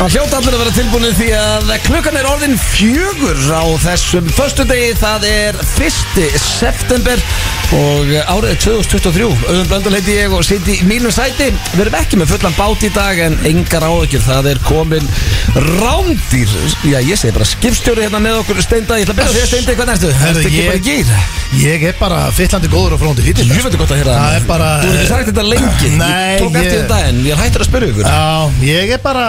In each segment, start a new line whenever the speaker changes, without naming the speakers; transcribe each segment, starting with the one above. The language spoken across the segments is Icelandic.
Það hljóta allir að vera tilbúinu því að klukkan er orðin fjögur á þessum förstu degi, það er 1. september og árið er 2023 auðvitað blöndal heiti ég og siti í mínum sæti við erum ekki með fullan bát í dag en engar áökjur, það er komin rándýr, já ég segi bara skipstjóri hérna með okkur, Steinda, ég ætla að byrja á því að Steinda, hvað næstu? Það
Herðu,
er ekki bara í gýr
Ég er bara fyllandi góður og sko. fróndi fyrir
Ég veit gott að hérna
Það er bara eh,
Þú hefur ekki sagt þetta lengi
Nei,
Ég tók eftir
ég-
þetta en ég er hættur að spyrja ykkur
Já, ég er bara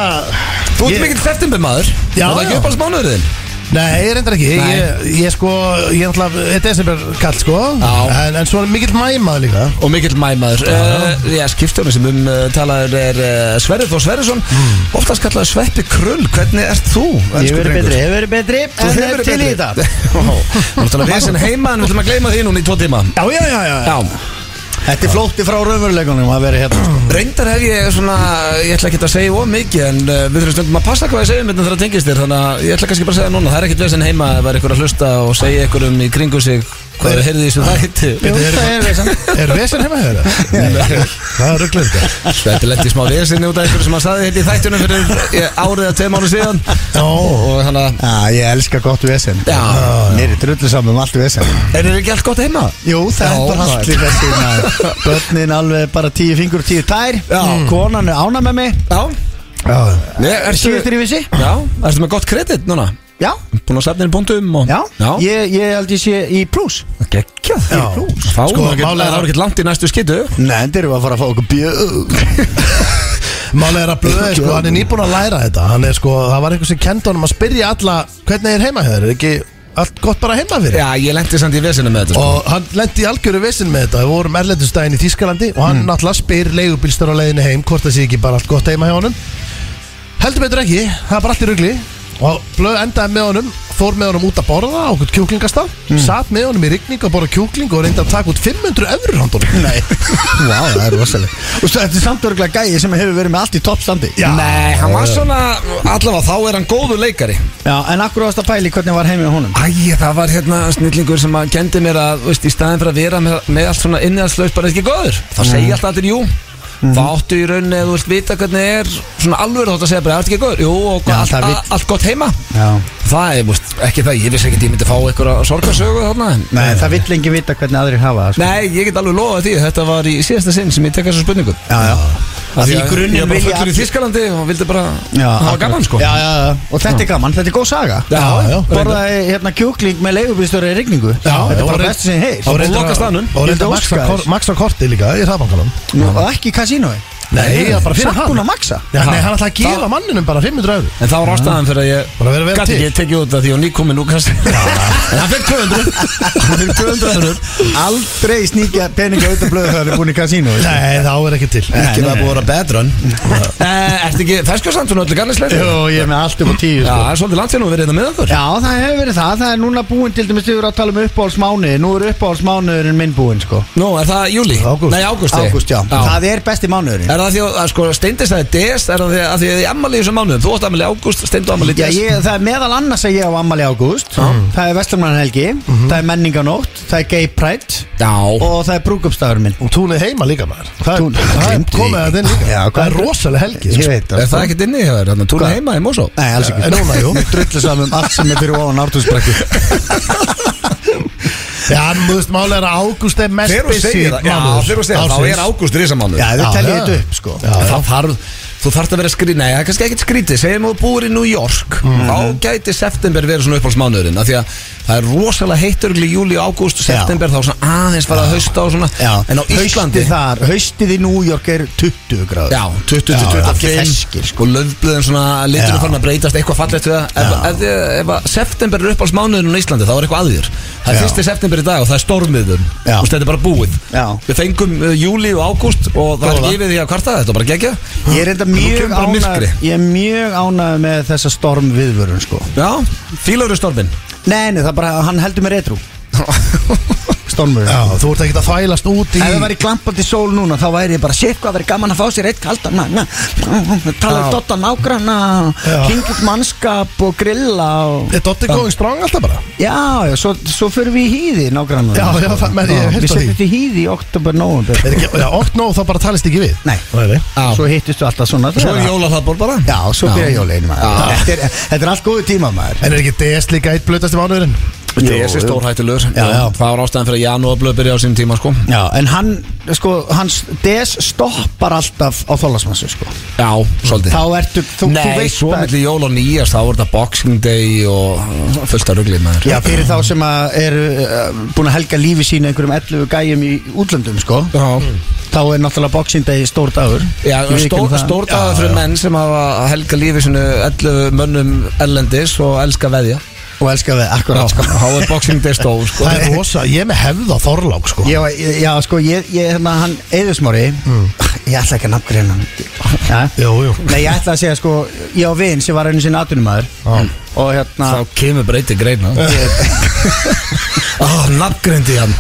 Þú ert
ég-
mikill september maður
Já,
Það er
já.
ekki uppáhalds mánuðurinn
Nei, ég reyndar ekki Ég,
Nei.
ég, ég sko, ég er alltaf Þetta er desember kall sko
Já.
en, en svo er mikill mæmað líka
og mikill mæmaður uh, Já, skiptjónu sem um uh, talaður er uh, Sverri Þór Sverrisson Oftast kallaður Sveppi Krull, hvernig ert þú?
Hmm. Ég verið betri, ég verið betri
Þú
En
hefur verið
til í
betri.
þetta
Þú ert alveg vesinn heima en við ætlum að gleyma því núna í tvo tíma
Já, já, já, já,
Já,
Þetta er flótti frá raunveruleikunum að vera hérna sko.
reyndar hef ég svona, ég ætla ekki að segja of mikið en uh, við þurfum stundum að passa hvað ég segja um þetta þegar það tengist þér þannig að ég ætla kannski bara að segja núna það er ekkert vesinn heima ef það er ykkur að hlusta og segja ykkur um í kringu sig hvað er heyrðið í þessu þætti
Jú,
Þetta er-
það er veist
Er vesen heima hjá þér? Það er rugglönd
Sveppi lendi í smá vesinni út af ykkur sem að saði hérna í þættunum fyrir eh, árið að tveim áru síðan
Já.
og þannig að
Já, ég elska gott vesen
Já.
Mér er drullu saman um allt vesen
Er það ekki allt gott heima?
Jú,
Já,
það er bara
maður.
allir þessi maður. Börnin alveg bara tíu fingur, tíu tær Mm.
Já.
Konan er ána með mig
Já
Já,
Nei, ertu,
Síðastir í vissi
Já, ertu með gott kredit núna?
Já,
Búin að safna inn bóndum og
já,
já.
Ég, ég held ég sé í plus
Geggjað
Já.
Þá
Sko,
sko, ekki,
málið er-
það er ekki langt í næstu skytu
Nei, þetta erum við að fara að fá okkur bjöð
Málega er að blöði sko, hann er nýbúin að læra þetta Hann er sko, það var einhver sem kendi honum að spyrja alla Hvernig er heima hjá þér? Er ekki allt gott bara heima fyrir?
Já, ég lendi samt í vesinu með þetta sko.
Og hann lendi í algjöru vesen með þetta Við vorum erlendustæðin í Þískalandi Og
Mhm.
hann náttúrulega spyr leigubílstar á leiðinu heim Hvort það sé ekki bara allt gott heima hjá honum Heldur betur ekki, það er bara allt í rugli Og blöð endaði með honum Fór með honum út að borða á okkur kjúklingastaf
Mhm.
Satt með honum í rigning að borða kjúkling Og reyndi að taka út 500 öfrur handunum
Nei, vá, það er rosaleg Og svo þetta er samt örgulega gæi sem hefur verið með allt í toppstandi
Já.
Nei, hann var svona Allavega, þá er hann góður leikari
Já, en akkur ást að pæli hvernig var heimið honum
Æ, það var hérna snillingur sem að kendi mér að, veist, í staðin fyrir að vera með, með allt svona inniðarslaust bara ekki góður. Þá segi ég alltaf allir jú. Þá áttu í rauninni eða þú vilt vita hvernig er svona alveg þátt að segja bara, er þetta ekki góður? Jú, og
Já,
ja, allt,
það
a-
vill-
allt gott heima.
Já
Það er, veist, ekki það, ég vissi ekki að ég myndi fá einhverja sorgarsögu þarna. en-
Nei, það vill enginn vita hvernig aðrir hafa það sko.
Nei, ég get alveg lofað því, þetta var í síðasta sinn sem ég tek þessu spurningu.
Já, já
Af
Því í
að
grunninn
ég var bara
vilja
fullur í
allir-
Þískalandi og vildi bara
Já,
hafa
akkurat.
gaman, sko.
Já, já, já Og þetta er gaman, þetta er góð saga
Já, já,
Borðaði hérna kjúkling með leigubýrstöru í rigningu Þetta var best sem heil
Og reyndar
loka staðnum.
að- og
Ég vildi
reyndar að maxla
óska
kor- maxla korti líka í hraðbankanum
Og ekki í kasínói
Nei, það er bara fyrir
Samt
hann
búin að maksa
Já, nei, hann ætlaði að
Það-
gefa manninum bara 500 öfrur
En það var ástæðan fyrir að
Bara vera
ég
vel
gæti
til.
ekki tekið út af því og nýkomin úr kassi En hann fekk 200 Hann fekk 200 eurur
Aldrei sníkja peninga út af blöðu þegar það er búin í kasínói
Nei, þá er ekki til
Ekki það er búið að vera
betra
Eh, Ertu ekki ferskur samt svona öllu garnislega?
Jó, ég er með allt upp á tíu
Já,
sko.
það er svolítið langt hérna og verið þetta með okkur
Já, það hefur verið það, það er núna búin til dæmis, þið voru að tala um uppáhaldsmánuði, nú er uppáhaldsmánuðurinn minn búin, sko
Nú, er það júli?
Ágúst.
Nei, ágúst
Ágúst, já, það er besti mánuðurinn
Er það því að, að sko, Steindi sagði des Er það því að því að þið ammali í þessum mánuðum Þú átt ammali ágúst, Steindi ammali
Já,
des
ég, það er meðal annars að ég á ammali í ágúst Mm. Það er Vestlumannanhelgi, það er menninganótt, það er gay pride
Já,
og það er brúkupstafurinn minn
Og túnið heima líka maður Það er,
Tún-
það er
Gleymdi
komið
því.
að þinn líka
Já,
Það er
hvað-
rosalega helgi sko.
Ég veit
er það ekkert inni hjá þér? Þannig að túna heima í Mosó
Nei, alls ekki
Eh, núna, jú.
Mér drullu saman um allt sem er fyrir ofan ártúsbrekku
Já, en þú veist, málega er að ágúst er mest
Þegar þú segir það, já, þegar þú segir það Þá er ágúst risamánuð
Já, þau
Já,
teljið
já.
þetta upp, sko
Já,
Það þarf, þú þarft að vera skrítið, nei, það er kannski ekkert skrítið segjum að þú búir í New York þá gæti september verið svona uppáhaldsmánuðurinn af því að það er rosalega heitt í júli og ágúst og september þá er svona aðeins fara að hausta og svona, en á Íslandi
Haustið þar, haustið í New York er 20 gráð
Já, 20 til
Já, allir
25
ferskir,
sko, löfblöðin svona litur
Já.
og farin að breytast eitthvað fallegt við það ef, ef, ef, ef að september er uppáhaldsmánuðurinn á Íslandi þá er eitthvað að þér það
Já.
er fyrsti september í dag og það er stormiður
Já.
og þetta er bara búið
Já.
við fengum uh, júli og ágúst og það
Góða.
er yfir því að kvarta þetta var bara gegja
Ég er enda
kemur
mjög
bara
ánægð
myrkrið.
Ég er mjög ánægð með þessa storm viðvörun sko
Já, fílaru stormin
Nei, nei, það er bara, hann heldur mér retru stormur
Já, þú ert ekkert að þvælast út í
Ef það væri glampandi sól núna þá væri ég bara Sitt hvað væri gaman að fá sér eitt kaldan na- na- Tala um
Já.
dotta nágrana
Já.
Hringi upp mannskap og grilla og...
Er Dotti going strong alltaf bara?
Já, já, svo, svo fyrir við í hýði nágrana
Já, já, það- menn, ég hef heyrt
Við
af því.
setjum þetta í hýði í oktober, november
Er ekki, já, oft nóg þá bara talist ekki við
Nei.
nei, nei.
Já.
Svo hittistu alltaf svona
Svo er jólahlaðbór bara
Já, svo byrja jólin maður þetta er, þetta er allt góðu tíma maður
En er ekki DS líka eitt blötast í mánuðurinn?
Þessi stórhættulegur
Já, já.
Það var ástæðan fyrir að janúarblöð byrja á sín tíma sko
Já, en hann, sko, hans DS stoppar alltaf á þólasmassu, sko
Já, svolítið
Þá ertu, þú,
Nei,
þú veist
svo
að-
milli jól og nýjast Þá voru þetta Boxing Day og fullt af ruglið maður
Já, fyrir þá sem að eru uh, búin að helga lífi sínu einhverjum 11 gæjum í útlöndum, sko
Já,
Þá er náttúrulega boxindegi stór dagur
já
Við vitum
stór,
það.
stór dagar fyrir menn sem hafa að helga lífi sinu 11 mönnum erlendis og elska veðja
Og elska við, akkurát, sko
Há er Boxing Day stór sko
Það er rosa, ég er með hefð á Þorlák sko
Já, já, sko, ég, ég, hérna, hann, Eðusmári
Mm.
Ég ætla ekki að nafngreina hann Já
Jú, jú
Nei, ég ætla að segja sko, ég á vin sem var einu sinni atunumæður
Já.
og hérna
Þá kemur breyti greina Ah, nafngreindi hann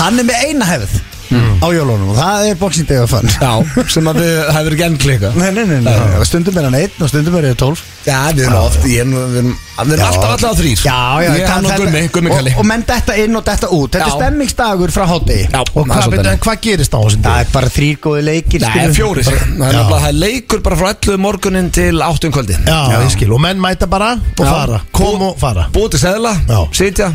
hann er með eina hefð á jólunum og það er Boxing Day of Fun
Já, sem að við hefur ekki enn klika
Nei, nei, nei, nei, nei. stundum er hann einn og stundum er ég tólf
Já, við erum oft Ég er nú- við erum við erum alltaf alltaf þrýr
Já, já,
Ég er hann og Gummi, Gummi
og,
Kalli
og menn þetta inn og þetta út Þetta
Já.
er stemmingsdagur frá hátegi
Já,
Og
það er
hvað,
svolítið
byrja, en hvað gerist á þessum
Það
degi?
er bara þrýr góði leikir
Nei,
skilur.
fjórir Það er nefnilega það er leikur bara frá 11 morgunin til 8 um kvöldi
Já, ég skil, og menn mæta bara og fara Kom og fara
Búið til seðla,
Já.
sitja,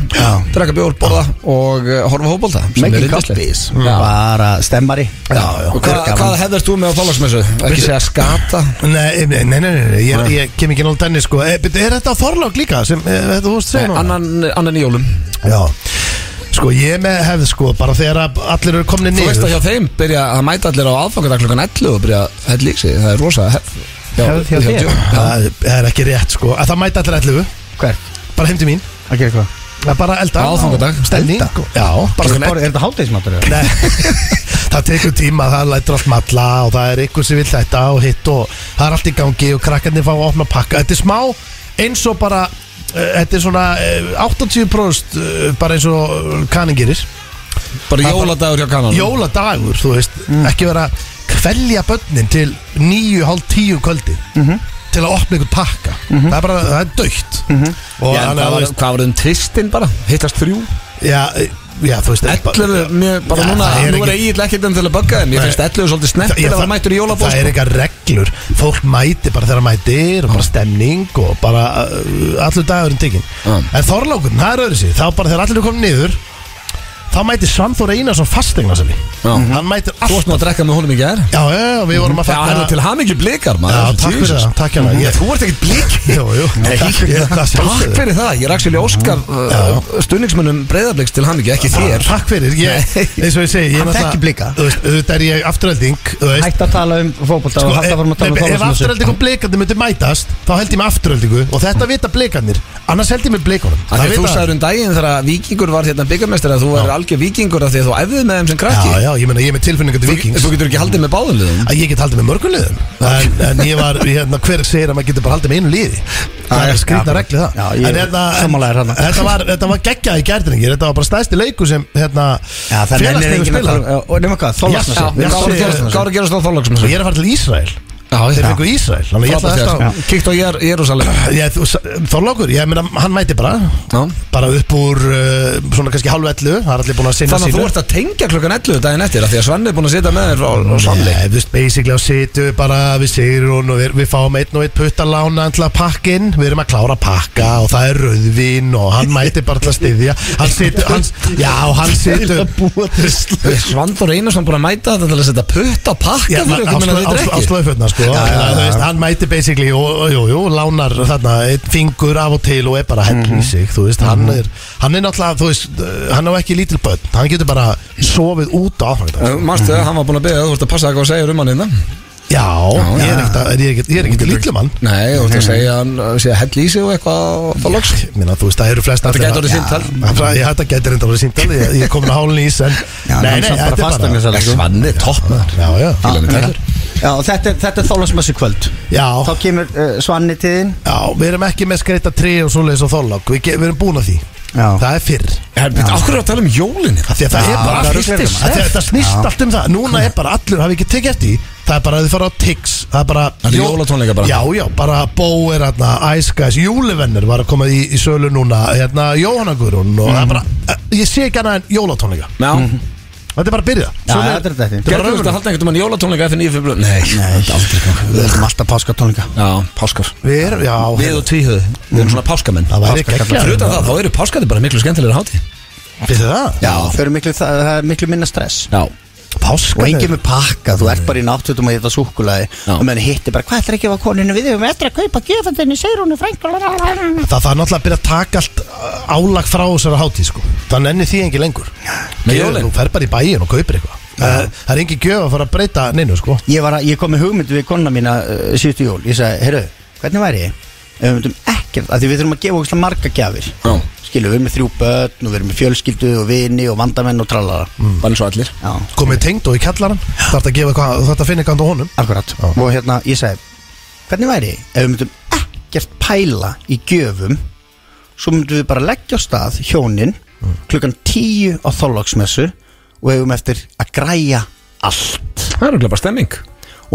draka bjór, borða og uh, horfa á fótbolta sem er
Making
yndislegt.
copies
Já.
Bara stemmari
Já, já
Og hvað, hvað hefðast þú með á þálasmessu? Ekki segja skata
Nei, eh, nei, nei, nei, nei, nei. Ég, ég kem ekki náttúrulega tenni sko e, byrju, Er þetta á Þorlák líka sem e, þetta þú veist segja núna?
annan, annan í jólum
Já Sko, ég er með hefð sko bara þegar að allir eru komni
Þú
niður
veist að hjá þeim byrja að mæta allir á aðfangardag klukkan 11 og byrja að hella í sig Það er rosa hefð hjá,
Hefð hjá þér?
Djó- Já.
Það er- það er ekki rétt sko að Það mæta allir allir
Hver?
Bara heim til mín
Að gera hvað?
Það er bara elda
Á aðfangadag?
Stemning Já, bara
Er bara- er þetta hátegismatur?
Nei, það tekur tíma, það lætur allt matla og það er ykkur sem vil þetta og hitt og það er allt í gangi og krakkarnir fá að opna pakka. Þetta er smá eins og bara, eh, þetta er svona eh, 80% eh, bara eins og eh, kaningirir.
Bara jóladagur hjá kannan
Jóladagur, þú veist,
Mm.
ekki vera að kvelja börnin til 9.30 kvöldi
Mhm.
til að opna ykkur pakka. Það er bara, það er dögt. Og
Mhm. Já, en
þannig
hvað
að þú
var,
veist,
hvað var um tristin bara? Hittast þrjú?
já, eh, já, þú veist, þetta er bara-
11, mér bara
Já,
núna,
það er
nú er
ekki-
Egil ekkert enn til að bögga þeim Ég
Nei.
finnst 11 svolítið snett
Ég,
að vera mættur í sko. jólabóð
það er eitthvað reglur Fólk mæti bara þegar það mætir og bara stemning og bara uh, allur dagurinn tekinn
Já.
En Þorlákurinn, það er öðru sig Þá bara þegar allir er komin niður Þá mætir Svanþór Einarsson fastegna sem við
Já. Mhm.
Hann mætir
Þú varst nú
alltaf
að drekka með honum í gær
Já, já, já, við vorum að
Já, hann er
fagna
til hamingi blikar maður
Já, takk fyrir
Jesus.
það, takk hérna
Ég, þú ert ekkert blik
Jú, jú, takk fyrir það
Takk
sjálfsögðu.
fyrir það, ég er Axel Óskar uh, stuðningsmönnum breyðabliks til hamingi, ekki
Já,
þér
Takk fyrir, ég, eins og ég segi ég
Hann
náttúrulega-
þekkir Blika.
Þú veist, auðvitað er ég afturölding Þú veist,
Hætt að tala um fótbolta og hætt að varum að tala um
Sko, e- Ef
þólasmassu
afturölding og blikandi myndi mætast Þá held ég með afturöldingu Og þetta vita blikandir Annars held ég með blikunum
Af því að Þú sagður um daginn þegar að vikingur var hérna byggamestari að þú er algjör vikingur af því að þú æfði með þeim sem krakki
Já, já, ég meina ég er með tilfinningar til
Þú-
vikings
Þú getur ekki haldið með báðum liðum
Að ég get haldið með mörgulegum en, en ég var, hérna, hver segir að maður getur bara haldið með einu liði Það
Já,
er
já,
skrýtna
bara-
regli það
Já, ég
En
er
hérna, en-
sammála þér þarna.
Þetta var, þetta var geggjað í gerðringir Þetta var bara stæsti leiku sem, hérna
Já, það nennir
félagsliðin
enginn að
spila.
tala um Og nema hvað,
Já,
þólasmassu
já,
Gáður
sé-
gerast- Gáður gerast á þorlagsmessu
Ég er að fara til Ísrael Þeir fengu Ísrael Þannig ég ætla þetta að-
Kíkt á Jer- Jerusalem
Ég- þú- Þorlákur, ég meina, hann mæti bara
Já.
bara upp úr uh, svona kannski halv 11 það er allir búin að sinna
Þannig að þú ert að tengja klukkan 11 daginn eftir af því að Svenni er búin að sitja með þér á-
Mm,
á samleik
Nei, við basically á situ bara við segir hún og við, við fáum einn og einn puttalána til að pakka inn, við erum að klára að pakka og það er rauðvin og hann mæti bara til að styðja hann situr, hann, já, hann situr
Svandur Einarsson búin að mæta þetta til að setja putt á pakka
Já,
fyrir ykkur meina þetta er ekki
áslöðfjöldna sko já, já, já, veist, hann mæti basically og, og jú, jú, lánar þarna einn fingur af og til og er bara henn í sig þú veist, hann er, hann er náttúrulega þú veist, uh, hann á ekki lítil börn hann getur bara sofið út á áfram
Mástu það, hann var búin að beða, þú ert að passa eitthvað að segja um hann innan
já, ég er ekkert að- ég er ekkert- ég er ekkert lítil mann
Nei, þú
Mm.
ert að segja hann uh, sé að hella í sig og eitthvað og það loks
Minna, þú veist, það eru flest
Þetta gæti orðið síntal.
Já, þetta getur enda orðið síntal Ég, ég er komin að hálun í ís en
Já, hann samt bara fasteignar sala, sko. Ah,
Svanni, topp maður. Já, já
Fílan í tætlur.
Já, og þetta er- þetta er þólasmassu kvöld Þá
Já,
kemur uh, Svanni til þín
já, við erum ekki með skreita 3 og svoleiðis og þorlák Við, ge- við erum búin að því
Já.
það er fyrr
Herbitt, af hverju er að tala um jólin hérna?
Af Því að það
Já,
er bara
það er
fyrst
ruglið.
Af því að Þetta snýst allt um það Núna er bara allur, hafi ekki tekið eftir því, Það er bara að þið fara á Tix Það er bara
Það eru
Jó-
jólatónleika bara.
Já, já, bara Bó er hérna Ice Guys Júlivennir var að koma í, í sölu núna Hérna Jóhanna Guðrún Og það er bara eh, Ég sé ekki hana en jólatónleika
Já,
Þetta er bara að byrja
Já,
Svo
þetta er þetta.
bara
gerðum við þetta
raunverulegt.
halda einhvern veginn jólatónleika eftir nýju februar Nei,
Nei,
þetta er aldrei ganga
Við erum alltaf páskatónleika
Já, páskar
Við erum, já
Við
hérna,
og tvíhöð, við erum svona páskamenn
Það væri
Páskar-
ekki
Fyrir utan það, þá eru páskandi bara miklu skemmtilega hátíð
Fyrir það
Já, þau eru miklu, það, það er miklu minna stress
Já,
Páska
Og enginn með pakka, þú ert bara í náttutum að geta súkulaði
Já.
Og meðan hitti bara, hvað ætlar ekki að koninu við Við erum eftir að kaupa gefandinni, segir hún frængur
Það það er náttúrulega að byrja að taka allt uh, álag frá þessara hátíð sko. Það nenni því engi lengur
Með
Gjöf,
jólin?
Þú fer bara í bæin og kaupir eitthvað Það er- það er engin gjöf að fara að breyta neinu sko.
Ég, var að, ég kom með hugmynd við konuna mína uh, síðustu jól Ég sagði, heyrðu, hvernig væri ég? Ef við myndum ekkert, af því við þurfum að gefa okkur marga gjafir
Já.
Skilu, við erum með þrjú börn og við erum með fjölskyldu og vini og vandamenn og trallara
bara eins og allir
Já,
Komið tengd og í kjallaran Þarf að gefa eitthvað, þú þarf að finna eitthvað handa honum
akkurat
Já.
Og hérna, ég sagði, hvernig væri ég? Ef við myndum ekkert pæla í gjöfum Svo myndum við bara leggja á stað hjónin klukkan tíu á þólagsmessu og hefum eftir að græja allt
Það er örugglega bara stemming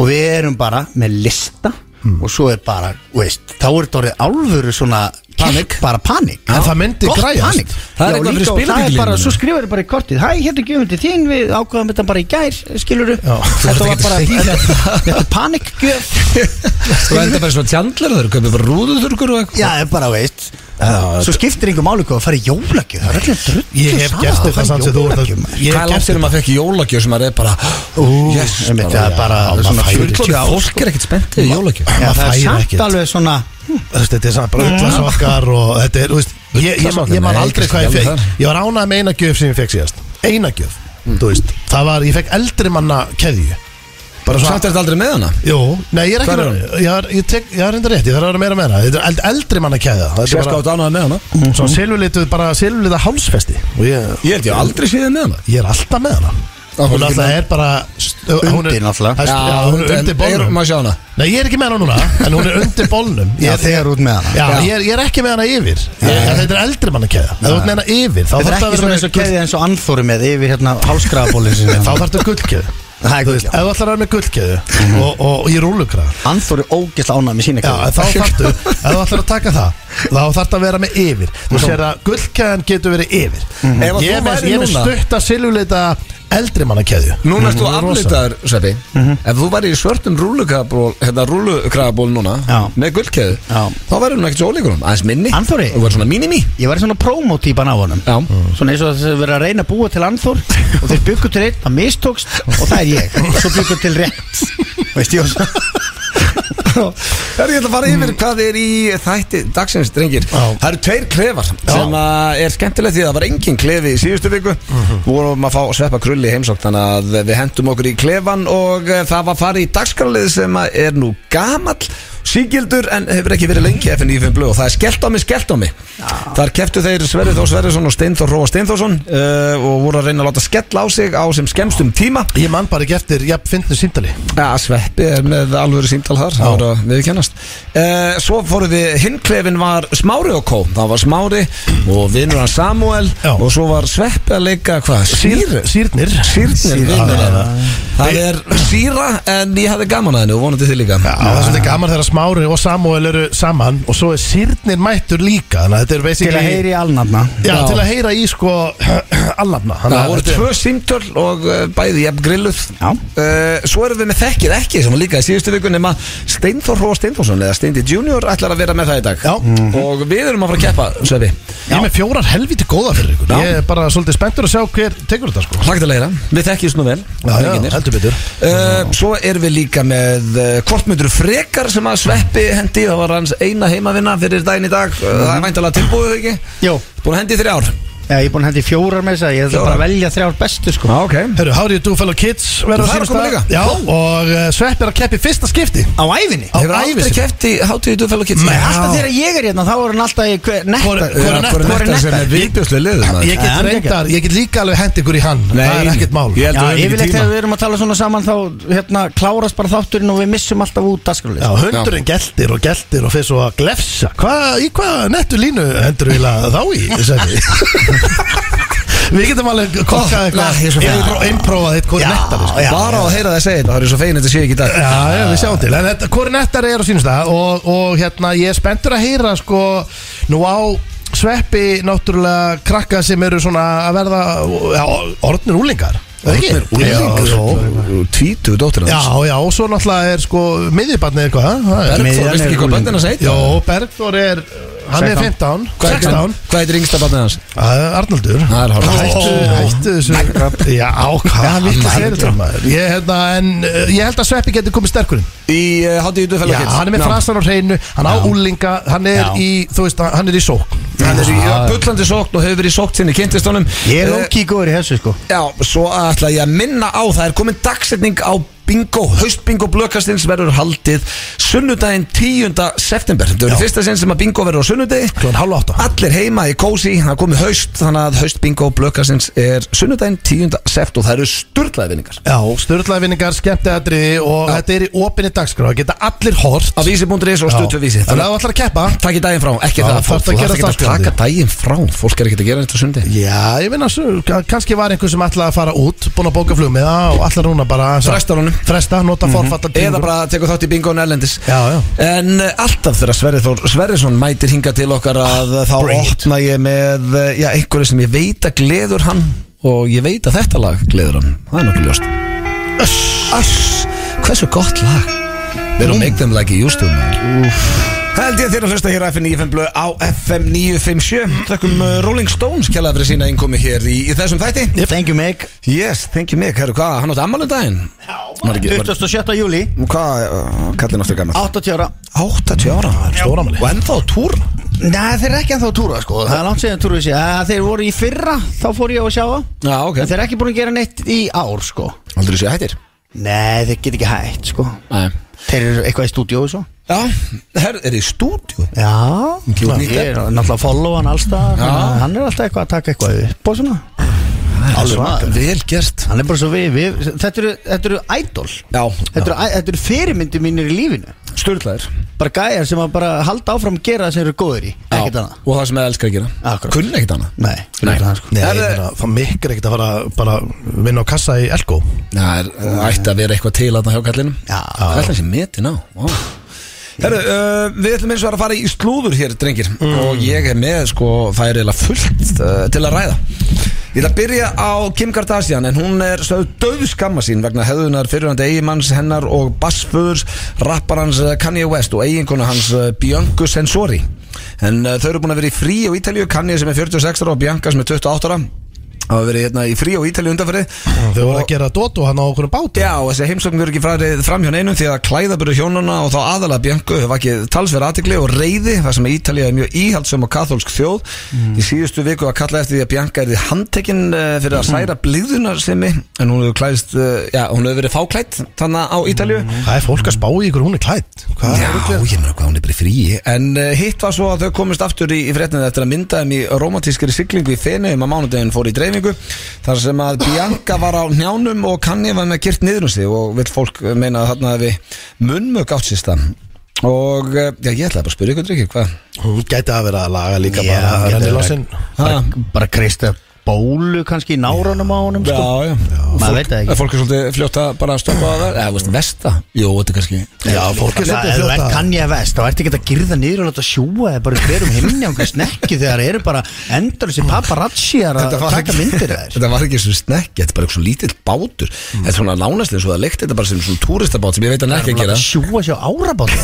og við erum bara með lista
Mm.
og svo er bara, veist, þá er þetta orðið alvöru svona panik, bara panik
En það myndi
Gott
græjast.
panik.
Það er
Já,
eitthvað fyrir
líka, og það er
spilavíklingina.
bara, svo skrifur þetta bara í kortið hæ, hérna er gjöfum til þín, við ákvaðum þetta bara í gær skiluru,
Já, þú ert
þetta var
ekkert
bara
að segja.
þetta þetta er panikgjöf
Þú enda bara svona tjandlar þurr, kaupið bara rúðuþurkur og
já, er bara, veist svo skiptir yngur máli hvað að fara í jólagjöf það er allir drullu
Ég hef gert þetta samt sem þú ert að- Ég
Hvað
hef
er
gert
langt hérna? þegar maður fekk jólagjöf sem maður er bara Yes,
einmitt,
bara-
það er bara
Já, maður
svona
færir
fullkomið
ekki-
ár,
Fólk er ekkert spenntið í jólagjöf
Já,
maður
það er
færi
samt
ekkert.
alveg svona
Þú veist, Þetta er samt bara ullasokkar og þetta er, þú veist Ég, ég,
Ullasokkar,
ég man
nei,
aldrei
kannski
hvað ég
ekki alveg
fekk Ég var ánað með eina gjöf sem ég fekk síðast Eina gjöf, þú veist Það var, ég fekk eldri manna keðju Bara
Samt er þetta aldrei með hana
Jú, nei ég er ekki
Hvar er
bara, ég, er, ég, tek, ég er reynda rétt, ég þarf að vera meira meira Þetta er eld, eldri manna kæða Það er
Sérst
bara
átt ánað sko með hana
svona silfurlituð, bara silfurlita hálsfesti Mhm. Og ég,
Ég held ég aldrei séð þig með hana
ég er alltaf með hana
Af hverju
Hún
ekki
alltaf
með-
er bara st- hún er-
Undir náttúrulega.
það er st- Já, hún er
en-
undir
er-
bólnum
Má sjá hana
Nei, ég er ekki með hana núna, en hún er undir bólnum
já,
Ég,
þegar út með hana
já, ég, er, ég er ekki með hana yfir ég, en Þetta er eldri manna kæða Ef þú ert með hana yfir, þá
Þetta er
þarf
ekki
það að vera
svona eins og keðið eins og anþóri með yfir hérna hálskraðabólin sinni
Þá þarf það gullkeðu
Það er
Þú veist,
gull,
ef þú ætlar að vera með gullkeðu og, og, og í rúllukraða
Anþóri ógæsla ánað með sína
Já, en
keðið
þá þarftu, ef þú ætlar að taka það þá þarftu að vera með yfir þú sér að gullkæðan getur verið yfir
Ef að þú
ég er með,
værir
ég er með
núna-
stutta silvuleita eldri manna keðju
Núna ertu
Hún er rosa.
aflitaður, Sveppi Ef þú væri í svörtum rúlukraból Hérna rúlukraból núna
Já.
Með gullkeðu
Já.
Þá væri hún ekkert svo ólíkur hún Aðeins minni
Anþóri?
Þú væri svona mini-mi
Ég var í svona promotýpan á honum Mm.
Já
Svona eins og þess að vera að reyna að búa til anþór Og þeir byggu til einn, það mistókst Og það er ég, svo byggu til rétt Veist ég
Það er ekki að fara yfir hvað er í þætti dagsins, drengir
Já.
Það eru tveir klefar sem að er skemmtilegt því að það var engin klefi í síðustu viku vorum að fá sveppa krulli í heimsókn þannig að við hendum okkur í klefan og eh, það var farið í dagskralið sem að er nú gamall sígildur en hefur ekki verið lengi FNF blöð og það er skellt á mig, skellt á mig þar keftu þeir Sverri Þór Sverrisson og Steinþór Róa Steinþórsson uh, og voru að reyna að láta skella á sig á sem skemmstum tíma
ég man bara ekki eftir, já, fyndnu síndali
Já, Sveppi er með alvöru síntal þar, það voru að viðkennast uh, Svo fórum við, hinn klefin var Smári og Kó, það var Smári og vinnur hann Samuel
Já.
og svo var Sveppi að leika hvað? Sýr?
sírnir
Sýrnir
Já,
vinnur
já,
hann
já.
Það er síra en ég hafði gaman að henni og vonandi þið líka
Já, það er svolítið gaman þegar Smári og Samuel eru saman og svo er sírnir mættur líka þannig að þetta er
Til
basically
að heyri alnafna
Já,
Já.
til að heyra í sko allafna
Það voru tvö símtöl og uh, bæði jafn grilluð
Já.
Eh, Svo erum við með þekkið ekki sem var líka í síðustu viku nema Steinþór Róa Steinþórsson eða Steindi Junior ætlar að vera með það í dag
Já.
Og við erum að fara að keppa, Sveppi
Ég er með fjórar helviti góða fyrir ykkur
Já.
Ég er bara svolítið spenntur að sjá hver tekur þetta sko
Hlagt að leira, við þekkjum svona vel
já,
Drenginir.
heldur betur
Uh, svo erum við líka með uh, Kortmyndur frekar sem að sveppi hendi
Mhm.
Það var hans eina heimavinna fyrir daginn í dag uh, Það er væntalega tilbúið ekki
Jó.
Búin að hendi í þrjár
Já, Já, ég er búin að hendi fjórar með þess að ég ætla bara að velja þrjár bestu sko
Já, ok
Hörru, How Do You Do Fellow Kids verður
Það er að
sínum
koma
stað.
líka.
Já, og uh, Svepp er að keppi fyrsta skipti
Á æfinni?
Á-
Hefur
ævi
aldrei
sinni.
keppt í hátíðu dufell og kids
Nei, alltaf þegar ég er hérna þá er hann alltaf í hver, netta
Hvor- hvor er netta?
Hvor
Hvor
er netta sem er viðbjörslega liður
Ég get
hann er
reyndar, ég get líka alveg hent ykkur í hann Það er ekkert mál
Ég held
Já,
að við hefum
yfirleitt
ekki
þegar
tíma
við erum að tala svona saman þá hérna klárast bara þátturinn og við missum alltaf út
Já,
dagskrálið
hundurinn geltir og geltir og fyrir svo að glefsa Hva, Í hvað nettu línu hendur við þá í? Sæmi? við getum alveg kokkað
Ó,
eitthvað
nei, ég er svo fegin.
impro- Improvað eitt hvori
Já,
nettar sko.
já.
Bara á að heyra það að segja þetta Það er svo fegin þetta sé ekki í dag
Já, já, við sjáum til En þetta, hvori nettar er á sínum stað og, og hérna, ég er spenntur að heyra sko Nú á sveppi náttúrulega krakka sem eru svona að verða já, Orðnir úlingar er það ekki? Já, já.
Tvítu dóttir
Já, já, og svo náttúrulega er sko miðjubarnið eitthvað það er-
Bergþór,
Miðjan
veistu
er
ekki hvað
rúllandi.
böndin að segja?
Jó, Bergþór er Hann er 15,
Hvað heitir-
16
Hvað heitir yngsta böndin hans?
Það er Arnaldur
Það er hálf-
Hættu,
Ó.
hættu þessu Já, hvað
hann vill
annað
segja
heldur
þetta.
maður? Ég, hérna, en, uh, ég held að Sveppi getur komið sterkurinn
Í hátíðu dufell
Já,
og kids
hann er með frasan á hreinu Hann á úlinga, hann er
Já.
í, þú veist, hann er í sók
Hann er í bullandi sókn og hefur verið í sókn sinni kynntist honum
Ég er
Eh,
ókík góður í þessu sko
Já, svo ætla ég að minna á það er komin dagsetning á bingo haustbingo blökastins verður haldið sunnudaginn 10. september þetta verður fyrsta sinn sem að bingo verður á sunnudegi
Klón hálf átta
allir heima í kósi, það er komið haust þannig að haustbingo blökastins er sunnudaginn 10. september og það eru sturlaði vinningar
Já, störðlaðvinningar, skemmteatriði og þetta er í opinni dagskrá Geta allir hort
á vísi.is og stutt við vísi
Þannig
þannig
að þú ætlar að keppa
að takk í daginn frá, ekki
Já,
það
þarftu
fólk,
að
þú
gera
þarf ekki að
startandi.
taka daginn frá fólk er ekki að gera þetta sunnudegi
Já, ég minna, kannski var einhver sem ætlaði að fara út Búin að bóka flugmiða og allar núna bara aðeins að-
Fresta honum. Mhm.
Fresta, nota forfallar
eða bara tekur þátt í bingo erlendis
Já, já.
en uh, alltaf þegar Sverri Þór Sverrisson mætir hinga til okkar að uh, þá
Bring it.
opna ég með uh, já, einhverju sem ég veit að gleður hann og ég veit að þetta lag gleður hann það er nokkuð ljóst Ass, hversu gott lag Við erum make them like you used to man. Mm. Held ég þér að hlusta hér á FM 95 blöð á FM 957 Þakkum uh, Rolling Stones kjallaði fyrir sína innkomi hér í, í þessum þætti
Thank you Meg
Yes, thank you Mick, herru hvað, hann átti ammálum daginn Var ekki- var-
27. júli
Hvað, uh, kallinn áttu gammal?
80 ára
80 ára Stóramæli Og ennþá á túr
Nei, þeir eru ekki ennþá að túra sko Það er langt séðan túra þessi Að Eh, Þeir voru í fyrra, þá fór ég á að sjá það
Já, ok
En þeir eru ekki búin að gera neitt í ár sko
Aldrei séu hættir
Nei, þeir get ekki hægt sko
Nei
Þeir eru eitthvað í stúdíói svo
Já, herru, er þið í stúdíu?
Já,
Kjút
ég
nýtt
er náttúrulega að follow hann allstað
Já.
Hann er alltaf eitthvað að taka eitthvað upp og svona Alveg maður.
Vel gert
Hann er bara svo við, við Þetta eru, þetta eru idol
Já,
Þetta eru, þetta eru fyrirmyndir mínir í lífinu
sturlaðir
Bara gæjar sem að bara halda áfram að gera það sem eru góðir í Ekkert
Já,
annað
Og það sem ég elskar að gera
Akkurat.
Kunni ekkert annað
Nei,
Nei.
fyrir það sko
Nei,
Er-
ég meina, það mikir ekkert að fara bara vinna á kassa í Elko
Já, er, ætti að vera eitthvað til að það hjá kallinum
Já.
Það er þessi metin á wow. Herru, uh, við ætlum eins og að fara í slúður hér, drengir Og ég er með, sko, það er eiginlega fullt uh, til að ræða Ég ætla að byrja á Kim Kardashian En hún er sögð döðu skamma sín Vegna hefðunar fyrirhandi eigimanns hennar Og bassföðurs rapparans eh, Kanye West Og eiginkonu hans eh, Bianca Sensori En uh, þau eru búin að vera í frí á Ítalíu Kanye sem er 46 ára og Bianca sem er 28 ára hafa verið hérna í frí á Ítalíu undanferði
Þau voru að gera dotu hann á okkur um báti
Já, og þessi heimsókn verður ekki farið fram hjá neinum því að klæðaburðu hjónuna og þá aðalega Bjöngu hefur ekki talsverð aðtikli og reyði þar sem Ítalía er mjög íhaldsum og katholsk þjóð í síðustu viku var kallað eftir því að Bjönga er því handtekinn eh, fyrir að særa blíðunarsemi en hún hefur klæðist, eh, já, hún hefur verið fáklætt þannig á Ítalíu
Það er fólk að spá í ykkur hún er klætt Hvað
Já,
er ykkur?
ég meina hvað hún er bara í fríi En uh, hitt var svo að þau komist aftur í, í frétnið eftir að mynda þeim í romantískri siglingu í Feneyjum að mánudegin fór í dreifingu Þar sem að Bianca var á njánum og Kanye var með gyrt niður um sig og vill fólk eh, meina að þarna hefði munnmök átt sérsta Og eh, já, ég ætlaði bara að spyrja ykkur drikki, hvað?
Hún gæti að vera að laga líka
Já,
bara
gæti
Renni
að-
lásinn
Ha?
bara, bara kreista bólu kannski í náranum á honum sko.
já,
Maður veit það
Eh,
ekki
Fólk er svolítið fljótt að bara stoppa að vera Eða, veist, vesta? Jó, þetta er kannski
Já, fólk er
Ef
svolítið
þú ert
fljótt að
kann ég vest, þá ertu ekki að girða niður og láta sjúa eða bara í hverjum himni á einhverju snekki þegar eru bara endur þessi paparazziar að taka myndir af þér
Þetta var ekki sem snekki, þetta er bara eitthvað svo lítill bátur Þetta er svona lánast eins og það leikt þetta bara sem svona túristabát sem ég veit hann er ekki að
Láta
gera
Sjúa sér á árabáta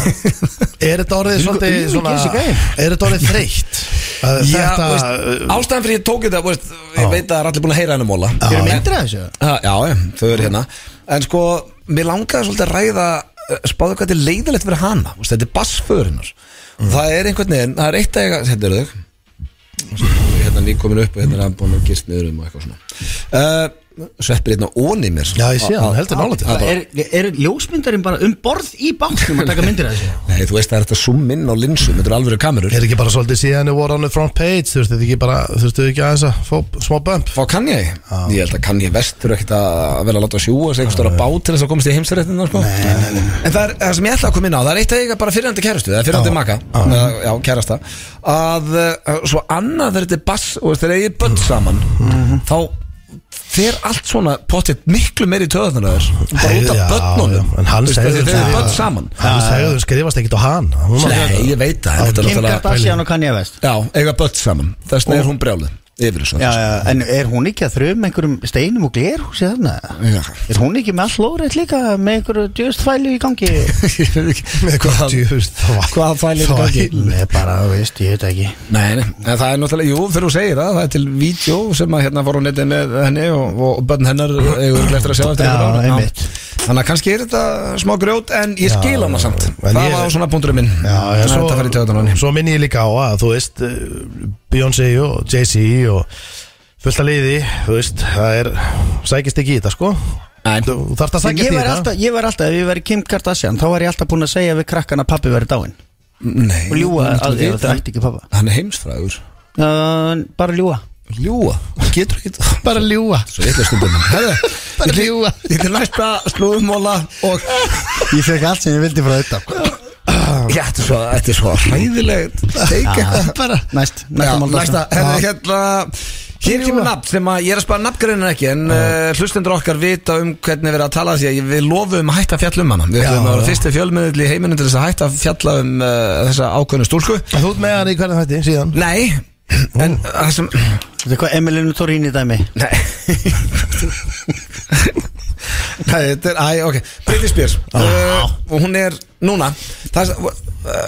Er þetta orðið
Þvílíkur
svolítið
auðmýkja
svona
þessi gæi.
Er þetta orðið þreytt? Að
Já,
Þetta eh,
veist, ástæðan fyrir ég tók þetta veist, ég veit að það er allir búin að heyra henni móla
Þeir eru myndir af þessu
já, já, þau eru hérna en sko, mér langaði svolítið að ræða eh, spáðu hvað þetta er leiðilegt fyrir hana veist, þetta er bassföðurinnar mm. það er einhvern veginn, það er eitt að eiga þetta eru þau hérna nýkomin upp og hérna er hann búin að gist niður um og eitthvað svona uh, Sveppir hérna óni mér
Já, ég sé hann, heldur nálægt
Það er bara-
Er, er ljósmyndarinn bara um borð í bátnum að taka myndir af þessu?
Nei, þú veist það er þetta zoom inn á linsum Þetta er alveg kamerur
Er ekki bara svolítið síðan þið voru on the front page Þú veist þetta ekki bara, þú veist ekki aðeins að fá smá bump
Fá kann ég? Ég held að kann ég vest Þurfa ekkert að vera að láta sjúa sig einhver stóra bát til þess að komast í heimsrættina sko. En það er það sem ég ætla að koma inn á Það er eitt að eiga bara fyrirandi kærastu Það er fyrirandi maka Já, já kærasta Að uh, svo annað þegar þetta er bass Og þegar eigið börn saman Þá fer allt svona pottitt miklu meiri í töðunar Bara út af
Já,
börnunum
já, en hann
Veistu,
segir
Þegar þeir
það.
eru börn saman
Hann sagði þú skrifast ekkit á hann Hann var
Nei,
náttúrulega-
ég veit það þetta er
Kim
náttúrulega-
Kardashian og Kanye West
Já, eiga börn saman Þess vegna er hún brjálið Yfir þessu
Já, já, en er hún ekki að þrjum einhverjum steinum og glerhúsi þarna?
Já.
Er hún ekki með all lórið líka með einhverju djöstfælu í gangi?
Ég veit ekki
Með hvað djúst
Hvað fælir í gangi?
Nei, bara, þú veist, ég veit ekki
Nei, nei, en það er náttúrulega, jú, þegar þú segir það, það er til vídeo sem að hérna voru netið með henni og, og bönn hennar hefur glættur að sjá eftir
Já,
einhver ár.
einmitt.
Þannig að kannski er þetta smá grjót en ég skil hana samt,
en
það
ég-
var svona punkturinn minn
Já, já,
Það er þetta farið í tjóðan á henni
svo minni ég líka á að þú veist eh, Beyoncé og Jay-Z og fullt að liði, þú veist það er, sækist ekki í þetta sko
Nei,
þú þú þarft að
Ég
sækist í
var
þetta
alltaf, ég var alltaf, ef ég væri Kim Kardashian þá var ég alltaf búin að segja við krakkan að pappi væri dáinn
nei
og ljúga
þú
að
náttúrulega
ég
vita-
þrætti ekki pappa
Hann er heimsfræður
uh, Bara ljúga
Ljúa, getur ekki það
bara ljúa
Svo ég ætla stundum Herðu, ég til-
ljúga.
Ég til næsta slúðumóla og
Ég fekk allt sem ég vildi frá sko. þetta
Já, þetta er svo, þetta er svo hræðilegt Steika bara
Næst,
Já,
næsta mál
næsta, hérna,
Já.
hérna Hér kemur nafn sem að ég er að spara nafngreinar ekki en uh, hlustendur okkar vita um hvernig við erum að tala því að við lofum að hætta að fjalla um hana við
Já,
ætlum að vera
já.
fyrsti fjölmiðl í heiminum til þess að hætta að fjalla um uh, þessa ákveðnu stúlku
þú ert með hann í hvernig þætti síðan
Nei, en það sem
Þetta er hvað Emilinu Torín í dæmi
Nei Nei, þetta er, æ, ok Britney Spears uh, Og hún er núna það, uh,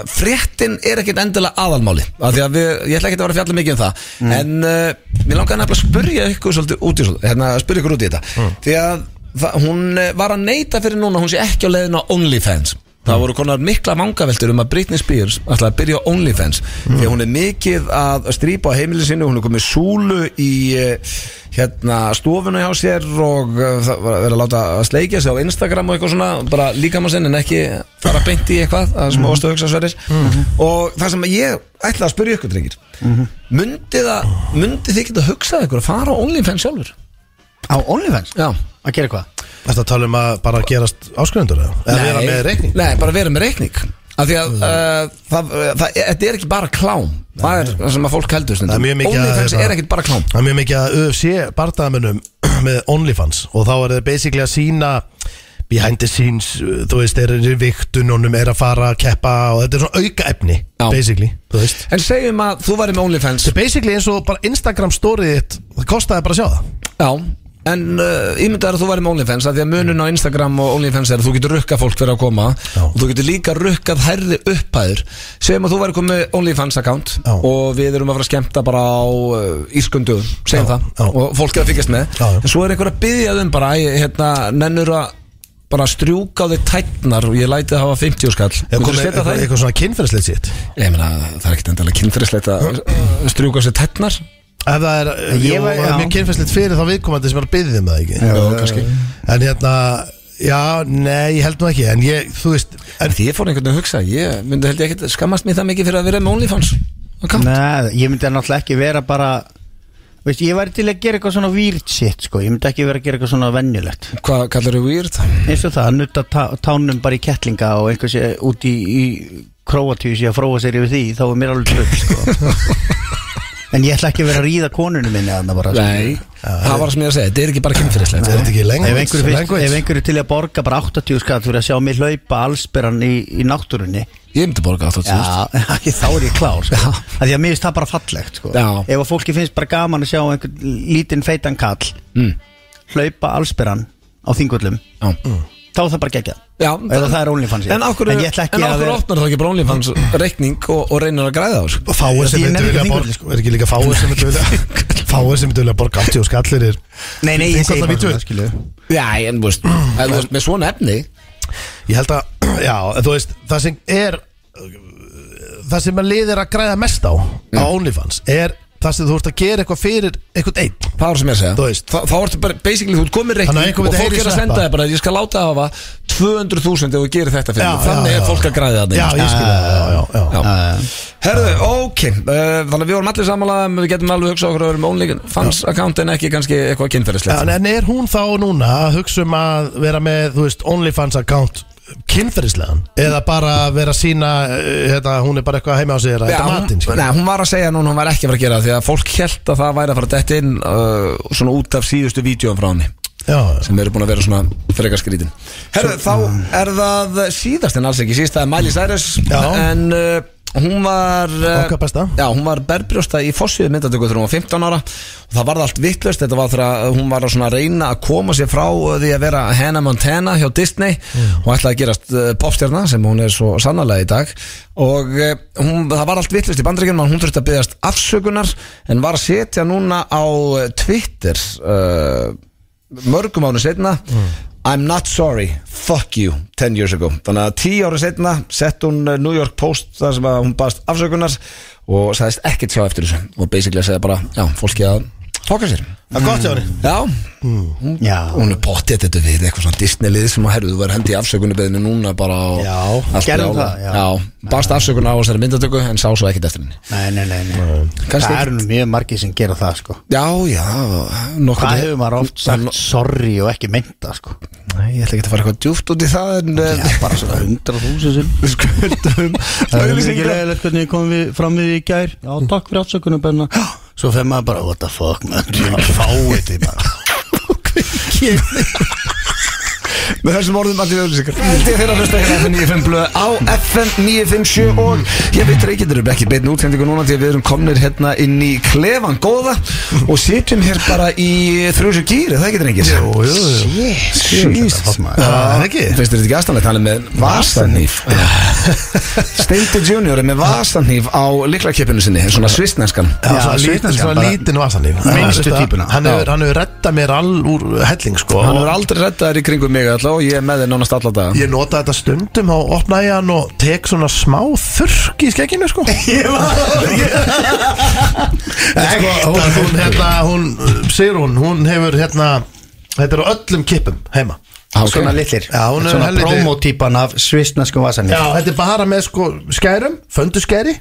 Fréttin er ekkit endilega aðalmáli af því að við, Ég ætla ekki að vera að fjalla mikið um það En uh, mér langaði nefnilega að spurja ykkur svolítið út í svolítið Hérna, að spurja ykkur út í þetta Því að það, hún eh, var að neita fyrir núna Hún sé ekki á leiðin á OnlyFans Það voru konar mikla vangaveltur um að Britney Spears ætlaði að byrja á OnlyFans því að hún er mikið að strýpa á heimili sinu hún er komið súlu í eh, hérna, stofuna hjá sér og eh, það var að vera að láta að sleikja sig á Instagram og eitthvað svona, bara líka maður sinn en ekki fara beint í eitthvað það sem ástu að hugsa sveris og það sem ég ætla að spyrja ykkur drengir mm -hmm. myndi, það, myndi þið geta hugsað ykkur að fara á OnlyFans sjálfur?
Á OnlyFans?
Já
Að gera hvað?
Þetta tala um að bara gerast áskrifundur eða Eða vera með reikning
Nei, bara vera með reikning Af því að uh, það, uh, það, þetta er ekki bara klám Það er það sem að fólk heldur
Það
stundum
er mjög mikið að-
OnlyFans
hérna-
er ekkit bara klám
Það er mjög mikið að UFC barndagamunum með OnlyFans og þá er þeir basically að sína behind the scenes, uh, þú veist, þeir eru í viktununum, er að fara að keppa og þetta er svona aukaefni,
Já.
basically, þú veist.
En segjum að þú væri með OnlyFans
Þetta er basically eins og bara Instagram storyið þitt, það kostaði bara að sjá það.
Já En uh, ímyndaður að þú væri með OnlyFans að Því að munun á Instagram og OnlyFans er að þú getur rukkað fólk fyrir að koma
Já.
Og þú getur líka rukkað hærri upphæður Segjum að þú væri komið með OnlyFans account
Já.
Og við erum að fara að skemmta bara á uh, írskundu Segjum
Já,
það
já.
Og fólk er að fylgjast með
Já, já.
En svo er einhver að byggja þum bara æ, hérna, Nennur að bara strjúka á þig tætnar Og ég læti að hafa 50 skall
Eða
Myndirðu
komið
setja
eitthvað,
það í?
eitthvað svona kynferðslið sitt.
Ég meina, það er ekkit endalega kynferðislegt að uh, strjúka sér tætnar
Ef það er,
Ég
jú,
var-
það er
já.
mjög kynferðslið fyrir þá viðkomandi sem er að byggja um það ekki.
Já, kannski
En hérna, já, nei, ég held nú ekki, en ég, þú veist, en
En því ég fór einhvern veginn að hugsa Ég myndi held ég ekkert skammast mér það mikið fyrir að vera með OnlyFans Account.
Nei, ég myndi náttúrulega ekki vera bara Veist, ég væri til að gera eitthvað svona weird shit sko. Ég myndi ekki vera að gera eitthvað svona venjulegt
Hvað kallar þau weird?
eins og það, að nutta tá- tánum bara í kettlinga og einhver sé út í, í króatíu sé að fróa sér yfir því þá er mér alveg trögg sko. en ég ætla ekki að vera að ríða konunum minni þarna bara, sko.
Nei, það var sem ég að segja, þetta er ekki bara kynfyrirslegt
er þetta ekki
ef einhverju, fyrst,
language?
ef einhverju til að borga bara 80 skatt fyrir að sjá mig hlaupa allsperan í, í náttúrunni
Ég myndi borga það þótt
Já, þá er ég klár sko. að Því að mér finnst það bara fallegt sko.
Já.
Ef að fólki finnst bara gaman að sjá einhvern lítinn feitan kall
Mm.
hlaupa allsperan á þingullum
Já.
þá er það bara geggjað
Já,
Ef það er OnlyFans ég.
En af hverju
En ég ætla ekki
en af
að
hverju
vera-
opnar þá ekki bara OnlyFans reikning og, og reynir að græða á þessu?
fáir sem
Því ég
myndu
nenni
vilja
ekki þingvelli,
borga sko. er ekki líka fáir sem myndu vilja fáir sem myndu vilja borga 80 skallir er
Nei, nei, ég segi
Þingvallar
bara
vídeó.
svona, skilju.
Já, en þú veist, ef þú veist, með svona efni
ég held að, já, en þú veist það sem er það sem að liðir að græða mest á á OnlyFans er það sem þú ert að gera eitthvað fyrir einhvern einn
Það var sem ég að segja
Þú veist.
Þá- Þá ertu bara, basically, þú ert komin
Þannig að
reikning
einhver
Og
myndi
fólk
heyra í
er að
sveppa.
senda þér bara Ég skal láta hafa 200.000 ef þú gerir þetta fyrir
Já,
mig Þannig
já,
er
já.
fólk að græða
Já,
þarna
ég skil það, já, já, já.
Já.
uh,
Herðu, ok uh, Þannig að við vorum allir sammála um, Við getum alveg hugsað okkur að vera með ónleikin Fans account en ekki kannski eitthvað
Já, en-
kynferðislegt
En er hún þá núna að hugsa um að vera með, þú veist, OnlyFans account kynferðislegan? Eða bara vera að sína, hérna, hún er bara eitthvað heima á sér að
Já,
þetta matinn,
hún,
sko? skilur?
nei, hún var að segja núna, hún var ekki að fara að gera það Því að fólk held að það væri að fara að detta inn uh, Svona út af síðustu vídjóum frá henni
Já, já.
sem eru búin að vera svona frekar skrítin Herru, þá er það síðast en alls ekki síðast, það er Miley Cyrus
Já.
en uh, hún var uh,
Okkar besta.
Já, hún var berbrjósta í fossiðu myndatöku þegar hún var 15 ára og það varð allt vittlust, þetta var þegar að hún var að svona reyna að koma sér frá uh, því að vera Hannah Montana hjá Disney
Mm.
og ætlaði að gerast uh, popstjarna sem hún er svo sannarlega í dag og uh, hún, það var allt vittlust í bandryggjum og hún þurfti að byggast afsökunar en var að setja núna á uh, Twitter uh, mörgum árum setna I'm not sorry, fuck you 10 years ago, þannig að 10 árum setna sett hún eh, New York Post þar sem að hún baðast afsökunar og sagðist ekkert sjá eftir þessu og basically að segja bara, já, fólki að fóka sér
Það er gott hjá henni.
Já,
Já,
hún er pottið þetta við eitthvað svona Disney-lið sem að herðu, þú verður hendi í afsökunarbeðinu núna bara og
Já,
allt í
gerðu
ála.
það, já.
Já, baðast afsökunar á þessari myndatöku en sá svo ekkert eftir henni
nei, nei, nei, nei.
Kannski
Það eru nú mjög margir sem gera það sko
Já, já, nokkuð
Hvað hefur maður oft
Nó-
sagt sorry og ekki meinta sko
Nei, ég ætla ekki að fara eitthvað djúft út í það en
Já,
eh,
bara svona 100.000 sem
við skuldum
Það er mikið
auglýsingar.
leðilegt hvernig ég kom við, fram við í gær Já, takk fyrir afsökunum benna Svo fer maður bara, what the fuck man Fáið þið bara
Með þessum orðum allir auðlýsingar Þetta er þeirra að hlusta hérna á FM 95 blöð á FM 957 og ég veit reykjendur eru ekki beinu útsendingu núna því að við erum komnir hérna inn í klefan góða og sitjum hér bara í þrjóðsjö gýri, það getur engin Jú, jú, jú
Jesus, maður.
Það er ekki?
Finnst þér þetta ekki aðstæðanlegt, hann er með vasanýf Steindu Junior er með vasanýf á liklakeppinu sinni, svona svistnenskan
Já,
Já,
svona
sveitin
lítinn,
sem
svona
bara-
lítinn vasanýf
Minnstu
Veistu það?
típuna.
Hann hefur- hann hefur reddað mér all úr helling, sko
Hann er aldrei rettaður í kringum mig alltaf og ég er með þér nánast alla daga
Ég nota þetta stundum á opnæjan og tek svona smá þurrk í skegginu sko Ég var sko, hún, hún, hérna, hún, Sigrún, hún hefur hérna Þetta er á öllum kippum heima
Ah, ok.
Svona litlir
Já, hún er
Svona
helviti-
promotýpan af svistneskum vasanir
Já, þetta er bara með sko skærum, fönduskæri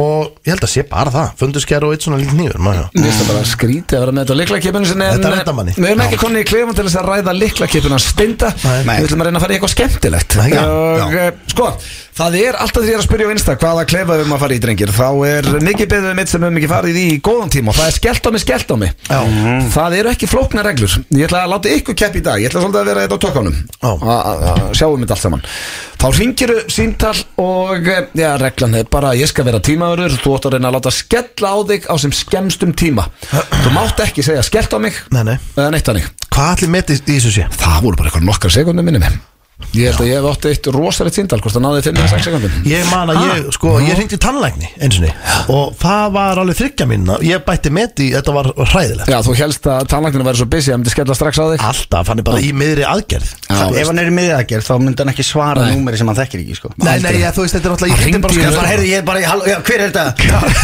Og ég held að sé bara það, fönduskæri og eitt svona lítið nýfur
Mér finnst það bara skrítið að vera með þetta liklakipinu sinni en, eh,
Þetta er þetta manni.
Við erum ekki konni í klefum til þess að ræða liklakipinu að steinda
Nei.
Við ætlum að reyna að fara í eitthvað skemmtilegt
Nei, já,
Og já. sko, það er alltaf því ég er að spyrja á Insta hvaða klefa við erum að fara í drengir Þá er mikið beðið mitt sem við erum ekki farið í í góðan tíma og það er skellt á mig, skellt á mig
Já.
Það eru ekki flóknar reglur Ég ætla að láta ykkur kepp í dag, ég ætla svolítið að vera þetta á tökkanum
Já.
Að- að- að Sjáum þetta allt saman Þá ringiru símtal og eh, já, reglan er bara að ég skal vera tímaverður Þú ætti að reyna að láta skella á þig á sem skemmstum tíma Þú mátt ekki segja skellt á mig
Nei, nei.
eða neitt hannig
Hvað allir með í þessu sé?
Það voru bara eitthvað nokkar sekundum minni með Ég held að ég hef átt eitt rosalegt símtal Hvort það náði 5-6 sekundum
Ég man að ég, sko, ég hringdi í tannlækni eins og og það var alveg þryggja minna ég bætti með í, þetta var hræðilegt
Já, þú helst að tannlæknir væri svo busy að hann myndi skella strax á þig
Alltaf, hann er bara í miðri aðgerð
Já,
Ef
veist.
hann er í miðaðgerð þá myndi hann ekki svara
Nei.
númeri sem hann þekkir ekki sko
Nei, nei, ég, þú veist, þetta er alltaf
Hann
Ég hringdi
hringdi
bara
í
Ég
skjálf
bara, heyrðu, ég er bara, í- halló, já, hver er þetta?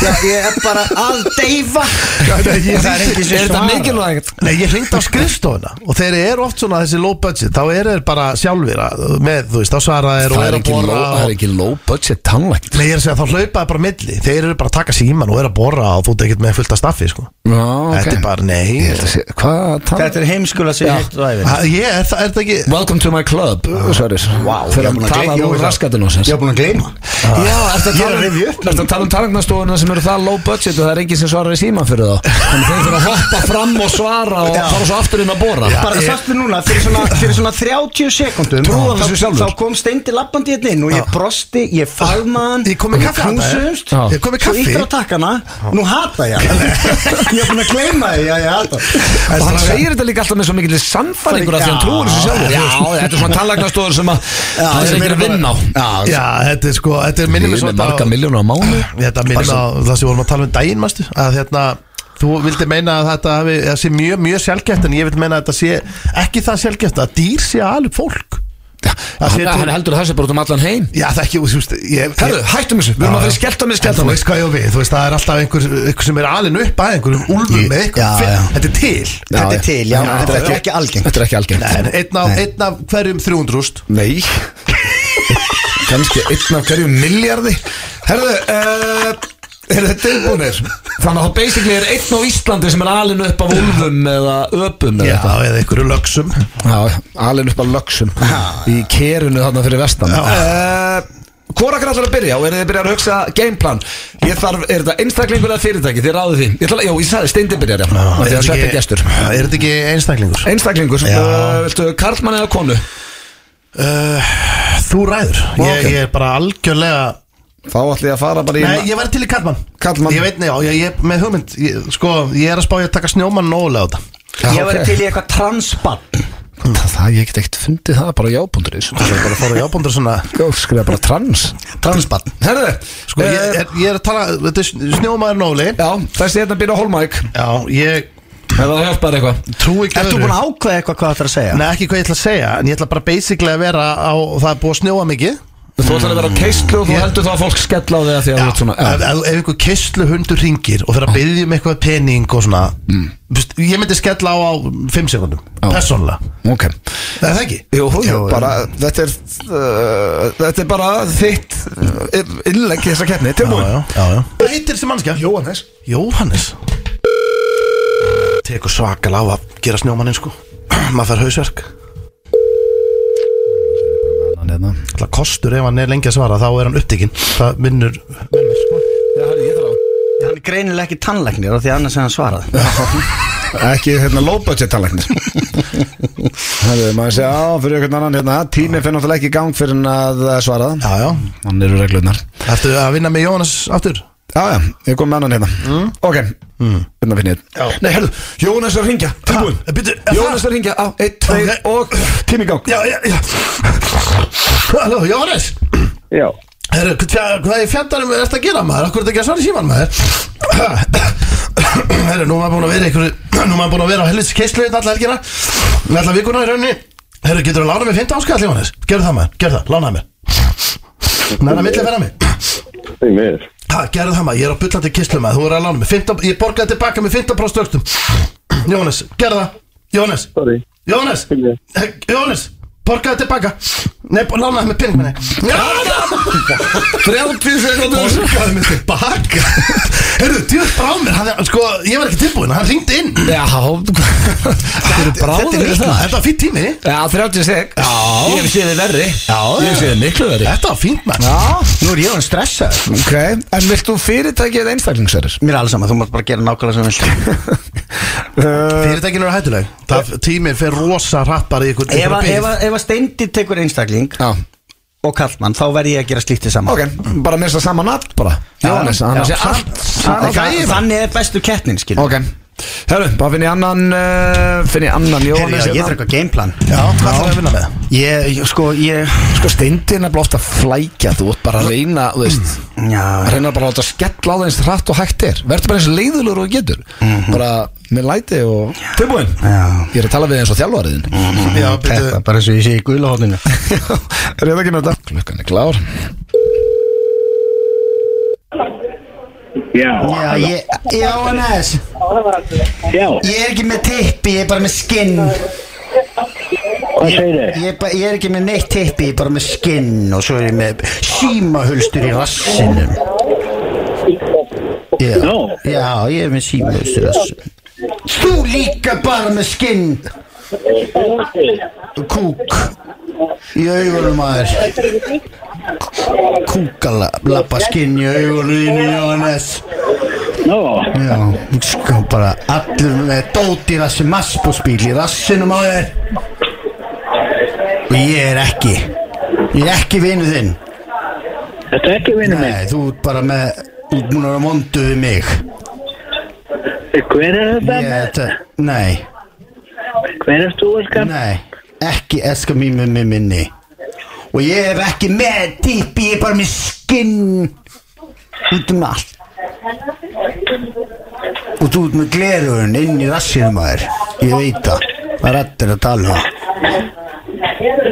Já, ég er bara að deyfa Það
nei,
er
ég-
engin sem
Er þetta
svara
mikilvægt?
Nei, ég hringdi á skrifstofuna Og þeir eru oft svona þessi low budget Þá eru þeir bara sjálfir að, með, þú veist, þá svara þeir og
Það er
eru að
ekki
borra
low- það er
og-
ekki low budget tannlæknir
Nei, ég er að segja, þá hlaupa þeir bara á milli Þeir eru bara að taka síman og eru að borra og þú ert ekkert með fullt af staffi, sko
Já, ok.
Þetta er bara,
Ég held
nei
að sé- Hvað tannlæknir?
Þetta er heimskula sem
Já.
ég heitt ræði
Ha, Ég, er það er þetta ekki
Welcome to my club, Sverris
Vá, ég
Uh, Þegar
er
hann
búin að
talaði
gleyma-
úr raskatinn á sér
Ég er búin að gleyma
Já, ertu að
Ég er
tala
að
um
rifja upp.
Ertu að tala um targnastofuna sem eru það low budget og það er enginn sem svarar í síman fyrir þá Þannig þeir þurfa að hoppa fram og svara og fara svo aftur inn að bora
bara sastu núna, fyrir svona, fyrir svona 30 sekundum
Trúðan þessu
þá,
sjálfur.
þá kom steindi lappandi hérna inn og ég brosti, ég fagmaðan
Ég kom með kaffi handa þér.
knúsumst,
Já.
Ég kom með
svo
kaffi.
íttur á takkana nú hata ég hann. ég er búin að gleyma því að ég hata hann.
Og hann segir þetta líka alltaf með svo mikil sannfæringur af því hann trúir þessu sjálfur Já, þetta er svona tannlagnastofur sem að það er enginn að vinna á
Já,
Já, þetta er sko, þetta er
Við
minnum
erum með marga miljónu á mánu
Þetta minnir á það sem við vorum að tala um daginn mástu, að hérna, þú vildi meina að þetta hafi, að sé mjög, mjög sjálfgæft en ég vil meina að þetta sé ekki það sjálfgæft að dýr sé að alveg fólk það
Hann,
setur-
hann heldur að þessi bara út um allan heim
Já, það ekki, þú veist ég,
Herðu, hættum þessu, við erum að
Já,
fara
já.
í skellta með
En
skellta
þú
með
veist hvað ég á við, þú veist það er alltaf einhver, einhver sem er alin upp að einhverjum úlfum
Ég-
með einhver,
já, já.
þetta er til
Þetta er til, já,
Já,
þetta er
já.
ekki, ekki algengt
Þetta er ekki algengt
En einn af, einn af hverjum 300
Nei Kanski einn af hverju miljardi Herðu uh, Er þetta tilbúinir? Þannig að það basically er einn á Íslandi sem er alin upp af úlfum eða öpum eða
Já,
eitthvað.
eða einhverju lögsum
Já, alin upp af löksum Í kerunu þarna fyrir vestan
Já.
uh, Hvor akkur allar að byrja og er þið byrjað að hugsa gameplan Ég þarf, er þetta einstaklingur eða fyrirtæki Þið ráðu því Ég ætla, Já, ég sagði steindi byrjar já, já
Er
Þegar
þetta
sveppi
ekki-
gestur
Er þetta ekki einstaklingur?
Einstaklingur,
Já.
uh, viltu karlmann eða konu
Þú ræður ég,
ok.
ég er bara algjörlega
Þá ætla ég að fara bara í
Nei, ég væri til í Karlmann
Karlmann.
Ég veit, nei, já, ég, ég með hugmynd ég, Sko, ég er að spá ég að taka snjómann nógulega á þetta
Já,
Ég
ok.
verði til í eitthvað transbann
Það, það, ég get ekkert fundið það bara jábúndurins
Ég er bara að fara í ábundur svona
Skrifa bara trans
Transbann
Herðu,
Sko, ég, er, ég er að tala, þetta er snjómaður nógulega
Já, þessi hérna byrja á Holmæk
Já, ég
Ef það hjálpar eitthvað
trúi ekki
Ertu
öðru.
búin að ákveða eitthvað hvað það er að segja?
Nei, ekki hvað ég ætla að segja, en ég ætla bara basically að vera á, það er búið að snjóa mikið
Þú ætlar að vera keistlu og þú
Ég-
heldur þá að fólk skella á þig að því að þú ert svona
ef,
já.
ef ef einhver kesslu hundur ringir og fyrir að byggja um eitthvað pening og svona mm. Ég myndi skella á á 5 sekundum,
Já.
persónlega
Ok
Það er það ekki?
Jú, jú,
Jú,
bara, þetta er uh, Þetta er bara þitt uh, innlegg í þessa keppni, tilbúin
já, já, já Hvað heitir þessi mannskja?
Jóhannes
Jóhannes Tekur svakal á að gera snjómannin sko Maður fær hausverk
Já,
Alltaf kostur ef hann er lengi að svara þá er hann upptekinn Það vinnur vinnur, sko.
herri, ég þarf að
Hann er greinilega ekki tannleiknir af því annars er hann svarað
ekki hérna low budget talengnir Hæðu, maður sé á fyrir einhvern annan hérna tími fyrir náttúrulega ekki í gang fyrir en að eh, svara
Já, já
hann eru reglunar
Ertu að vinna með Jóhannes aftur?
já já, ég kom með annan hérna ok, hérna finn ég
Já.
nei, herðu, Jónas er að ringja, tilbúin
Ha, bíddu, er
Jónas er að ringja, á, 1, 2
Ok.
og tími í gang
Já, já, já Halló, Jóhannes
Já,
Herru, hvað, hvað er fjandarum er þetta að gera maður? Akkur er þetta ekki að svara í síman maður? Herru, nú er maður búin að vera einhverju Nú er maður búin að vera á helvits keislu Þetta allar helgina Þetta vikuna í rauninni Herru, getur þú að lána mér 15 áskall, Jóhannes? Gerðu það maður, gerðu það, lánaðu mér Næra milli að vera mig
því miður
Ha, gerðu það maður, ég er á bullandi keislu maður Þú er að lána mér 15, ég borgaði tilbaka með 15% öktum Jóhannes, gerðu það Jóhannes,
Sorry
Jónas
Fyrir.
Jónas, borgaðu tilbaka Nei, bú- lánaðu með pening minni Jónas,
30 sekundur
borgaðu mig tilbaka Herru, djúð brá mér hann, er- Sko, ég var ekki tilbúin, hann ringdi inn
já, þetta eru
Þetta
bráður
er
við
illa,
það
þetta var fínt tími
já, 30 sek
Já.
ég hef séð þið verri
Já,
ég hef séð þið miklu verri
Þetta var fínt mann
já,
Nú er ég hann stressað
ok, en vilt þú fyrirtæki eða einstaklingsverðir?
Mér er alls saman, þú mátt bara gera nákvæmlega sem þú vilt
Fyrirtækinu er hættuleg Það tíminn fer rosa hratt bara í ykkur
Ef að- Ef að- ef að steindi tekur einstakling
já
og kallmann, þá verð ég að gera slíktið saman
Ok, bara minnst það sama nafn bara Jóhannes, annars er allt sama gæði
Þannig þannig er bestu kettnin, skil
Ok, herru, bara finn ég annan uh, finn ég annan
Heyrðu,
Jóhannes
já, Ég
hérna.
þarf eitthvað gameplan
Já, hvað þarf að vinna með?
Ég, ég- sko, ég
Sko steindin er bara ofta að flækja Þú ert bara að reyna, þú veist að
Já,
reyna bara að láta skella á það eins hratt og hægt er Verður bara eins leiðulur og þú getur Bara með læti og Tilbúin
já
Ég er að tala við eins og þjálfariðin mm.
Já,
Þetta
byrju
er bara eins og ég sé í gula hóðinu
Er þetta ekki með þetta? Klukkan er klár
Já,
Já, ég, Jónas
já,
Ég er ekki með tippi, ég er bara með skinn
hvað segir þið?
ég, er ba- ég er ekki með neitt tippi, ég er bara með skinn Og svo er ég með símahulstur í rassinum Já,
Nú.
já ég er með símahulstur í rassinum Þú líka bara með skinn Kúk Í augunum maður Kúkala Lappa skinn í augunum þínu, Jónas
Nú,
Já, sko bara allur með dót í rassi maspúsbíl í rassinum á þér og ég er ekki ég er ekki vinnu þinn
þetta er ekki vinnu minn
Nei, þú ert bara með þú ert múin að vera mondu við mig
Hver er þetta?
ég, þetta, Nei,
Hver er þú, Elskar?
nei ekki eska mín með mig minni og ég hef ekki með típi ég er bara með skinn út um allt og þú ert með glerugun inn í rassinum á þér ég veit það, það er allir að tala um það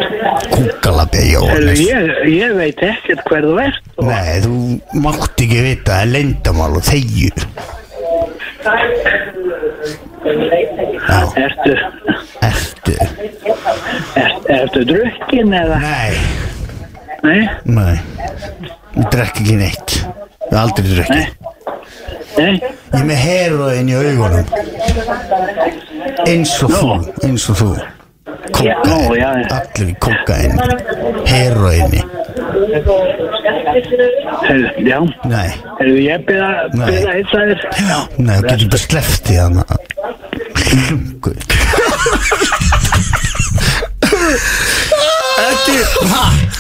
Kúkalabbi
Herðu,
Jóhannes
ég, ég veit ekkert hver þú ert og
Nei, þú mátt ekki vita Það er leyndamál og þegju Já,
ertu,
ertu
er, ertu drukkin eða?
Nei,
Nei,
nei Ég drekk ekki neitt Ég aldrei drekki
Nei. nei,
Ég er með heroin í augunum Eins og þú Eins og þú Kókain,
Já, já, já.
allir í kókain Heroinni
herðu, já,
Nei,
herðu, ég byrða,
Nei.
byrða eitt að þér.
nei, þú getur bara slefti hann Lungu
Ekki,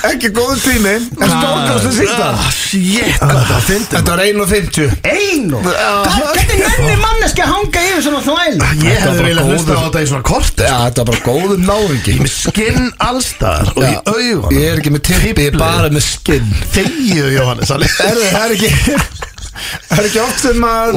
ekki góðu tími En stórkast að sýta
Ah,
Sjétt, hvað það fyndi
Þetta var 1.50
Einu
Já.
Hvernig nenni manneski að hanga yfir svona þvæl
Ég
var
hefði
bara
viljað hlusta á
góður.
þetta í svona kort
Já, þetta var bara góðum náðingi
Ég er með skinn allstar og í augunum
Ég er ekki með tippi, ég er bara með skinn
Þegju Jóhannes alveg.
Erðu, það er ekki Það er ekki oft sem að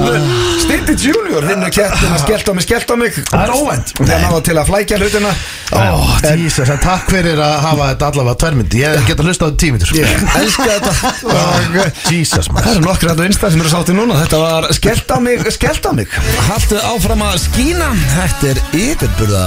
Stinti Junior vinnur kettina Skellt á mig, skellt á mig
Það er óvænt
Það náða til að flækja hlutina
Ó, Jesus, en takk fyrir að hafa þetta allavega tværmyndi Ég get að hlusta á þetta tímindur
Ég
Elskar þetta
Og Jesus
eh, Það
maður
eru nokkri hættu einstaklega sem eru sátti núna Þetta var skellt á mig, skellt á mig
Haltu áfram að skína Þetta er yfirburða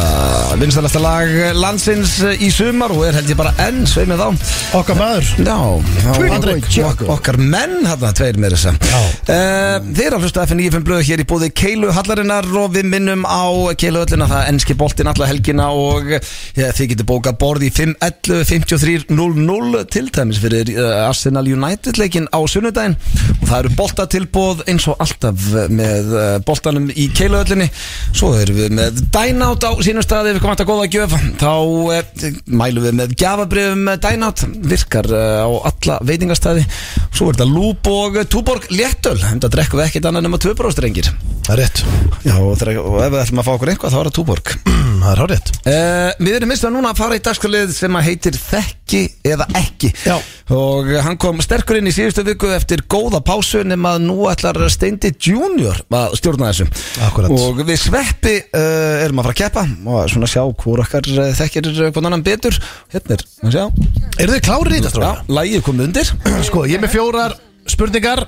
Vinsalasta lag landsins í sumar Og er held ég bara enn sveimið á
Okkar maður
Já,
Patrik,
ok- okkar menn hérna, tveir með þessa uh, Þeir eru að hlusta FN95 blöðu hér í búði Keilu Hallarinnar og við minnum á Keilu öllina, það er enski boltinn alla helgina og ja, þið getur bókað borð í 511 5300 til dæmis fyrir uh, Arsenal United leikin á sunnudaginn og það eru boltatilbóð eins og alltaf eh, með uh, boltanum í Keilu öllinni svo erum við með Dynout á sínum staði ef við komum að góða gjöf þá uh, mælum við með gjafabrifum Dynout virkar uh, á alla veitingastæði svo er þetta Lúb og Túborg Léttöl, þetta drekkum við ekkert annað nema tvöbróstrengir
Það er rétt
Já, og, þegar, og ef við ætlum að fá okkur eitthvað þá er Mm, það Túborg
Það er hárétt
Uh, við erum minnst að núna að fara í dagskalið sem að heitir Þekki eða ekki
Já.
og hann kom sterkur inn í síðustu viku eftir góða pásu nema að nú ætlar Steindi Junior að stjórna þessu
Akkúrat.
og við sveppi uh, erum að fara að keppa og svona sjá hvort okkar uh, þekkir hvern annan betur hérna er, maður sjá
Eru þið klárið í þetta
Já,
strákar?
lægið kom undir
Sko, ég er með fjórar spurningar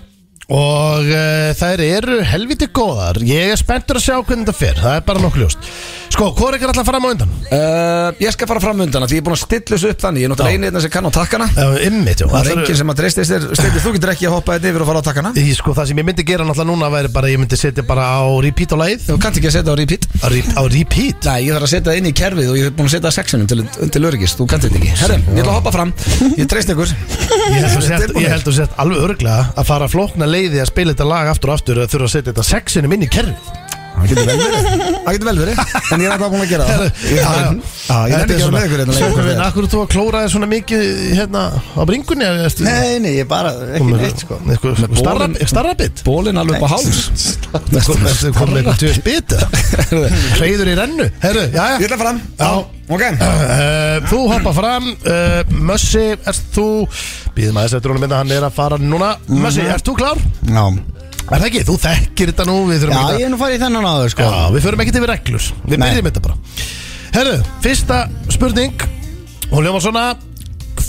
Og uh, þær eru helviti góðar Ég er spenntur að sjá hvernig þetta fer Það er bara nokkuð ljóst Sko, hvað er ykkur alltaf að fara á undan?
uh, Ég skal fara fram undan af því ég er búin að stilla þessu upp þannig ég er
Já.
náttúrulega einið þetta sem kann á takkana
Uh, Ymmit,
það er enginn sem að dreistist þér Steindi, þú getur ekki að hoppa þetta yfir og fara á takkana
Í, sko, það sem ég myndi gera náttúrulega núna væri bara Ég myndi setja bara á repeat á lagið
Þú kannt ekki að setja á repeat
Á, re á repeat?
Nei, ég þarf að setja það inn í kerfið og ég hef búin að setja það sexinum til, til öryggis, þú kannt þetta ekki Herre, ég ætla að hoppa fram, ég treyst ykkur
Ég held að sett, ég held að sett alveg örglega Að fara flókna leiði að spila þetta lag aftur og aftur Að þurfa að setja þetta sexinum inn í kerfið
Það getur vel verið, það getur vel verið En ég er alltaf búin að gera það Ég-
Já, já.
Já, ég er ekki að vera
Þetta
með ykkur
svona-
hérna
Sjókum við,
lengur.
akkur þú að klóra þér svona mikið hérna á bringunni eða ertu-
Nei, nei, ég bara, ekki
Komið-
neitt sko
eitthvað starra- Starrabit
Bólinn alveg upp á háls
Ertu komið eitthvað tjöð spita Hreyður í rennu Herru, já,
Ég
já
ætla fram,
Já.
ok
Uh, Þú hoppa fram uh, Mössi, erst þú Býðum aðeins eftir honum minna, hann er að fara núna Mössi, erst þú klár?
Já,
Er það ekki? Þú þekkir þetta nú Við
já
þurfum
ég
ekki að
er nú farið í þennan áður sko
Já, við förum ekki til við reglur Við
Nei.
byrjum þetta bara Herru, fyrsta spurning Hún ljóma svona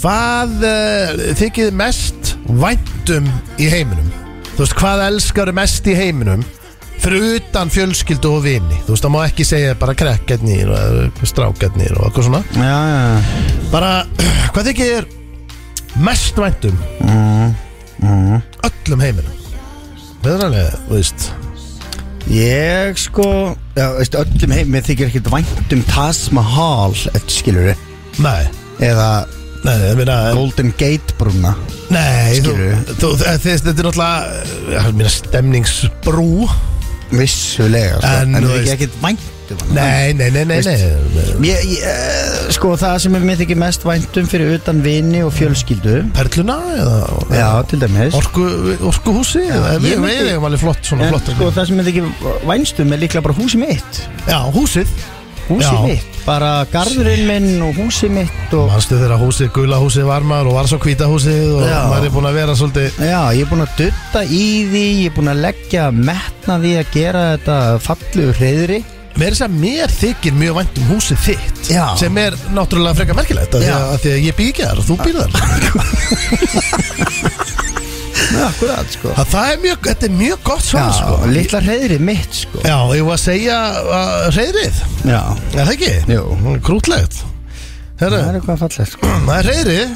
Hvað uh, þykir mest væntum í heiminum? Þú veist, hvað elskar mest í heiminum fyrir utan fjölskyldu og vini Þú veist, það má ekki segja bara krekkarnir og eh, strákarnir og eitthvað svona
Já, já,
Bara, hvað þykir mest væntum mm. Mm. öllum heiminum? Veðranlega, þú veist
ég sko Já, veist, öllum heim, mér þykir ekkert vænt um Taj Mahal, skilur við
Nei,
Eða
nei, ég meina
Golden Gate brúna
Nei, þú,
Skilurðu?
þú, þe- þe- þetta er náttúrulega eh, mína stemningsbrú
Vissulega, sko
En,
En, en
þú
mér
veist-
þykir ekkert vænt um hana
Nei, nei, nei, nei, nei.
Ég, ég, eh, sko það sem er mér þykir mest væntum fyrir utan vini og fjölskyldu
Perluna eða
Já, til dæmis
orku, Orkuhúsi eða,
ég
Við
myndi-
við eigum alveg flott, svona
En
flott
sko það sem er þykir vænstum er líklega bara húsið mitt
Já, húsið
Húsið
Já.
mitt, bara garðurinn minn og húsið mitt og
Manstu þegar húsið, gula húsið var maður og var svo hvíta húsið og
Já.
maður er búin að vera svolítið
Já, ég er búinn að dutta í því, ég er búinn að leggja metna því að gera þetta fallu hreyðri
Mér er sem mér þykir mjög vænt um húsið þitt
Já.
Sem er náttúrulega frekar merkilegt af Því
Já.
að, af því að ég býð ekki þar og þú býr þar
Akkurat sko
Það, það er mjög, þetta er mjög gott svar sko
Lítla reyðri mitt sko
Já, ég var að segja uh, reyðrið
Já
Er það ekki?
Jú.
Mm, Krútlegt Herru,
Það er Mhm. eitthvað fallegt sko
það er reyðrið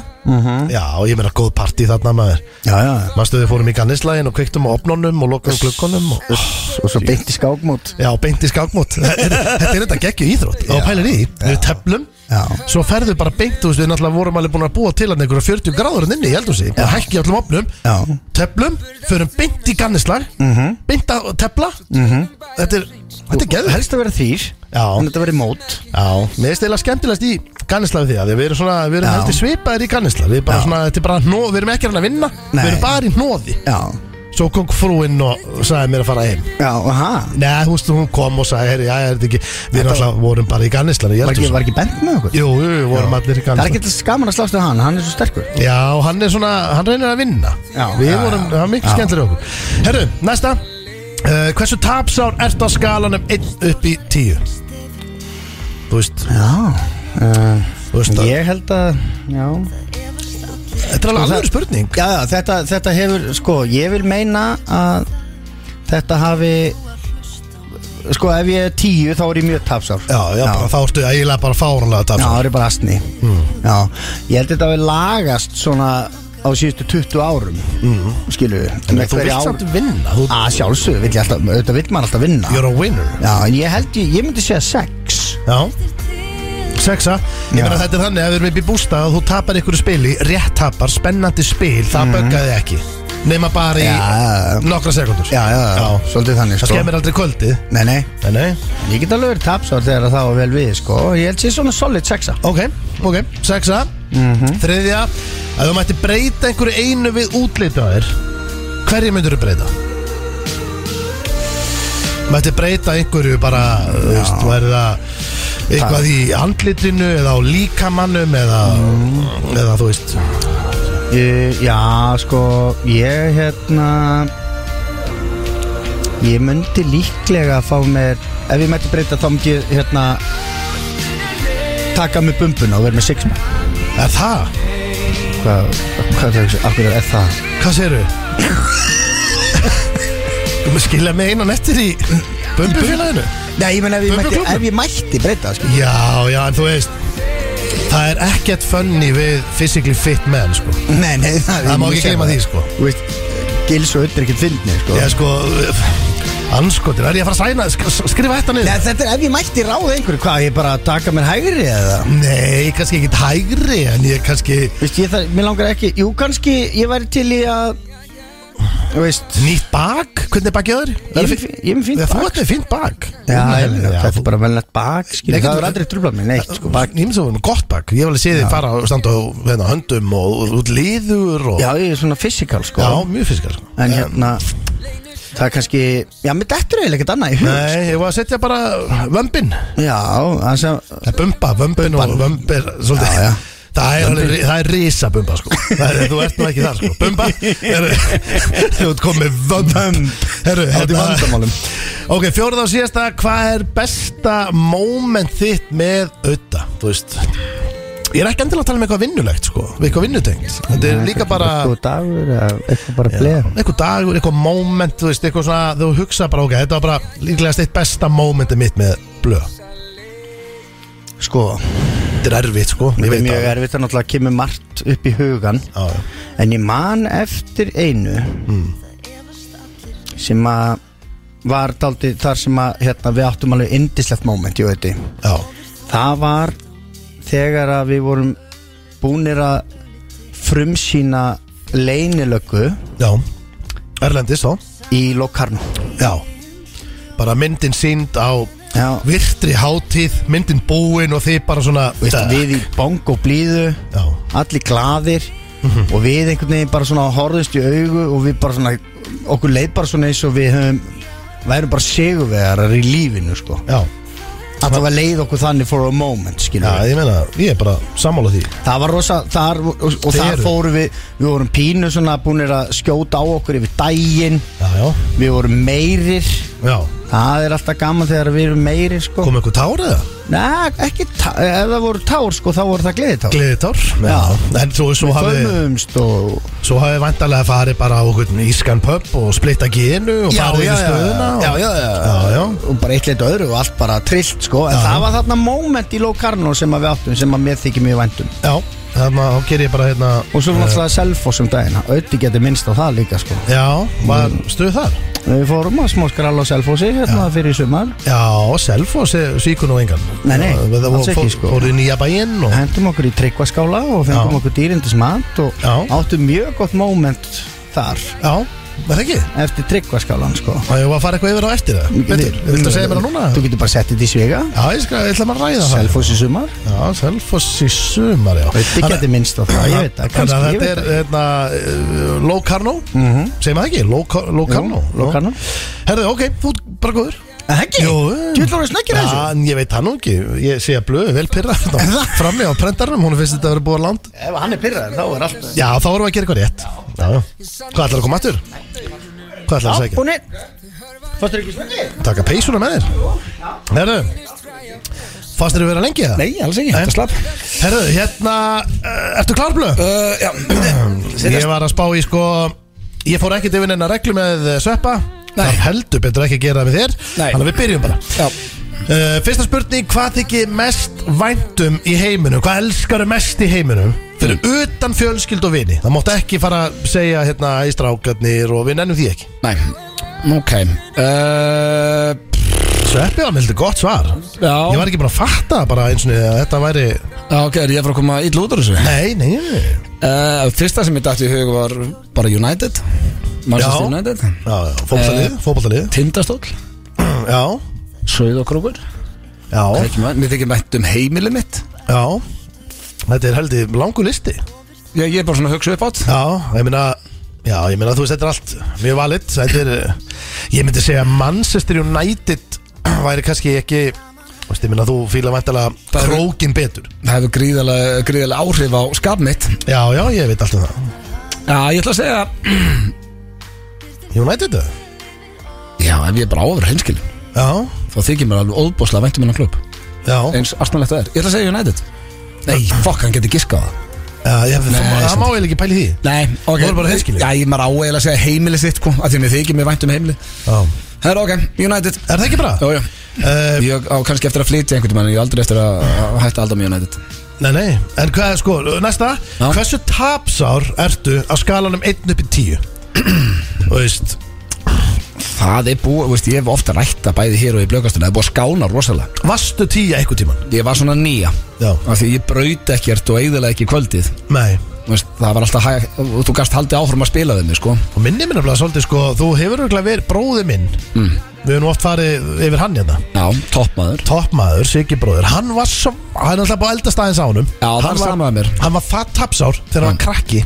Já, ég meina góð partí þarna maður
Já, já
Manstu við fórum í gannislægin og kveiktum á opnunum og lokum glukkonum og
Og svo beint í skákmót
Já, beint í skákmót Þetta er þetta geggju íþrótt og pælir í, því. við teflum
Já.
Svo ferðu bara beint, þú veist, við náttúrulega vorum alveg búin að búa til hann einhverja 40 gráður en inni, ég heldur sig bara hækki öllum opnum,
Já. Mhm.
teflum förum beint í gannislag -hmm. beint að tefla -hmm. Þetta er, þetta er geður
Helst að vera þýr
Já.
En þetta verið mót
Já, mér er stila skemmtilegast í gannislag því að við erum svona, við erum
Já.
heldur svipaðir í gannislag við erum bara
Já.
svona, þetta er bara hnó, við erum ekki að reyna að vinna
Nei.
við erum bara í hnóði
Já
Svo kom frúinn og sagði mér að fara heim
Já, aha
Nei, þú veist, hún kom og sagði, herri, já, er þetta ekki Við
Þetta-
náttúrulega vorum bara í gannislan
Var ekki, var ekki bent með okkur?
Jú, jú, jú, vorum allir
Það
í
er
gannislan
ekki skaman að slást við hann, hann er svo sterkur
Já, hann er svona, hann reynir að vinna
Já,
Við
já,
vorum,
já.
það var mikil
Já.
skemmtilega okkur Herru, næsta uh, Hversu tapsár ert á skalanum 1 upp í 10? Þú veist,
Já
þú veist að,
Ég held að, já
Þetta er alveg
Sko, það-
alveg spurning
Já, já, þetta, þetta hefur, sko, ég vil meina að þetta hafi Sko, ef ég er tíu þá er ég mjög tapsár
Já, já, bara, þá ertu eiginlega bara fáránlega
Já,
tapsár
það er bara astni
Hmm.
Já, ég held þetta að við lagast svona á síðustu 20 árum mm. Skilu
Hmm. En Þú vilt samt vinna þú,
Að sjálfsög, vill ég alltaf, auðvitað vill maður alltaf vinna
You're a winner
Já, en ég held, ég, ég myndi segja 6
Já Sexa, ég
Já.
meina þetta er þannig að við erum upp í bústa og þú tapar ykkur spili, rétt tapar, spennandi spil, það mm böggaði ekki nema bara í
Mhm. Já.
nokkra sekundur
Já, já, já,
Já.
svolítið þannig
það
sko
skemmir aldrei kvöldið
Nei, nei,
Nei, nei
ég get alveg verið tapsár þegar það var vel við sko Ég held sér svona solid 6
Ok, ok, sexa Þriðja, að þú mætti breyta einhverju einu við útlita á þér hverju myndur þú breyta? Mætti breyta einhverju bara, þú veist, væri það eitthvað í andlitinu eða á líkamannum eða, eða þú veist
Ég- Já, sko, ég hérna Ég myndi líklega að fá mér Ef ég mætti breyta þá myndi ég hérna Taka mig bumbuna og vera með six man
Er það?
Hvað, hvað er það, akkur er það?
Hvað segirðu? Þú maður skilja mig einan eftir í Bumbufélaginu
Nei, ég menn ef, ég mætti-
Bumbuklúbbnum?
ef ég mætti breyta, sko
Já, já, en þú veist Það er ekkert funny við physically fit menn, sko
Nei, nei, það, ég
Það má
myndi
ekki
segja
gleyma
það.
því, sko.
Þú veist, gils og öll er ekkert fyndni, sko
Ég er sko, anskotir, er ég að fara að sæna, sk sk- skrifa þetta
Nei,
niður?
þetta er ef ég mætti ráða einhverju Hvað, ég bara að taka mér hægri eða?
Nei, kannski ekkert hægri, en ég kannski
Veist, ég þarf, mér langar ekki Jú, kannski ég væri til í að Þú veist
Nýtt bak, hvernig er bakið öður?
Ég er með fín- ég er með fínt
Þú
bak.
ert með fínt bak sko.
Já, ég meina,
já,
þetta
þú-
er bara velnett bak skilur,
Nei,
Það
getur-
er aldrei trubla mig neitt sko, bak.
Ég myndi að vera með gott bak Ég hef alveg séð þið fara og standa á hérna, höndum og út liður og
Já, ég er svona fysikal sko
sko. Já, mjög fiskar sko.
En hérna Það er kannski Já, mér dettur eiginlega ekkert annað í hug
Nei, ég var að setja bara vömbin
Já, það sem
Bumba, vömbin og vömb er svolítið
Já, já.
Það er, alveg- það er risa bumba sko það er, Þú ert nú ekki þar sko Bumba er, Þú ert komið vömb Herru, hérna-
Þetta er vandamálum
Ok, fjórða og síðasta Hvað er besta moment þitt með auða? Þú veist Ég er ekki endilega að tala um eitthvað vinnulegt sko Við eitthvað vinnutengt Þetta er líka bara
Góð dagur eða eitthvað bara
Já,
bleið
einhver dagur, einhver moment þú veist, eitthvað svona, þú hugsa bara ok þetta var bara líklegast eitt besta momenti mitt með blöð,
Sko,
þetta er erfitt sko ég
það er
veit
mjög
það.
erfitt að náttúrulega kemur margt upp í hugan
Já, já.
En ég man eftir einu
Hmm.
sem að var daldi þar sem að hérna, við áttum alveg indislegt moment, ég veit
já,
Það var þegar að við vorum búnir að frumsýna leynilöggu
já, erlendis þá
í Lokarno
já, bara myndin sínd á
Já,
virtri hátíð, myndin búin og þið bara svona
veist,
Dag.
við í bong og blíðu
já,
allir glaðir
Mhm.
og við einhvern veginn bara svona horfðust í augu og við bara svona, okkur leið bara svona eins og við höfum værum bara sigurvegarar í lífinu sko
já,
að það var leið okkur þannig for a moment skilur
já,
við
ég meina ég er bara sammála því
Það var rosa, þar, og, og
Þið
þar
eru.
fórum við, við vorum pínu svona búinir að skjóta á okkur yfir daginn
já, já,
Við vorum meirir
já,
Það er alltaf gaman þegar við erum meiri sko
Kom eitthvað tár eða?
Nei, ekki, tá- ef það voru tár sko þá voru það gleðitár
Gleðitár
Já.
En svo, svo hafið
Fömmumst og
Svo hafið vantarlega farið bara á einhvern ískan pöpp og splitta gínu og farið í stöðuna og...
já, já, já,
Já, já.
og bara eitt leitt öðru og allt bara trillt sko en
Já.
það var þarna moment í Locarno sem að við áttum sem að mér þykir mjög væntum
já Þannig að þá ger ég bara hérna
og svo var náttúrulega Selfoss um daginn auðvitað getur minnst á það líka sko
Já, var stuð þar
við fórum að smá skrall á Selfossi hérna fyrir sumar
Já, Selfoss er svíkun og engan
Nei, nei, alls
alls
ekki,
ekki
sko.
Fóruð í nýja bæinn og
hendum okkur í tryggvaskála og fengum
Já.
okkur dýrindis mat og
Já.
áttum mjög gott moment þar
Já, var það ekki?
eftir tryggvaskálan sko
Það ég var að fara eitthvað yfir á eftir það Betur, viltu að segja mér það núna?
Þú getur bara sett þetta í svega
Já, ég skal, ég ætla maður að ræða það
Selfoss í sumar
Já, Selfoss í sumar, já
Þetta getur minnst á það, ég veit það
Þannig að
kannski, ég
þetta
veit
er
það. Mhm.
hérna, uh, Locarno mm -hmm. Segir maður ekki? Loca- Locarno
Jú, Locarno.
Herðu, ok, þú ert bara góður
Það ekki?
Jú.
Djöfull voru snöggir að þessu.
Já, en ég veit það nú ekki Ég sé að blöðu vel pyrra Frammi á prentarnum, hún finnst þetta að vera búið að land
Ef hann er pyrraður þá er allt
Já, þá erum við að gera eitthvað rétt já, já. Hvað ætlar að koma aftur? Hvað ætlar að segja?
Búnir Fannst þér ekki snöggir?
Taka peysuna með þér Herðu Fannst þér að vera lengi það?
Nei, alls ekki, þetta er slapp
Herðu, hérna, uh, ertu klár blöð?
uh, Já,
Ég var að spá í sko Ég fór ekkert yfir neina reglu með eh, sveppa
Nei.
Það heldur betur ekki að gera það með þér
Nei.
Þannig að við byrjum bara
já.
uh, Fyrsta spurning, hvað þykir mest væntum í heiminum? Hvað elskaru mest í heiminum? Fyrir utan fjölskyld og vini Það mátt ekki fara að segja hérna æstrákarnir og við nennum því ekki
Nei, ok uh,
Sveppi var með heldur gott svar
Já,
Ég var ekki búin að fatta bara eins og niður að þetta væri
já, ok, er ég að fara að koma illa út úr þessu
Nei, nei, nei
uh, Fyrsta sem ég dætti í hug var bara United Manchester
Já.
United
Já, já, fótboltalið, fótboltalið
Tindastóll,
Já,
Söðokrókur
já,
Mér þykir mætt um heimili mitt
já Þetta er heldur langur listi
Ég, ég er bara svona að hugsa upp átt
Já, ég meina Já, ég meina þú veist, þetta er allt mjög valitt Þetta er, eh, ég myndi segja að Manchester United væri kannski ekki þú veist, Ég meina þú fíla væntalega
Það er-
krókin betur
Það hefur gríðalega, gríðalega áhrif á skap mitt
Já, já, ég veit allt um það
Já, ég ætla að segja
United það?
Já, ef ég er bara áfyrir hinskilin
Já,
Þá þykir mér alveg óbúslega væntum hennar klubb
já,
Eins arsnalegt það er Ég ætla að segja United Nei, fokk, hann getur giska á það
já ég, Nei,
Nei,
það má eiginlega ekki pæli í því
Nei, ok
Þú er bara hreinskilinn.
Já, ég maður á eiginlega að segja heimili sitt sko, að Því að mér þykir mér vænt um heimili
já.
Það er ok, United
Er það ekki bra?
Jó, jó
Uh,
Ég á kannski eftir að flytja einhvern tímann en Ég á aldrei eftir að að hætta alltaf með United
nei, nei, en hvað er sko, næsta
Já.
Hversu tapsár ertu á skalanum 1 upp í 10? Þú veist,
Það er búið, veist, ég hef ofta rætta bæði hér og í blökastunni Það er búið að skána rosalega
vastu 10 eitthvað tíman?
Ég var svona nýja
Já,
Af því ég braut ekkert og eigðilega ekki kvöldið
nei
Þú veist, það var alltaf hæg, og þú gast haldið áfram að spila þeim sko.
Og minni minna bara svolítið sko, þú hefur auðvitað verið bróði minn mm. Við höfum nú oft farið yfir hann hérna
já, toppmaður
Toppmaður, Siggi bróður, hann var svo, hann er alltaf búið að eldast aðeins á honum
Já, það
hann
er sama með mér.
Hann var Mm. það tapsár þegar hann var krakki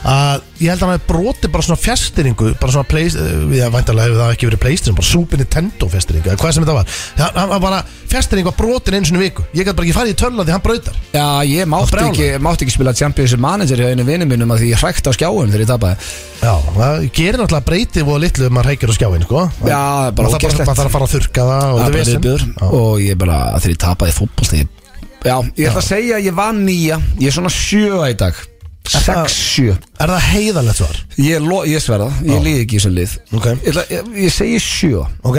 að ég held að hann hefði brotið bara svona fjastýringu bara svona play, við að væntalega hefur það ekki verið playstation, bara Super Nintendo fjastýringu eða hvað sem þetta var, hann, hann var bara fjastýringu var brotin einu sinni í viku, ég gæti bara ekki farið í tölna því hann brautar,
já, ég mátti
brjálar.
ekki, mátti ekki spila Champions Manager hjá einu vinnu mínum að því ég hrækti á skjáum þegar ég tapaði
já, það gerir náttúrulega breytið og litlu um maður hækir á skjáin, sko
Já, það er bara
Og það
ógeðslegt.
maður þarf að fara að þurka það og
Það er bara
þetta vesen.
viðbjör.
Já.
og ég bara, þegar ég tapaði fútbolst ég... já, ég ætla að segja að ég var nýja ég er svona sjö í dag
það-
6-7
Er það heiðalegt svar?
ég, lo- ég sverða, ég líði ekki í þessum lið
Ok.
ég, ætla, ég, ég segi sjö
Ok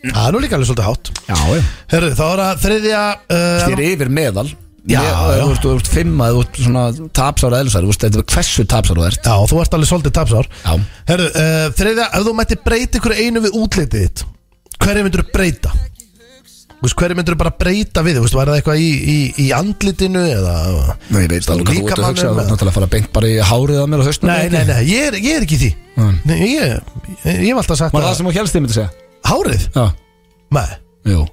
Það er nú líka alveg svolítið hátt
já, já
Herru, þá er það þriðja
Ég
uh,
er yfir meðal
Já,
Ég-
já.
Þú ert, þú ert fimm að þú ert svona tapsára eðlisar Þú veist, þetta er hversu tapsára þú ert
Já, þú ert alveg svolítið tapsár
Já.
Herru, uh, þriðja, ef þú mætti breyta ykkur einu við útlitið þitt Hverju myndur þú breyta? Þú veist, hverju myndur þú bara breyta við? Þú veist, var það eitthvað í, í, í andlitinu eða
Nei, ég veit alveg hvað þú ert að
Líkamannum
hugsa Þú ert
eða-
náttúrulega að fara beint bara í hárið á mér og hausnum
Nei, nei, nei, ég er, ég er ekki í því
Mm.
Nei, ég, ég, ég hef alltaf sagt
Var það
að
sem þú helst þið myndi segja?
Hárið?
Já,
Nei,
jú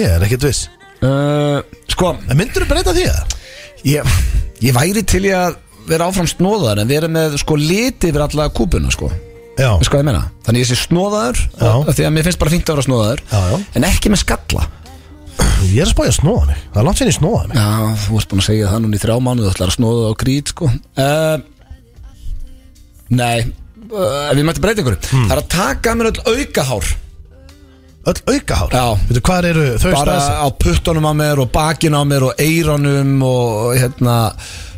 ég er ekkert viss
uh, Sko,
En myndur þú breyta því það?
ég, ég væri til ég að vera áfram snóðar En vera með sko liti yfir alla kúpuna sko
Já,
Veist hvað ég meina? Þannig ég sé snóðaður
Já.
af Því að mér finnst bara fínt að vera snóðaður
Já, já.
En ekki með skalla
ég er að spája að snóða mig Það er langt sinni snóða mig
Já, þú ert búin að segja það núna í þrjá mánuð Þú ætlar að snóða á grít sko uh, eh, Hmm. Nei uh, Ef ég mætti breyta ykkur Það er að taka af mér öll aukahár
öll aukahár
Já.
Veitu, hvað eru þau
bara
staðsett?
á puttunum á mér og bakin á mér og eironum og hérna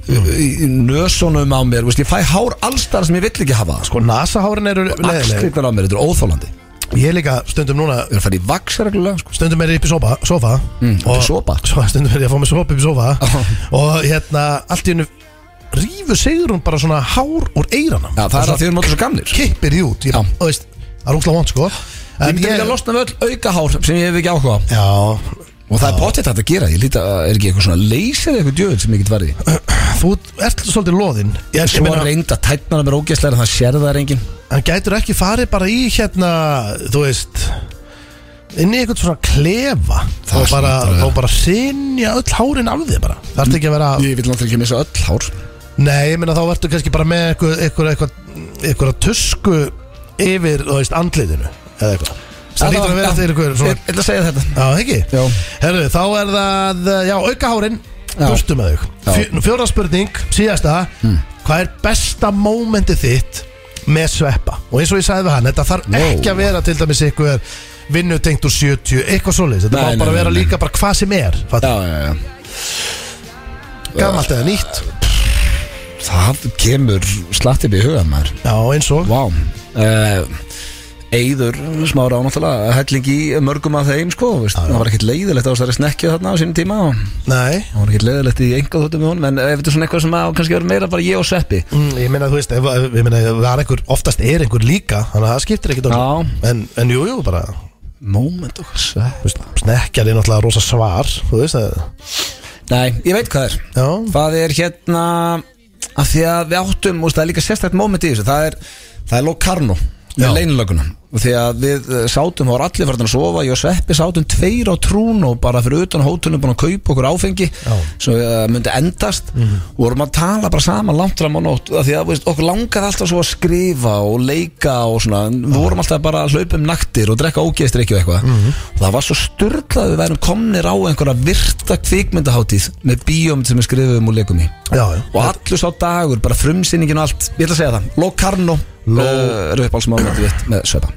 í í nösunum á mér Vist, ég fæ hár allstar sem ég vill ekki hafa sko,
Sko nasahárin eru leðileg
axtryknar á mér, þetta er óþólandi
Ég er líka stundum núna
ég er að fara í vaks reglulega sko.
Stundum er ég upp í sofa, sofa mm,
upp í sofa?
Stundum er ég að fá mig sofa upp í sofa Og hérna allt í hennu Rífur Sigrún bara svona hár úr eyrana
Já, það er að því erum allir svo gamlir
Kippir því út Ég,
Já.
og veist, Það er útla vond sko En
Ég myndi vilja losna við öll aukahár sem ég hef ekki áhuga á
Já,
Og það er potið þetta að gera, ég líta, er ekki eitthvað svona leysir eitthvað djöðin sem ég get varði
þú ert svolítið loðinn Ég, ég
Svo
meina,
reynda tætnar mér ógæslega en það sér það er engin
hann gætur ekki farið bara í hérna Þú veist Inn í eitthvað svona klefa
Það
Og
hlýtur
bara,
að vera.
og bara sinja öll hárin af þig bara Það ert ekki að vera
Ég vil náttúrulega ekki missa öll hár
Nei, ég meina þá verður kannski bara með eitthvað, eitthvað, eitthvað, eitthvað tusku yfir, þú veist, andlitinu eða eitthvað. Það lítur að vera þeir eitthvað svona,
Ég ætla að segja þetta
já, ekki?
Já.
Herru, þá er það, eh, já, aukahárin,
Já.
burtu með þau.
Já. Hmm.
Fjö- Fjóra spurning, síðasta, hvað er besta mómentið þitt með sveppa? Og eins og ég sagði við hann, þetta þarf
Wow.
ekki að vera til dæmis eitthvað vinnutengt úr 70, eitthvað svoleiðis, þetta
Nei,
má bara
nei,
vera
nei, nei.
líka bara hvað sem er, fattu,
Já, já, já
gammalt eða nýtt,
Það kemur slatt upp í hugan maður
já, eins og,
Vá uh, Eður smára ánáttúrulega Helling í mörgum af þeim sko veist. Það var ekkert leiðilegt á þessari snekju þarna á sínum tíma og
nei.
Það var ekkert leiðilegt í enga þóttum við hún En ef þetta er svona eitthvað sem að kannski verið meira bara ég og Sveppi
Mm, ég meina, þú veist, ef, ef, ég meina, ef það er einhver, oftast er einhver líka, þannig að það skiptir ekkit okkur.
Já.
En, en jú, jú, bara,
Moment og Sveppi
þú veist, snekkjar er náttúrulega rosa svar, þú veist, að,
Nei, ég veit hvað er
já,
Það er hérna að Því að við áttum, úst, það er líka sérstætt moment í þessu Það er, það er Locarno
Já.
Með leinlöguna Og Því að við eh, sátum, þá var allir farin að sofa Ég og Sveppi sátum tveir á trún Og bara fyrir utan hótunum búin að kaupa okkur áfengi
Já.
Sem uh, myndi endast Og vorum að tala bara saman langt fram á nótt af Því að veist, okkur langaði alltaf svo að skrifa Og leika og svona en Við vorum alltaf bara að hlaupa um naktir Og drekka ógeðstir og eitthvað Og það var svo styrlað Við værum komnir á einhverja virta kvikmyndaháttíð Með bíómynd sem við skrifum og leikum í
já, já.
og allur sá dagur, bara frumsýningin og allt ég ætla að segja það, Locarno Lo... uh, rauðbálsmámet við með Sveppa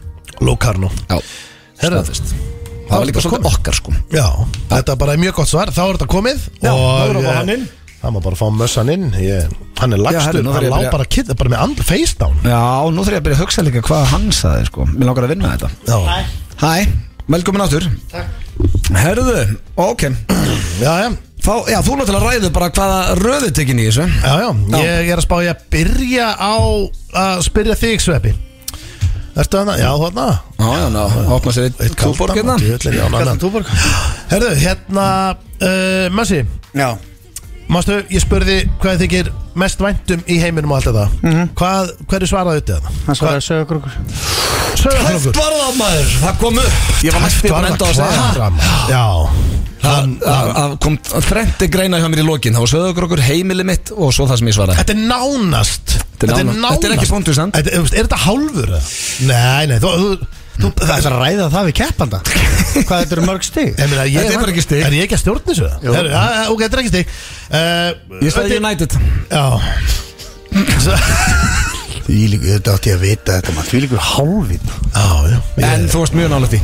Locarno.
já,
Herra.
staðfest það var líka
bara
svolítið okkar sko
Já, þetta er bara mjög gott svar, þá er þetta komið.
Já, þá erum við
eh,
hann inn.
Það má bara fá mössan inn, ég, hann er
herri,
lagstur,
nú þarf ég
hann
að
lá
byrja-
bara kitt, bara með andl face down.
já, nú þarf ég að byrja að hugsa líka hvað hann saði sko, mér langar að vinna þetta
Já,
hæ, velkomin áttur herðu, ok
já, já,
Þá, já, þú náttúrulega ræður bara hvaða röðu tekin í þessu
já, já,
Já.
ég er að spá ég að byrja á að spyrja þig, Sveppi. Ertu þarna? Já, þarna.
Já, já, ná, opna sér eitt kúborg hérna
Kaldan
túborg
Herðu, hérna, uh, Messi,
Já,
Mástu, ég spurði hvað þið þykir mest væntum í heiminum og allt þetta
Mhm.
Hvað, hverju svaraði þetta?
hann svaraði að sögur okkur
Hægt
Sögurkrókur
var það maður, það kom upp Ég um var næstu búin að enda á að segja það
Já
Það
Hann-
það- það kom þrendi greina hjá mér í lokin Það var sögðugur okkur heimili mitt og svo það sem ég svaraði
Þetta er nánast
er nánast. Þetta er ekki punktur, sant?
Þetta- þú veist, Er þetta hálfur? eða? Nei, nei, þú, þú, þú
Hmm.
Það er að ræða það við keppanda Hvað þetta eru mörg stig?
Ég meina, ég,
Þetta er bara ekki stig.
Er ég ekki að stjórna þessu?
Jú.
Herru, já, já, Ok, þetta er ekki stig uh,
Ég sagði hérna- United
Já
Því líku, þetta átti ég að vita þetta maður Því líku hálfin
Já, já
En
ég-
þú varst mjög nálægt í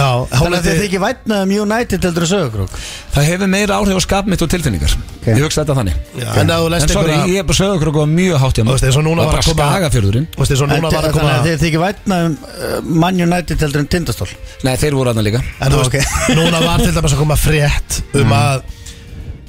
Já,
Þannig að þið
hálfur
ekki vætnaði um United heldur að sögur okkur
Það hefur meira áhrif á skap mitt og tilfinningar Ég hugsa þetta þannig
Já, en ef þú
En
lest
sorry,
einhverja-
ég er bara sögðugur okkur mjög hátt hjá
Þú
mér
veist, eins og núna
var
var að
bara
koma
skagafjörðurinn
Þú veist, eins og núna var að
Þannig
koma
að þið ekki vætnaði um uh, Man United heldur en tindastól
Nei, þeir voru aðna líka
En þú veist,
Ok.
núna var til dæmis að koma frétt
Hmm.
um að,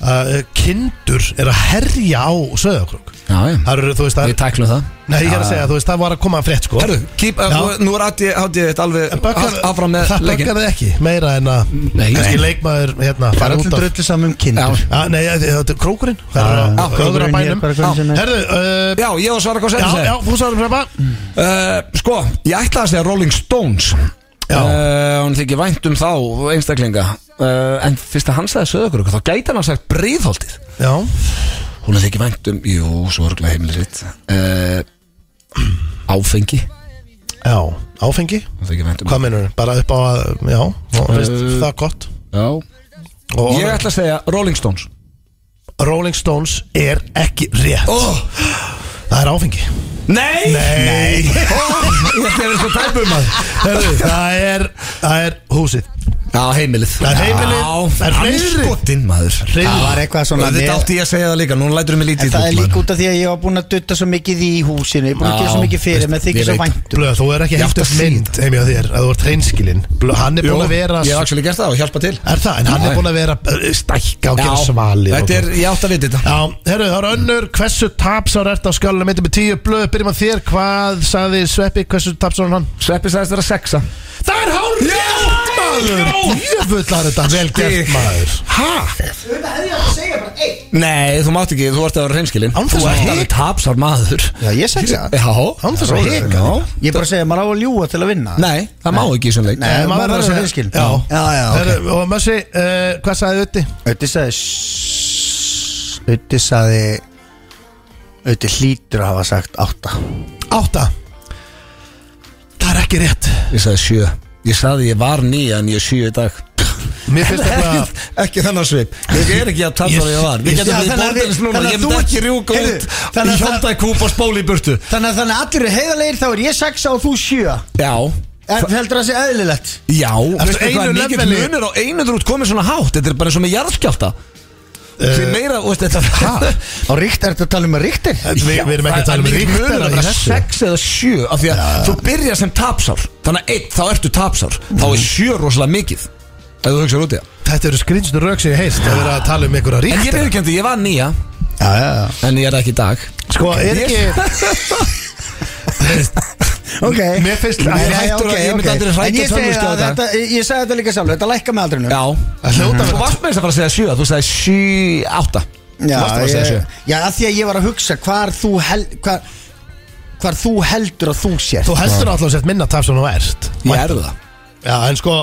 að uh, kindur er að herja á söðakrúk
Já, já,
Það eru, þú veist,
við
það
tæklum það
Nei, ég er að segja, þú veist, það var að koma frétt, sko
Herru, keep,
Já.
uh, nú er átti ég þetta alveg
En böggar-
af- áfram með
Það
leikin
böggar þið ekki, meira en að
Nei.
kannski leikmaður, hérna,
Það er
fara
allir
út af
drullu saman um kindur
Já.
Já, Nei, þetta er krókurinn Það
Já,
er
já.
að- krókur að
Krókurinn hér,
bænum
hvar er krókurinn sinni?
Já. Herðu, uh,
Já, ég var svara hvað
já,
sem
já, þú sagður frá
Uh, sko, ég ætlaði að segja Rolling Stones
Já.
uh, Hún þykir vænt um þá einstaklinga uh, En fyrst að hann sagði sögur okkur Þá gæti hann að sagt breiðholtið
Já,
Hún þykir vænt um, jú, sorglega heimili sitt uh, Áfengi Hún
já, áfengi
þykir vænt um
Hvað menur, bara upp á að, já, þú veist, það er gott
Já
Og
Ég ætla að segja Rolling Stones
Rolling Stones er ekki rétt
oh,
Það er áfengi
Nei!
Nei
Oh, Ég ætti að vera svo tæpum maður
Herru, það er, það er húsið
Já, heimilið
Það er heimilið. Það er
Já, hann er
fleiri.
skotinn maður
Það var
Hreiður
eitthvað svona
Þetta átti ég að segja það líka, núna lætur við mig
En
lítið út,
það er
maður.
líka út af því að ég var búin að dutta svo mikið í húsinu Ég er búin að gera svo
Já,
mikið fyrir
veist,
með þykir
ég
svo
veit.
vænt
Blöð, þú er ekki
Ég átti
hægt upp
að
mynd heimi á þér að þú ert hreinskilinn Blöð, hann er búin að vera
Ég hef actually gert það og hjálpa til
Er það, en hann
Já,
er búin að vera uh, stækka og gera svali
Þetta er, ég átt að vita þetta
Já, herru, það er önnur, hversu tapsár ert á skjálunum myndið með tíu blöð, byrjum að þér, hvað sagði Sveppi, hversu tapsár er hann?
Sveppi sagðist vera sexa
Það er hár rétt maður! Jöfull er þetta vel gert
Stig.
maður
Hæ? Nei, þú mátt ekki, þú ert að vera reynskilin
Án þess
Þú
að
ert
hika.
alveg tapsar maður
Já, ég segi það
Já,
Án þess að hika.
Já.
Ég er bara að segja, maður á að ljúa til að vinna
Nei, það má ekki í svona leik
Nei, maður
verður
verður
að
að
segja-
vera skil
Já.
já, já
Herru,
ok
Og Mössi, uh, hvað sagði Utti?
Ötti sagði Ötti sagði Ötti hlýtur að hafa sagt átta
Átta Það er ekki rétt
Ég sagði sjö Ég sagði ég var nýja en ég er sjö í dag
Mér finnst eitthvað
Ekki- Ekki þennan svip Ég er ekki að tapsa það ég var Við
Ég-
getum
Já,
við
þannig að við-
borðins núna
þannig að
Ég myndi
þú-
ekki rjúka
Heyrðu,
út
þannig
Í
að það-
hjóndaði kúp og spóli í burtu
Þannig að þannig að allir eru heiðarlegir þá er ég sexa og þú sjö
Já
En heldur það sé eðlilegt
Já, veistu
einu
hvað er mikill
leveli-
munur á einu drút komið svona hátt Þetta er bara eins og með jarðskjálta Því meira, veist þetta
Á ríkt, ertu að tala um að ríktir?
Við
Já,
við erum ekki að tala um
það er mikill
ríktara
munur
í
bara
þessu
sex eða sjö Af því að þú byrjar sem tapsár Þannig að einn, þá ertu tapsár Þá er sjö rosalega mikið Ef þú hugsaður út í það
Þetta eru skrýnstur rauk sem ég heist Það er að tala um einhverja
En ég
ríkt
er ekki, ég var nýja
Já, já, já
En ég er það ekki í dag
Sko, er ekki
Ok
Mér finnst
Nei,
Það
nei. hættur að- ég myndi aldrei hrækja
En ég segi
tölvuskjáða
að
þetta.
þetta Ég segi þetta líka sjálfur, þetta lækka með aldrinum
Já
hljóta
Þú
að vera
varst með þess að fara að segja sjö Þú sagði sjö, átta
Já,
Þú varst að fara að segja sjö
ég, já, að því að ég var að hugsa hvar þú, hel, hvar, hvar þú heldur að þú sér
Þú heldur náttúrulega að sett minna tap sem þú ert
Ég er það
Já, en sko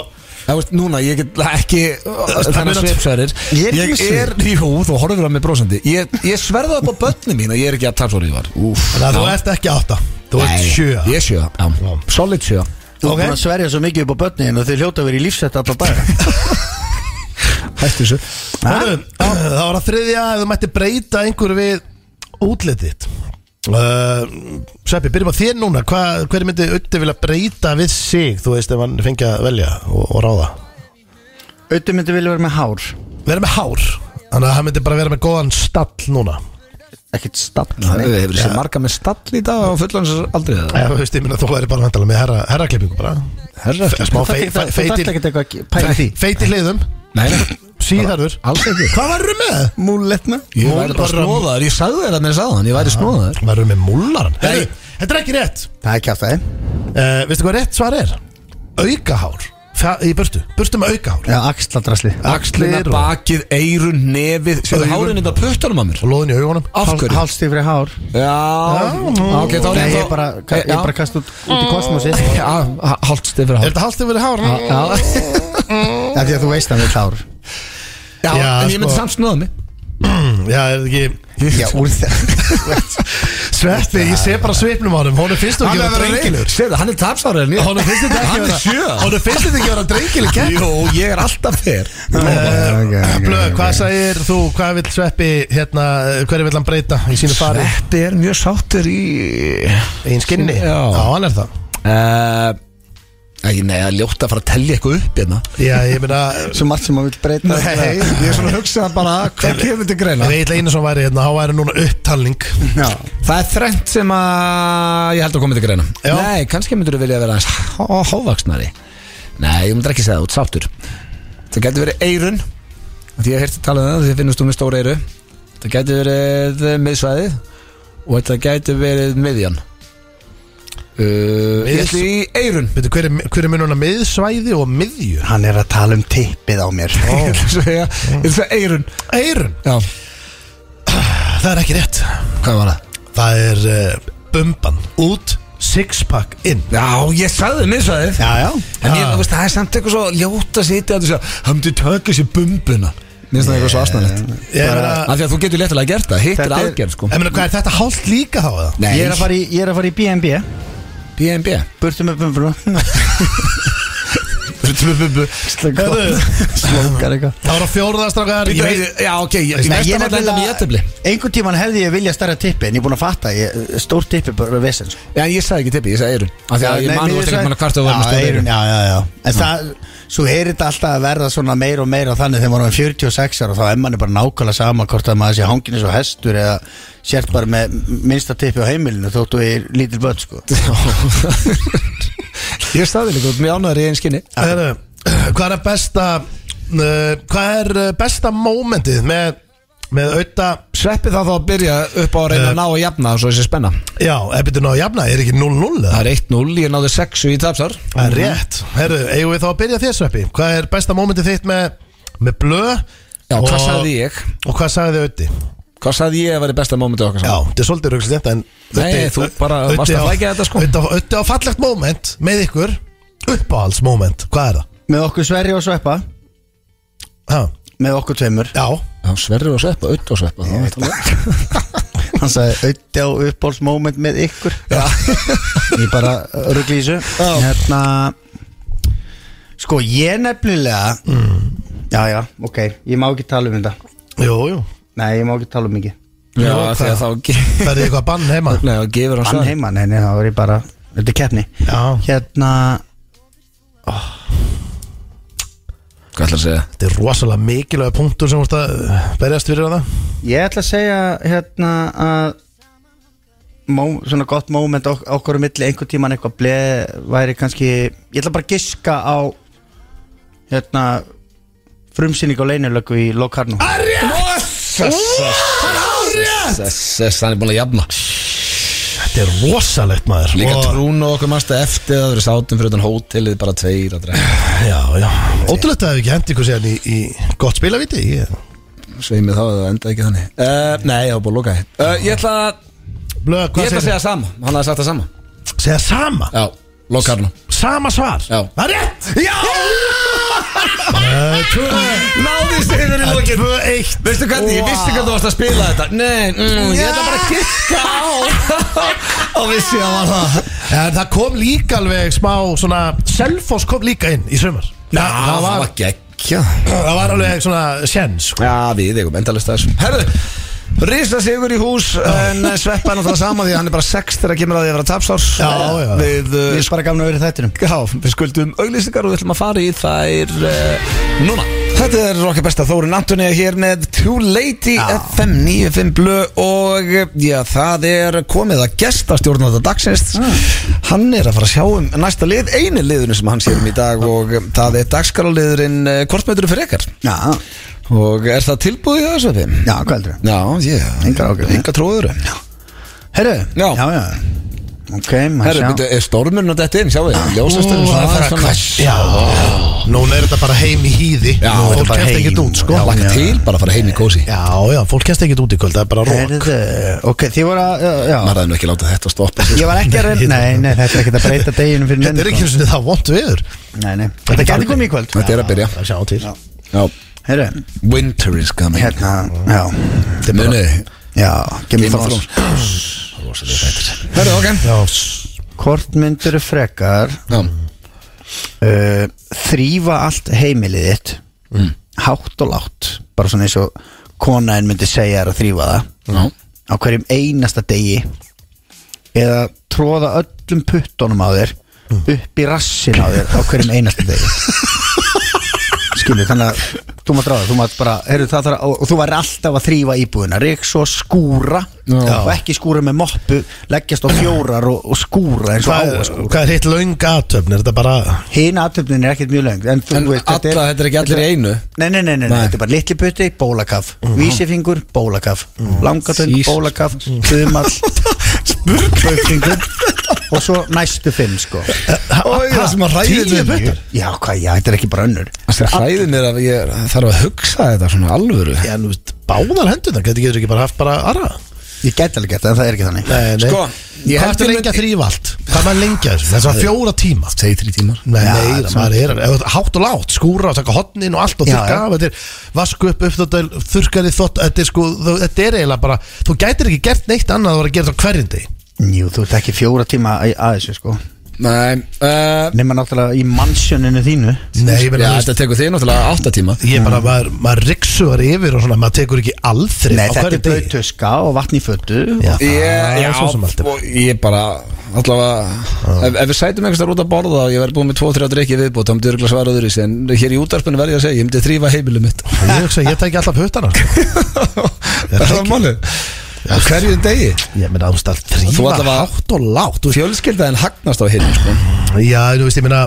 Það veist, núna, ég get ekki
er
þannig
að-
sveipsverir
Ég er ekki
Ég
með svip.
er, jú, þú horfir á mig brósandi Ég, ég sverða upp á börni mín að ég er ekki að tapsórið var Úf,
Þannig að þú ert ekki átta Þú ert sjö
Ég er sjö, já, solid sjö
Þú
ok.
okay. búin að sverja svo mikið upp á börnin og þið hljóta að vera í lífsett alla daga
Hættu þessu
Herru, Það var að þriðja að þú mætti breyta einhverju við útlitið uh, Sveppi, byrjum að þér núna Hva, Hver myndi Utti vilja breyta við sig Þú veist ef hann fengi að velja og, og ráða
Auðvitað myndi vilja vera með hár
Verða með hár Þannig að hann myndi bara vera með góðan stall núna
Ekkert stafn
Það hefur sér marga með stall í dag og fullans aldrei það
Ef þú veist, ég minna þú væri bara vantala með herra, herraklippingu bara
Herra,
Smá
Þú
fei- fei-
þarft ekkert
feitir
eitthvað að pæla í því
Feiti hliðum,
Nei, nei,
síðarður
alls ekki
Hvað varum með?
Múlletna
Ég væri bara snóðaður, ég sagði þér að mér sagðan Ég væri snóðaður
Varum með múllaran
Nei.
Herru, Þetta er ekki rétt
Það er ekki að það eh?
Uh, veistu hvað rétt svar er? Aukahár Fa- Í burtu, burtu með aukahár
Já, axladrasli
Axlina,
Axlir og-
bakið, eirun, nefið Sérðu
Augun.
hárin þetta á puttunum að mér
Og loðin í augunum
Af hverju?
Hálstíð fyrir hár
Já, ok, þá er
Nei,
ég
ég bara,
þá
ég bara kast út, út í kosmosi Af
Hálft stifur hálft
Er þetta hálftið verið hár?
því að þú veist hann við hár
Já,
Já,
en ég myndi
sko.
samt snöða mig
Mm. Já, er þetta ekki
Já, úr það
Sveppi, ég sé bara svipnum á honum Honum finnst þú ekki að vera drengilur
Sérðu, hann er tapsárið en ég
Honum finnst þetta ekki að
Hann er sjö
vera Honum finnst þetta ekki að vera drengilur kæm
Jú, ég er alltaf fer
Blöð, hvað segir þú, hvað vill Sveppi hérna, hverju vill hann breyta í sínu fari
Þetta er mjög sáttur í
Einn skinni,
Já.
hann er það
Eh, Ekki, nei, það er ljótt að fara að tellja eitthvað upp hérna
Já, ég meina,
Svo margt sem maður vil breyta
ég er svona að hugsa bara Hvað kemur til greina?
ef Egil Einarsson væri hérna, þá væri núna upptalning
Já
Það er þrengt sem að ég held að koma til greina
Já.
Nei, kannski myndur þú vilja vera aðeins há- hávaxnari Nei, ég myndur ekki segja það út sáttur Það getur verið eirun Því ég heyrti talað um það, því finnst þú með stóra eiru Það getur verið miðsvæði Og þetta getur verið miðjan uh, Ég ætli í eirun
Veitu, hver er, hver er mununa miðsvæði og miðju?
Hann er að tala um tippið á mér
Ég ætla að segja, ég ætla að segja eirun
Eirun,
Já,
það er ekki rétt
hvað var það?
Það er uh, bumban út, sixpack inn
Já, ég sagði miðsvæðið
Já, já
En ég,
Já.
þú veist, það er samt eitthvað svo ljóta sýti að þú segja, hann myndi taka sér bumbuna Mér finnst það eitthvað svo astanlegt
Ég meina,
Af því að þú getur léttilega gert það, hitt er
Þetta er-
aðgerð sko
ég meina, hvað er þetta hálft líka þá eða?
Nei,
Ég er að fara í, eh? ég er að fara í BNB
BNB
Burtu með bumfruna
Slókar eitthvað Það var að fjórða strákar Ég veit
Já, ok, ég
Nei, ég
næsta var lenda mér jættibli
einhvern tíman hefði ég vilja stærra tippi en ég er búin að fatta, ég, stór tippi er bara vesen sko.
Já, ég sagði ekki tippi, ég sagði eirun Af því að ég manu varst ekki manna hvart að vera með
Já,
stóð
eyrun,
eirun
Já, já, já En það, svo er þetta alltaf að verða svona meira og meira þannig þegar maður er 46 ára og þá er manni bara nákvæmlega sama hvort að maður sé hangin eins og hestur eða sért bara með minnsta tippi á heimilinu þóttu í lítil börn sko
Ég staði líka út, mér ánæður í einn skinni
Heyrðu, Hvað er besta uh, Hvað er uh, besta mómentið með, með auðta
Sveppi þá þá að byrja upp á að reyna
Eh.
að ná að jafna Svo þessi spenna
Já, ef betur náðu jafna, er ekki 0-0
Það
eða?
er 1-0, ég náði 6 í tapsar
Það er rétt Herru, eigum við þá að byrja þér sveppi Hvað er besta mómentið þitt með, með blö
Já,
og,
hvað sagði ég?
Og hvað sagði þið auðti?
Hvað sagði ég að vera besta mómentið okkar
Já,
saman?
þetta er svolítið raukslega þetta en
Nei, þú bara
Auddi
varst að
á-
flækja þetta, sko.
Auddi á- Auddi á fallegt moment með ykkur Uppáhaldsmoment, hvað er það?
Með okkur Sverri og Sveppa
Ha,
með okkur tveimur
já,
Já, Sverri og sveppa, auð og sveppa þá veit alveg.
hann sagði auðvitað á uppbólsmoment með ykkur ég bara rugglísu hérna sko ég nefnilega
Mm.
já já ok ég má ekki tala um þetta
jú, jú
nei ég má ekki tala um mikið
Já,
Jú,
af því að
hvað?
þá ge-
Það er eitthvað bann heima
Nei, þá gefur hann
hann
svar
heima nei nei það var ég bara þetta er keppni
Já.
hérna
Hvað ætlar að segja?
Þetta er rosalega mikilvæg punktur sem vorst að uh, berjast fyrir það
ég ætla að segja hérna að Mó, svona gott moment ok okkur um milli einhvern tíman eitthvað bleð væri kannski ég ætla bara að giska á hérna frumsýning á leinilöku í Locarno
Sess, hann er búin að jafna
Þetta er rosalegt maður
Líka
Og-
trún og okkur mannstu eftir að það verið sátum fyrir utan hótelið bara tveir að drekka
Já, já Ótrúlegt að það hef ekki hendi ykkur séðan í, í gott spilaviti ég,
Sveimið þá að það endaði ekki þannig uh, Nei, ég var búin að loka þið uh, Ég ætla að
Blö,
Ég
hvað
ætla að
segir
segja sama, hann hafði sagt það sama
það? Segja sama
Já, lokarnu
Sama svar
Já.
Það er rétt
Já!
Eh, tvö-
Náði sig fyrir lokin
Tvö eitt
Veistu hvernig, ég vissi hvernig þú varst að spila þetta Nei, mm, ég ætla bara að giska á Og vissi að það var það
En það kom líka alveg smá svona Selfos kom líka inn í sumar
Já,
það, það, var,
geggja
það var alveg svona sjens sko.
Já, við eigum endalist að þessu Herðu, Rísa sigur í hús en sveppa er náttúrulega sama því að hann er bara sex þegar kemur að því að vera tapsárs
Já, já.
Við,
Mér
uh,
er bara gaman að vera í þættinum
Já, við skuldum auglýsingar og við ætlum að fara í þær uh, núna Þetta er okkar besta Þórun Antoni er hér með Too Late í FM 95 blö og eh, já, það er komið að gesta stjórnanda dagsins Hann er að fara að sjá um næsta lið, einu liðinu sem hann sér um í dag og eh, það er dagskaraliðurinn eh, Hvort meður fyrir ykkar
Já,
og er það tilbúið í þessu þeim?
já, hvað heldur það?
Já, ég,
Engar ágjörð.
enga tróður Já,
Herru,
Já.
já, já. Ok, maður
herru,
sjá
byrju, er stormurinn að þetta inn, sjáu þið, ljósasturinn
Ó,
svona
það er
aðeins
að
svona-
hvessa. Já, núna er þetta bara heim í hýði
Já, þetta
Fólk
bara
kemst
heim
ekkert út sko
og-
Laka
Já.
til, bara að fara heim í kósi
Já, já, fólk kemst ekkert út í kvöld, það er bara rók
Herru, ok, þið voru að já, já.
maður hefði nú ekki látað þetta stoppa sko. sig.
Ég var ekki að reyna Nei, nei, þetta er ekkert að breyta deginum fyrir
Þetta er ekki eins og það vond viður
sko. Nei, nei, þetta gæti komið í kvöld
Þetta er að byrja
Það sjá til
já.
Herru,
Winter is coming
hérna, já
Munið
Já,
Game
gemur
of
frá
Thrones Hörru, ok
Já,
Hvort myndur frekar
Já.
uh, Þrýfa allt heimilið þitt Mm. Hátt og látt Bara svona eins og konaðin myndi segja þér að þrýfa það
Já.
á hverjum einasta degi eða tróða öllum puttunum á þér
Mm.
upp í rassin á þér á hverjum einasta degi skilur, þannig að þú maður dráða, þú maður bara heyrðu, það þarf, að- og þú væri alltaf að þrýfa íbúðina reyks og skúra
Já.
og ekki skúra með moppu leggjast á fjórar og, og skúra eins og
hvað,
áa sko.
hvað er hitt löng aðtöfn, er þetta bara
hina aðtöfnin er ekkert mjög lengt en, þú
En alla, þetta er ekki allir í einu
Nei, nei, nei, nei,
Nei.
þetta er bara litli putti, bólakaf Vísifingur, bólakaf Langatöng,
Jesus.
bólakaf Þumall, spurningur Og svo næstu fimm, sko
Það sem að ræði
Tíu puttar? Já, hvað, já, þetta er ekki bara önnur
Það hræði mér að ég þarf að hugsa þetta svona alvöru
Já, nú veist, báðar hendur það, getur ekki bara haft bara arra
Ég gæti alveg gert það, en það er ekki þannig
Nei, nei
Sko, ég
Hvað
held
ertu
ég
lengi
myndi-
að þrýfa allt? Hvað er maður lengi að þessu? Þess að fjóra tíma
Segir þrý tímar
Nei,
Já,
nei,
það er
maður er ef þú ert hátt og látt, skúra og taka hotnin og allt og
Já,
þurrka
já.
af, þetta er vasku upp, uppþóttal, þurrkaði þótt, þetta er sko, þú- þetta er eiginlega bara, þú gætir ekki gert neitt annað að vera að gera þetta á hverjum degi.
Jú, þú ert ekki fjóra tíma að, að þessu, sko
Nei, uh,
nema náttúrulega í mannsjóninu þínu
Nei, ég
já,
meina þú veist,
þetta tekur þig náttúrulega 8 tíma
Ég er bara, maður, maður riksuar yfir og svona, maður tekur ekki alþrif
Nei,
á
þetta
hverju
er
degi
blöðtöska og vatn í fötu
Já,
og,
það
Ég,
er
já,
svo sem alltaf.
og ég bara allavega, ef, ef við sætum einhvers þar út að borða og ég verði búin með 2-3 drikki viðbútt þá myndi örgulega svara öðru í sig, en hér í útarpinu verði ég að segja, ég myndi þrýfa heimilum mitt
Ég hugsa, ég tæki alltaf puttana sko.
Er það málið? Á hverjum degi?
Ég meina, þú veist, að
Þú
þrýfa
allavega-
hátt og lágt þú veist.
Fjölskyldaðin hagnast á hinn, sko
Já, þú veist, ég meina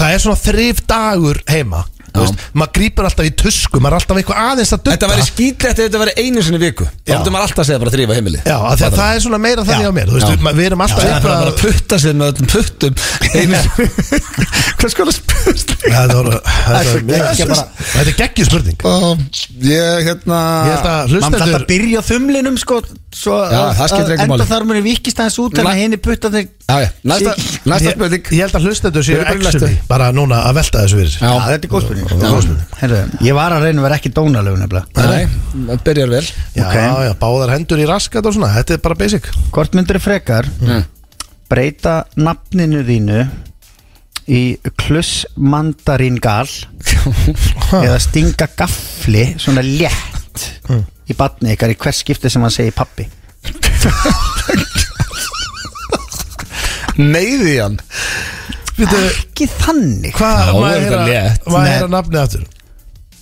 Það er svona þrif dagur heima Þú
Já.
veist, maður grýpur alltaf í tusku Maður er alltaf eitthvað aðeins að dutta
Þetta væri skýtlegt ef þetta væri einu sinni í viku Þá
Já.
myndi maður alltaf að segja bara þrýfa heimili
Já, af því að það er svona meira þannig á mér Þú veist,
Já.
við- maður- við erum alltaf
Það er bara
eitthvað
að putta sér með öllum puttum einu sinni Hvað skoða spurning?
Þetta voru- þetta
svo
var mjög-
geggjað bara.
Þetta er geggjur spurning
Ég, hérna
Ég
Maður
held að
þarf
hlustendur
að byrja á þumlinum sko svo
Já, það skiptir engu máli.
enda þar munir vikist aðeins út þannig
Nei.
að henni putta þeir
Já, já, næsta,
Ég-
næsta
Ég
spurning
ég held að hlustendur séu
Þau eru bara í
actually
næstu.
Bara núna að velta þessu fyrir sér
Já, þetta er
Já.
góð spurning Herru, Ég var að reyna að vera ekki dónalög nefnilega
Nei, það byrjar vel
Já,
Ok.
já, báðar hendur í raskat og svona Þetta er bara basic
Hvort myndir frekar breyta nafninu þínu í kluss mandaringal eða stinga gafli svona létt í batni ykkar í hvers skipti sem hann segir pappi
Neyði hann
Býtu,
ekki þannig
hvað,
Já,
maður
þetta er
heyra-
létt.
maður
Nei.
er að nafni aftur?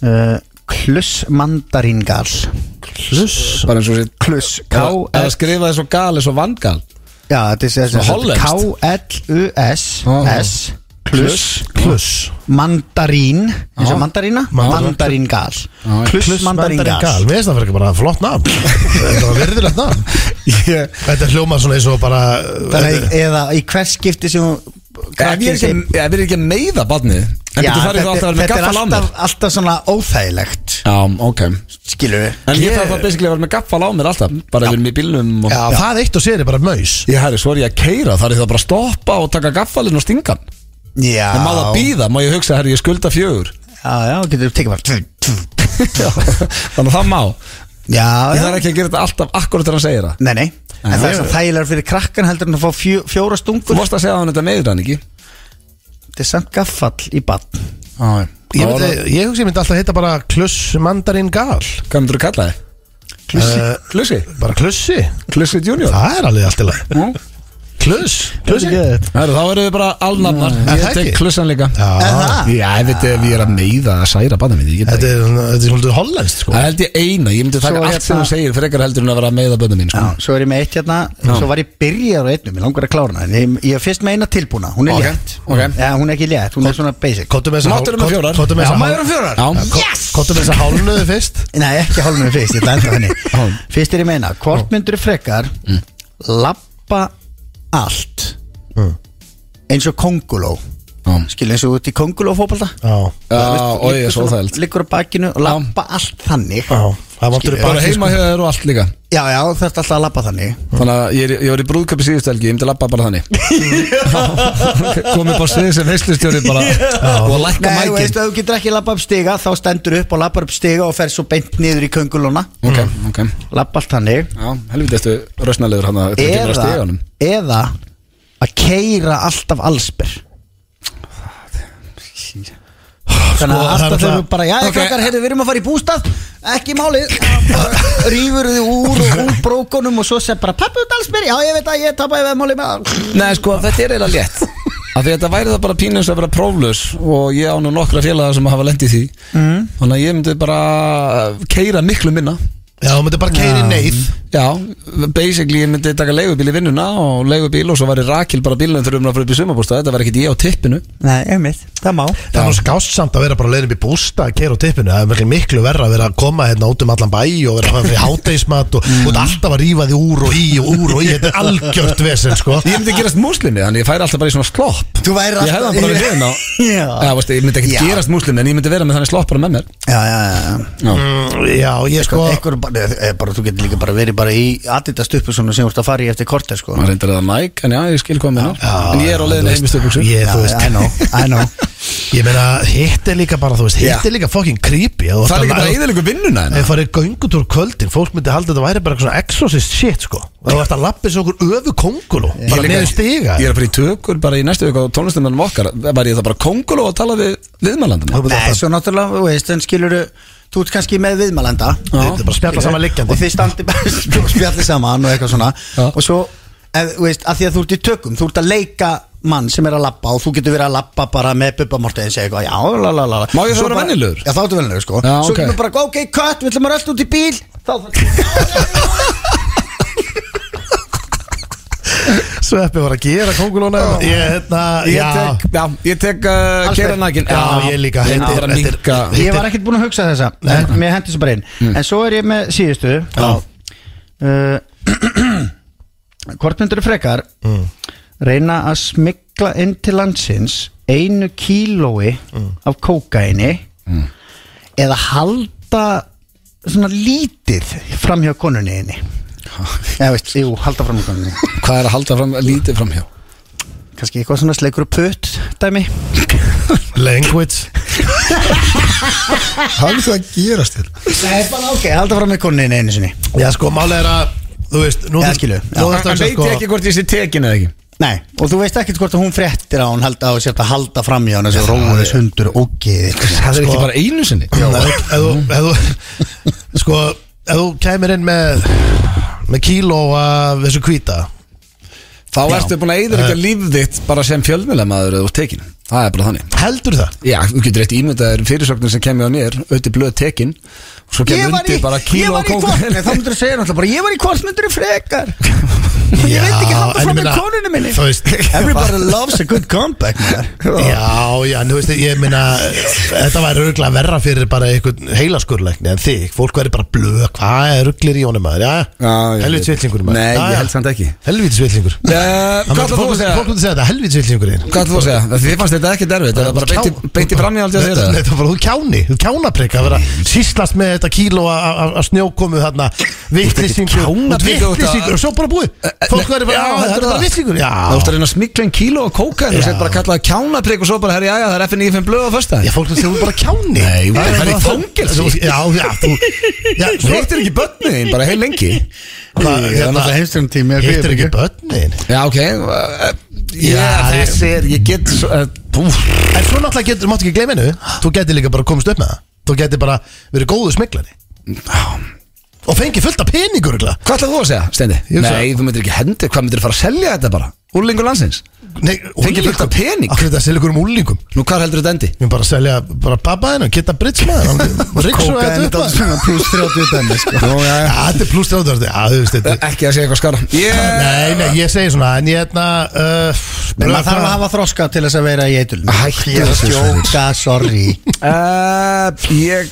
uh, kluss mandaringal
Kluss
Bara eins og sér
kluss
Eða eða
K-S
skrifa þið svo gali, svo vangal
já, þetta er-
Svona
þetta er
hollenskt.
K-L-U-S S kluss
Kluss
mandarín eins og mandarína
Mandarín.
mandaringal kluss
Mandaringal.
mandaringal
Mér finnst það fyrir bara flott nafn Þetta var virðilegt nafn Þetta hljóma svona eins og bara
þannig að- eða í hvers skipti sem hún-
Ef ég er ekki- ef ég er ekki að meiða barnið En
Já,
getur farið þá
þetta,
alltaf að vera með
þetta er
gaffal á mér
alltaf, alltaf svona óþægilegt
Já, ok
skilur við
En ég þarf það basically að vera með gaffal á mér alltaf Bara ef við erum í bílnum og
Já, það eitt og sér er bara maus
Ég herri, svo er ég að keira, þar er það bara að stoppa og taka gaffalinn og stingan
já,
En má það býða, má ég hugsa, herri, ég skulda fjögur
já, já, getur tekið bara tv, tv.
Já, Þannig að það má Ég
já, já,
þarf ekki að gera þetta alltaf akkurat þegar hann segir það
nei, nei en
Já.
það er svona þægilegar fyrir krakkan heldur en að fá fjó, fjóra
Þú
stungur
vorst að segja að hann þetta meður hann ekki
þetta er samt gaffall í bann
Já,
Ég, myndi, ég hugsi ég myndi alltaf heita bara kluss mandaringal
Hvað myndur þú kalla þið?
Klussi.
Klussi?
Bara klussi
Klussi junior?
Það er alveg allt í lagi
Mm.
Kluss Klussi Já,
Herru, þá erum við bara alnafnar
Er
Ég
það
tek
ekki?
klussan líka
Er það?
Já, ég veit ef ég er að meiða að særa banna mitt
Þetta er, þetta er svolítið hollenskt sko
Það held ég eina, ég myndi taka
Svo
allt sem
hérna-
þú segir frekar heldur en að vera að meiða bönna mín sko.
Já, svo er ég með eitt hérna Svo var ég byrjar á einnu, mér langar að klára hana En ég, ég er fyrst með eina tilbúna, hún er
Ok,
létt
ok.
Já, hún er ekki létt, hún er svona basic
Kottu með þessa hál-
Máttur um að
kott-
fjórar.
kottu með
Já,
þessa
maður um
hál-
Já.
Já, ko- Kottu með þessa hálnuðu fyrst
Nei, ekki hálfum við fyrst, ég ætla að enda henni Fyrst er ég meina, hvort myndur frekar
Mm.
Lappa allt
Mm.
Eins og konguló
Já.
Skilja eins og út í konguló fótbalta
Já
Já, og ég er svo þægild
Liggur á bakinu og lappa allt þannig
Já Það vantur í
Bara
bakið
heima
sko
hjá þér og allt líka
Já, já, þetta er alltaf að lappa þannig
Þannig að ég, er- ég var í brúðköpi síðustu helgi, ég myndi labba bara þannig Komið bara svið sem veislustjóri bara og lækka
Nei,
mækin
veistu, ef þú getur ekki lappa upp stiga Þá stendur upp og lappar upp stiga og fer svo beint niður í köngulóna
Ok, ok
Lappa allt þannig
Já, helviti eftir rösnalegur hann að þetta kemur að
eða,
stegunum
eða að keira alltaf allsber Þannig að
það er
alltaf þau
náttúrulega-
eru bara Já, okay.
Ok.
krakkar, heyrðu, við erum að fara í bústað Ekki málið Rýfur þið úr og úr brókunum Og svo sem bara, pappi út allsber Já, ég veit að ég tapaði veð málið með
Nei, sko, þetta er eiginlega létt Af því þetta væri það bara pínus að vera próflaus Og ég á nú nokkra félaga sem hafa lent í því Þannig að ég myndi bara Keira miklu minna
Já, þú myndir bara keiri neyð
Já, basically ég myndi taka leigubíl í vinnuna Og leigubíl og svo væri Rakil bara bílum Þegar um að fara upp í sumabústa Þetta væri ekkit ég á tippinu
Nei, ég mitt, það má
Það er nú skást samt að vera bara leiðin upp í bústa að keira á tippinu, það er miklu miklu verra að vera að koma hérna út um allan bæ og vera að fara fyrir hátegismat
Mm.
og út alltaf að rífa því úr og í og úr og í, þetta er algjört vesen sko
Ég myndi gerast múslimi, þannig ég færi alltaf bara í svona slopp
Þú væri
Ég hefði hann bara við hliðin á
Já.
Já, veist, Ég myndi ekkit
Já.
gerast múslimi En ég myndi vera með þannig slopp bara með mér
Já, já, já
Já,
Já, ég sko
Ekkur bara, eh, bara, þú getur líka bara verið bara bara í Adidas stupusuna sem þú ert að fara í eftir korter sko
maður reyndir að það mæk, en já, ég skil hvað með það en ég er á
þú
leiðinni
veist,
heimistu buksu
Ég, þú veist,
I know, I know
Ég meina, hitt er líka bara, þú veist, hitt
Já.
er líka fucking creepy
og það er ekki bara eðalega vinnuna
Ef
hennar
það farið göngutúr kvöldin, fólk myndi halda að þetta væri bara eitthvað svona exorcist shit, sko Og þú ert að lappa þessu okkur öfu kongulú
Ég
Bara
líka-
neður stiga
Ég er að fyrir tökur bara í næstu viku á tónlistamennum okkar Var ég það bara konguló að tala við viðmælandum
Nei, svo náttúrulega, þú veist, en skilur þú ert kannski með viðmælanda
Þetta er bara að spjalla saman liggjandi.
og þið standi bara og spjallið saman og eitthvað svona
Já.
og svo, eð, þú veist, að því að þú ert í tökum þú ert að leika mann sem er að lappa og þú getur verið að lappa bara með bubbamortið eins og eitthvað, já, la, la, la, la
Má ég þá
Svo
vera
bara-
venjulegur?
Já, þá ertu vennilegur, sko
Já,
Svo
ok.
kemur bara, ok, kött, við ætlum að rölda út í bíl Þá
Sveppi var að gera kongulóna Ég, hérna,
Sko, Ég
já
tek, já, ég tek uh,
Alls
Keira
ekki.
Nakin
Já, ég líka.
Ég
Þetta er-
náður að
þetta er-
minka
Ég var ekkert búin að hugsa þessa en Mér hendi þessu bara inn En svo er ég með síðustu uh, Hvort myndur frekar Reyna að smikla inn til landsins Einu kílói Af kókaini Eða halda Svona lítið Framhjá konunni einni Já veist, jú, halda framhjá konunni
Hvað er að halda fram, lítið framhjá?
Kannski eitthvað svona sleikur og putt Dæmi
Language
Hafðu það að gerast þér
Nei, bara ok, halda framhjá konunni einni einu sinni
Já, sko, málega er að, þú veist Nú
Já,
þú-
skilu. Já.
Nú
Hann
þarfst að
veit
hugsa,
ég ekki
sko
hvort ég sé tekin eða ekki
Nei, og þú veist ekkert hvort að hún fréttir á hún halda á sér að halda fram í hann þessi róðis hundur og ógeðið sko.
Það er ekki bara einu sinni
Ef þú- ef þú- Sko, ef þú kæmir inn með Með kíló af þessu hvíta
Þá ertu búin að eður ekki líf þitt bara sem fjölmjölamæður eða úr tekin Það er bara þannig
Heldur það?
Já, þú getur eitt ímyndaðir fyrirsögnir sem kemur á nýr Ötti blöð tekin og Svo
Ég
kemur
var í,
undir bara
ég
kíló og
var í hvort, nei þá
kók
myndur þú segja náttúrulega bara, ég var í hvort myndur þú frekar Ég veit ekki halda
en
fram í
meina,
konunni minni
Þú veist
Everybody loves a good comeback maður
Já, já, en þú veist, ég meina Þetta væri örgulega verra fyrir bara einhvern heilaskurleikni en þig, fólk væri bara blöð Hvað er rugglir í honum maður, já
Já, ég
Helvítis
veit.
villingur maður
Nei,
Já,
ég
já.
held samt ekki.
Helvítis villingur
Eh, Hvað ætlar þú að segja?
Fólk myndi segja þetta, helvítis villingur þinn
Hvað ætlar þú að segja? Það- Þið fannst þetta ekki derfið Það er bara beitti- beitti fram í aldrei að segja
Nei,
það
það var þú kjáni, þú kjánaprikk að vera sýslast með þetta kíló af- af af snjókomu þarna vittlisingur,
kjánaprikk, þú ert að-
vittlisingur og svo bara búið,
Eh,
fólk væri bara, já, þetta er bara vittlisingur Já,
Þú ert að reyna að smikla einn kíló og kóka Þú
Já.
sett bara að kalla það kjánaprygg og svo bara herri, já, já, það er FNF blöð á fyrsta
Já, fólk finnst þú bara kjáni
Nei, þú ert að fara í
bara-
fangelsi.
Já, já, þú já,
Þú hittir ekki börnið þín bara heil lengi
Hvað, hérna,
heimstyrnum tími
Hittir ekki börnin
Já, ok eh, Ég,
Já, ég-
þessi er, ég get svo- eh, úff.
En svo náttúrulega getur, máttu ekki gleyma hennu Þú getur líka bara komist upp með það Þú getur bara verið góðu smiklari Og fengið fullt af peningur örugglega.
Hvað ætlar þú að segja, Steindi?
Ég hugsa-
Nei, þú myndir ekki hendi, hvað myndir fara að selja þetta bara? Úrlingur landsins?
Nei,
Fengið fullt af pening?
Akkur þetta að selja ykkur um úlingum
Nú, hvað heldur þetta endi?
Ég vil bara selja bara pappa hennu Geta bridge með hennu Riksum
Kóka
þetta upp
þetta
maður.
svona pluss 30 dæmi sko
Já, Þetta er pluss 30 Já, þú veist þetta er-
Ekki að segja eitthvað skara Ég...
Nei, nei, ég segi svona En ég hérna uh,
Menn maður þarf að hafa þroska til þess að vera í eitulum
Hættu
Ég er að
þessu, Sverrir.
sjóka, sorry
Uh, ég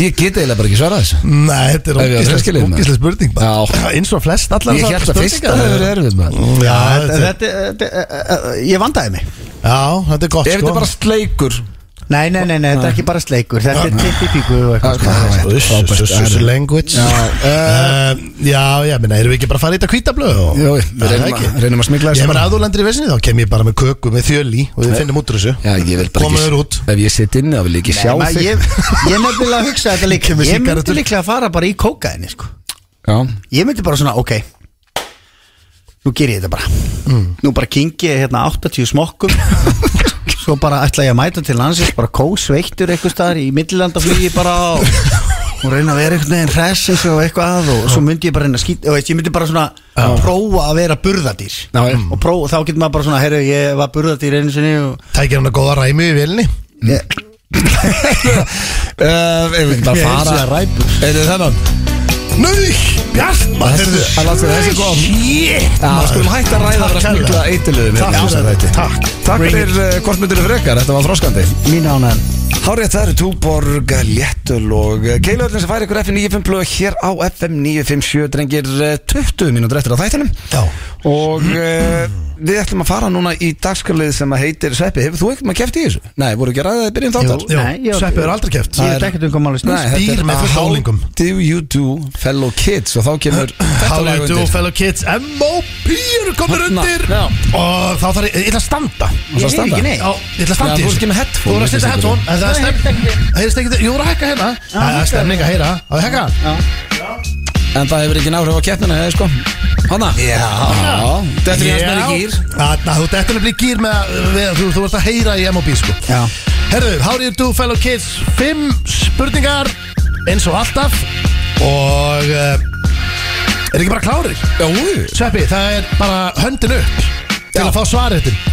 ég get eiginlega bara ekki svarað þessu
Nei, þetta
Ef ég var
er
hreinskilinn, maður.
ógislega spurning
Já.
bara. Eins og flest allar
Ég
þessar
held að fyrsta
spurningar.
hefur verið erfið maður
Já,
Þetta-
þetta er-
þetta- þetta- Ég vandaði mig
já, þetta er gott
Ef
sko
þetta er bara sleikur
Nei, nei, nei, nei, þetta er ekki bara sleikur Þetta er titti píku og eitthvað
Já, já,
sko.
já.
Uss,
Frábært,
uss, uss, uss,
já.
language Já, já, já, minna, erum við ekki bara að fara í þetta kvítablöð? og-
Jú, við
Já,
reynum
ekki.
að- reynum að smygla þessu
Ég bara,
saman.
ef þú lendir í vesinni, þá kem ég bara með köku með þjöli og við finnum út úr þessu
Já, ég vil bara
Komum þér út
ekki Ef ég sitt inni, þá vil ég ekki sjá
Nei, maður,
þig
ég, ég nefnilega að hugsa þetta líka
Kemur
Ég myndi
sígarettur.
líklega að fara bara í kókaðinni sko.
Já,
Ég myndi bara svona, ok Nú ger ég þetta bara Nú bara kingi ég hérna 80 smokkum Svo bara ætla ég að mæta til landsins Bara kósveittur eitthvað staðar Í millilandaflugi bara og, og reyna að vera einhvern veginn hressins og eitthvað að og svo myndi ég bara reyna að skýta og veist, ég myndi bara svona prófa að vera burðadýr
Já, já.
og prófa, þá getur maður bara svona heyrðu, ég var burðadýr einu sinni og
Tækir hann að góða ræmi í vilni
ég,
Uh, ef við ekki bara
Ég
fara
heilsa
ræpur Eða þennan
Nei, Bjartma, heyrðu
Hann látti þessi góð
Shit,
Já, skulum hætta að ræða að vera að
Takk
smikla
kærlega.
eitilöðum
Takk fyrir þetta, takk
eh, Takk fyrir uh, hvort myndir frekar, þetta var þróskandi
mín ánæðan
Hárið það eru Túborg, Léttul og Keilöðlinn sem fær ykkur FM 95 blöð hér á FM 957 drengir eh, 20 mínútur eftir á þættinum
Já.
og uh, við ætlum að fara núna í dagskarlið sem að heitir Sveppi, hefur þú ekkert maður kæft í þessu? Nei, voru ekki að ræða það í byrjun þáttar?
Jú,
Nei, ég-
Sveppi er aldrei keft
Ég veit ekkert um hvað máli
Nei,
snýst
þetta
Dýr
er
með fullt af álingum.
How do you do fellow kids og þá kemur þetta
How
lag
you do
undir
fellow kids M.O.P. eru komin
Þarna,
undir
já.
Og þá þarf ég, ég ætla að standa
Þú ætlar að standa?
Ég heyri ekki neitt.
Já, ég ætla að
Já,
standa
þú ert
í þessu.
ekki með headphone,
Þú voru að setja
heyrðist
headphone
Nei,
En það er
heyrðist
stemning Það heyrðist ekki Jú, þú voru að hækka hérna Það er
heyrðist
stemning að heyra Það er hækka
En það hefur ekki náhrif á keppnina, hefur sko Hanna? Já Þetta er hans meðri gýr
Þarna, þú ert eftir að bli gýr með við, Þú, þú ert að heyra í M.O.P. sko
Já.
Herðu, how do you do fellow kids Fimm spurningar Eins og alltaf Og uh, Er ekki bara klárir?
Jú,
Sveppi, það er bara höndin upp
Já.
Til að fá svaretin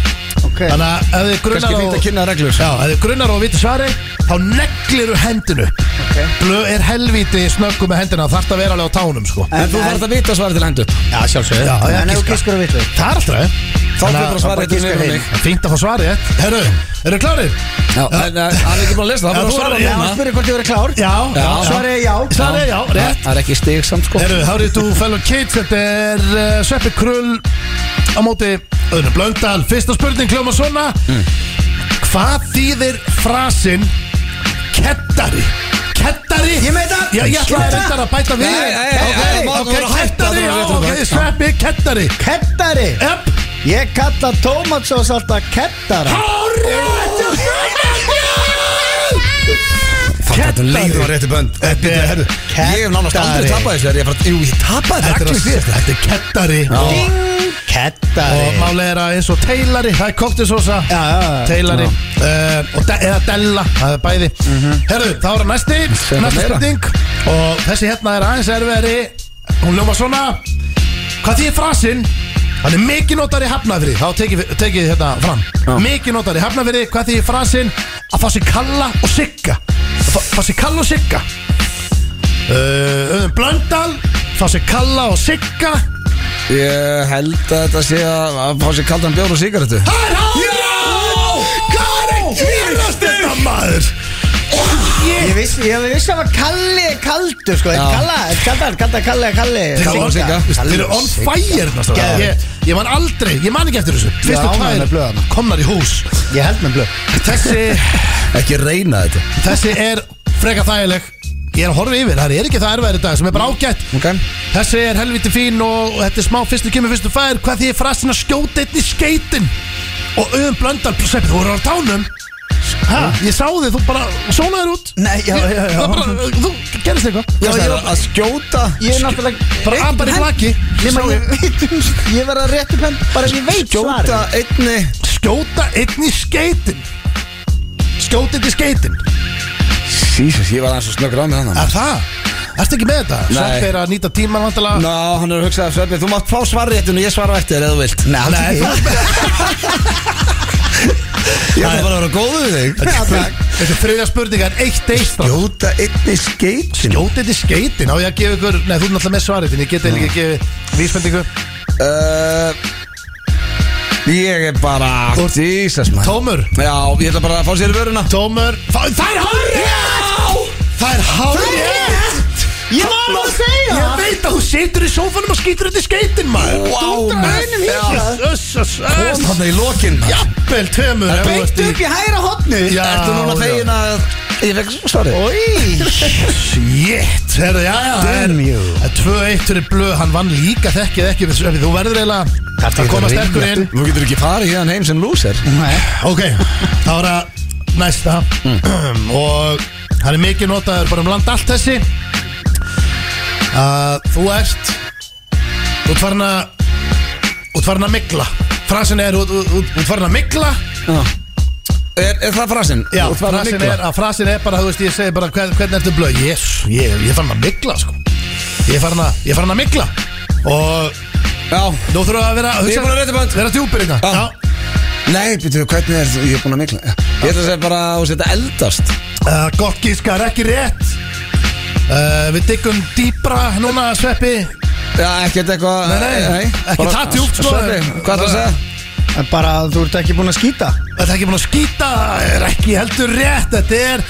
Ok.
Þannig að ef þið grunnar
kannski fínt
og-
að kynna reglur
Já, ef þið grunnar og viti svari Þá negliru hendinu okay. Blöð er helvíti snöggu með hendina Þarf það að vera alveg á tánum sko
En þú þarf að vita svarið til hendu
Já, sjálfsögðu Já, já,
En ef þú
giska.
giskur að vitlu
Það er alltaf leið.
Þá fyrir bara
Þannig að-
að svara
bara
þetta
giska
nefnum
heim.
mig
Það er Fínt að fá svarið rétt. Herru, eru klárir?
Já, en eh, hann er ekki búin að lesa það, hann er
Já,
að
þú
svara
er- já,
núna
Spyrir hvort ég verið klár
Já,
Já.
Svarið er já
Svarið er já, rétt
Það er ekki stig samt sko
Herru, how do you do fellow kids Þetta er uh, Sveppi Krull Á móti Öðru Blöndal Fyrsta spurning kljóma svona Hvað þýðir frasin Kettari Kettari
Ég með það.
Já, ég ætlaði
Ég með
reyndar að bæta við
Nei, nei, nei,
Ok,
nei, það má-
ok,
það voru hætta,
kettari
það
já,
voru
ok,
rétt, já.
Sveppi, kettari
Kettari
Epp
Ég kalla tómatsós alltaf kettara
Þetta er um leið og rétti bönd
Þetta er, herru
Ég hef nánast aldrei tapað þessu er ég bara- Jú, ég tapaði þetta allir fyrir
Þetta er kettari og,
Kettari
og málega er að eins og teilari Það er koktisósa
Já, já, já. Mhm.
Taylari uh, og de eða Della, það er bæði Herðu, þá er næsti,
er
næsta
meira.
spurning og þessi hérna er aðeins erfiðari hún ljóma svona hvað því er frasinn hann er mikið notari hafnafyrir þá tekið teki hérna fram mikið notari hafnafyrir, hvað því er frasinn að fá sér kalla og sigga Að fá, fá sér kalla og sigga uh, Auðun Blöndal fá sér kalla og sigga
Ég held að þetta sé að að fá sér kaldan bjór og sigarettu
það er hálf hvað er ekki hýrast þetta maður
Ég vissi, ég vissi að það var Kalli kaldur sko
Já.
Kalla, kalla, kalla, kalla, kalli
Kalla og Sigga.
Þeir eru on fire næsta dag.
Geðveikt.
ég, ég man aldrei, ég man ekki eftir þessu Fyrstu
ánægður með
tvær
blöðana.
komnar í hús
Ég held með blöð
Þessi,
Ekki reyna þetta
þessi er freka þægileg Ég er að horfa yfir, það er ekki það erfæðir dag sem er bara ágætt
Ok
Þessi er helviti fín og þetta er smá fyrstu kemur fyrstu fær Hvað því er frasin að skjóta einn í skeitin Og auðum blöndal, seppi, þú voru á tánum Ha, ég sá þig, þú bara sónaðir út
Nei, já, já, já.
Það bara, þú gerist eitthvað
Hvað
ég-
er það, að skjóta
Ég er náttúrulega
Bara apar í flaki
Ég, man- ég, veit um- ég verða réttu penn Bara ég veit
Skjóta
svarið
einni
Skjóta einn í skeitin Skjóta einn í skeitin
Jesus, ég var aðeins og snöggur á mig hann
Er það? Ertu ekki með þetta?
Nei.
Svart er að nýta tíman vantala
Ná, hann er að hugsa að Sveppi, þú mátt fá svarið þetta og ég svara á eftir þér eða þú vilt Nei,
Nei, þú-
Ég ætla bara að vera góður við þig
Þetta er þriðja spurning en eitt eistra
Skjóta einni skeitin
Skjóta einn í skeitin Á ég að gefa ykkur Nei, þú er náttúrulega með svarið En ég get eiginlega ekki gefið vísbendingu
Uh, Ég er bara
Þú ert-
Jesus, man
Tómur
Já, ég ætla bara að fá sér í vöruna
Tómur Fá- Það er hárið Það er hárið
Ég var að segja
Ég veit að þú situr í sófanum og skýtur þetta í skeitin maður
Vá, maður.
Öss, öss, öss,
Kom
öss
hann í lokin maður.
Jafnvel tömur ef þú ert
Beint
í-
upp í hæra hotnu
Já,
Ertu núna
já.
fegin að Ég fekk svarið
Shit, herru, já, já það er-
Damn you.
það er 2-1 fyrir blöð, hann vann líka þekkið ekki við- Þú verður eiginlega að koma sterkur inn
Þú getur ekki farið hérna heim sem lúser
Nei
Ok, þá er það næsta Mm. Og hann er mikið notaður bara um land allt þessi uh, Þú ert Þú ert farin að Þú ert farin að migla Frasin er, þú þú- þú- þú ert farin að migla
er, er það frasinn?
Já,
Þú ert farin að
frasin
mygla?
er, að frasin er bara, þú veist, ég segi bara hvern, Hvernig ertu blöð? Yes, ég, ég er farin að migla, sko Ég er farin að, ég er farin að migla Og
Já,
nú þurfum við að vera
ég er búin að reyta band
Vera djúpir hérna. í það
Já. nei, býtu, hvernig er ég er búin að mikla Ég ætla að segja bara að þú setja eldast
Uh, gott gískar, ekki rétt uh, Við diggum dýbra núna, Sveppi
Já, ekkert eitthvað
Nei, nei, ekki
bara-
það djúpt, sko.
Sorry, Hvað ætla að segja?
En bara að þú ert ekki búin að skýta
Þetta er ekki búin að skýta, er ekki heldur rétt Þetta er,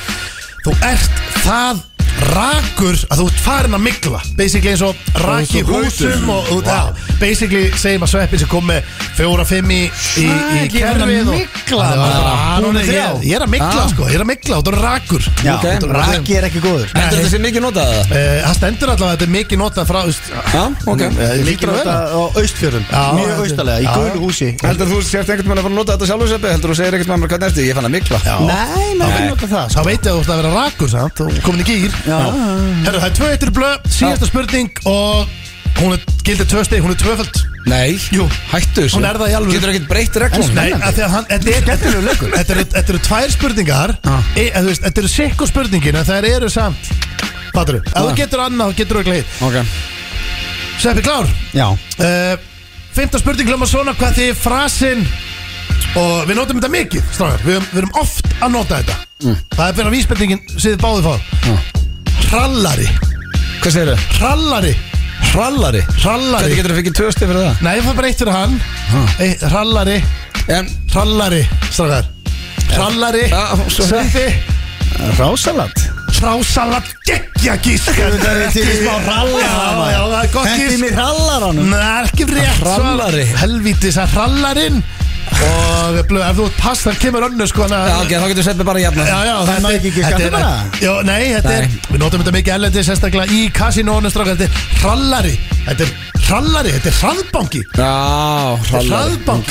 þú ert það rakur að þú ert farin að mikla basically eins og raki
Og þú grautur.
húsum og, og wow. basically segjum að sveppin sem kom með fjóra, fimm í, í, í
Svaki, ég er að
kerfið og-
mygla,
Þannig að
maður.
bara,
Búin
Aron er-
að þrjá.
ég, ég er að mikla
Ah.
sko, ég er að mikla og þú er rakur
Já,
Ok.
raki er ekki góður
Heldur þetta sem mikið notað það?
Eh, Það stendur allavega að þetta er mikið notað frá þú veist,
Já, ok
Líkir
að
þetta á austfjörðum
Já,
Mjög
þetta-
austalega, í
Já.
gulu húsi
Heldur þú sért einhvern veginn að fara að nota þetta sjálfur seppi? Heldur þú segir einhvern veginn hvernig ertu? Ég fann að mikla Já
Nei, maður ekki nota það sko.
Sá veit ég að þú ætla að vera rakur samt og komin í gýr Herru, það er tvö eittur blöð, síðasta spurning og hún er gildið tvö steg, hún er tvöföld
Nei,
Jú.
hættu þessu
Hún er það í alvöru.
Getur ekkert breytt reglum
Nei, af því að hann, þetta er gættilegu leikur Þetta eru- þetta eru tvær spurningar e, að, þú veist, Þetta eru sikkur spurningin en það eru samt Fattur ef þú getur annað, þá getur þú ekki leið
Ok
Sveppi klár
Já,
uh, Fymta spurning hljóma svona hvað þið frasin Og við notum þetta mikið, strágar Við, við erum oft að nota þetta Það er fyrir að vísbendingin sem þið báðið fá Hrallari
Hvað segir þau?
Hrallari
Hrallari Hvernig
Hrallari
getur þau fikið tvö stið fyrir það?
Nei, það er bara eitt fyrir hann Ei, Hrallari
En,
Hrallari, strákar Hrallari
Ah, svo-
Sveppi
rásalat
Frásalat Gekkja gíska
Þetta er til í smá hrallara,
Já,
maður.
já, það er gott
Hendi
gísk
mér hallaranum
Nei, það er ekki rétt svar.
Hrallari.
Helvítis að hrallarinn Og blöð, ef þú ert pass þar kemur önnu sko hana,
já, ok, þá getur Sveppi bara jafna
Já, já,
Það má ekki giska
þetta
aftur bara?
Já, nei, þetta er
Nei.
Við notum þetta mikið erlendi sérstaklega í kasinónu strákar Þetta er hrallari Þetta er hrallari, þetta er hraðbanki
Já, hrallari
Hraðbank,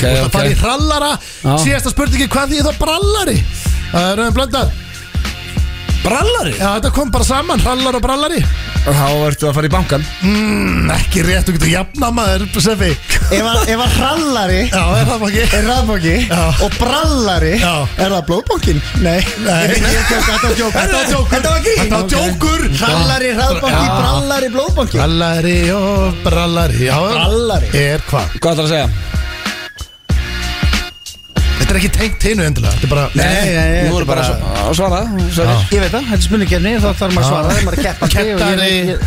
Ok,
okay, okay.
ok.
það er hrallara
Já.
Síðasta spurningi, hvað því það brallari? Uh, Rauðin Blöndal
Brallari?
Já, þetta kom bara saman, hrallar og brallari
Þá ertu að fara í bankan
mm, Ekki rétt, þú getur jafna maður Sefi Já,
Ef að- ef að hallari
er það ekki
er rafbóki
Já.
og brallari
Já.
er það blóðbókin? Nei,
Nei.
Ég- ég- þetta var djókur
Þetta var djókur.
Þetta var grín.
Þetta var djókur.
Ok. Hrallari, hraðbóki,
Já.
brallari, blóðbóki
Brallari og brallari Já,
Brallari.
Er hvað?
Hvað ætlar að segja?
Þetta er ekki tengt hinu endilega Þetta er bara
Nei, nei, nei,
Nú
þetta
voru bara
bara-
að svara Sverir
Ég veit það, þetta er spurningkefni þá þarf maður að svara, það er maður að keppa
Kettari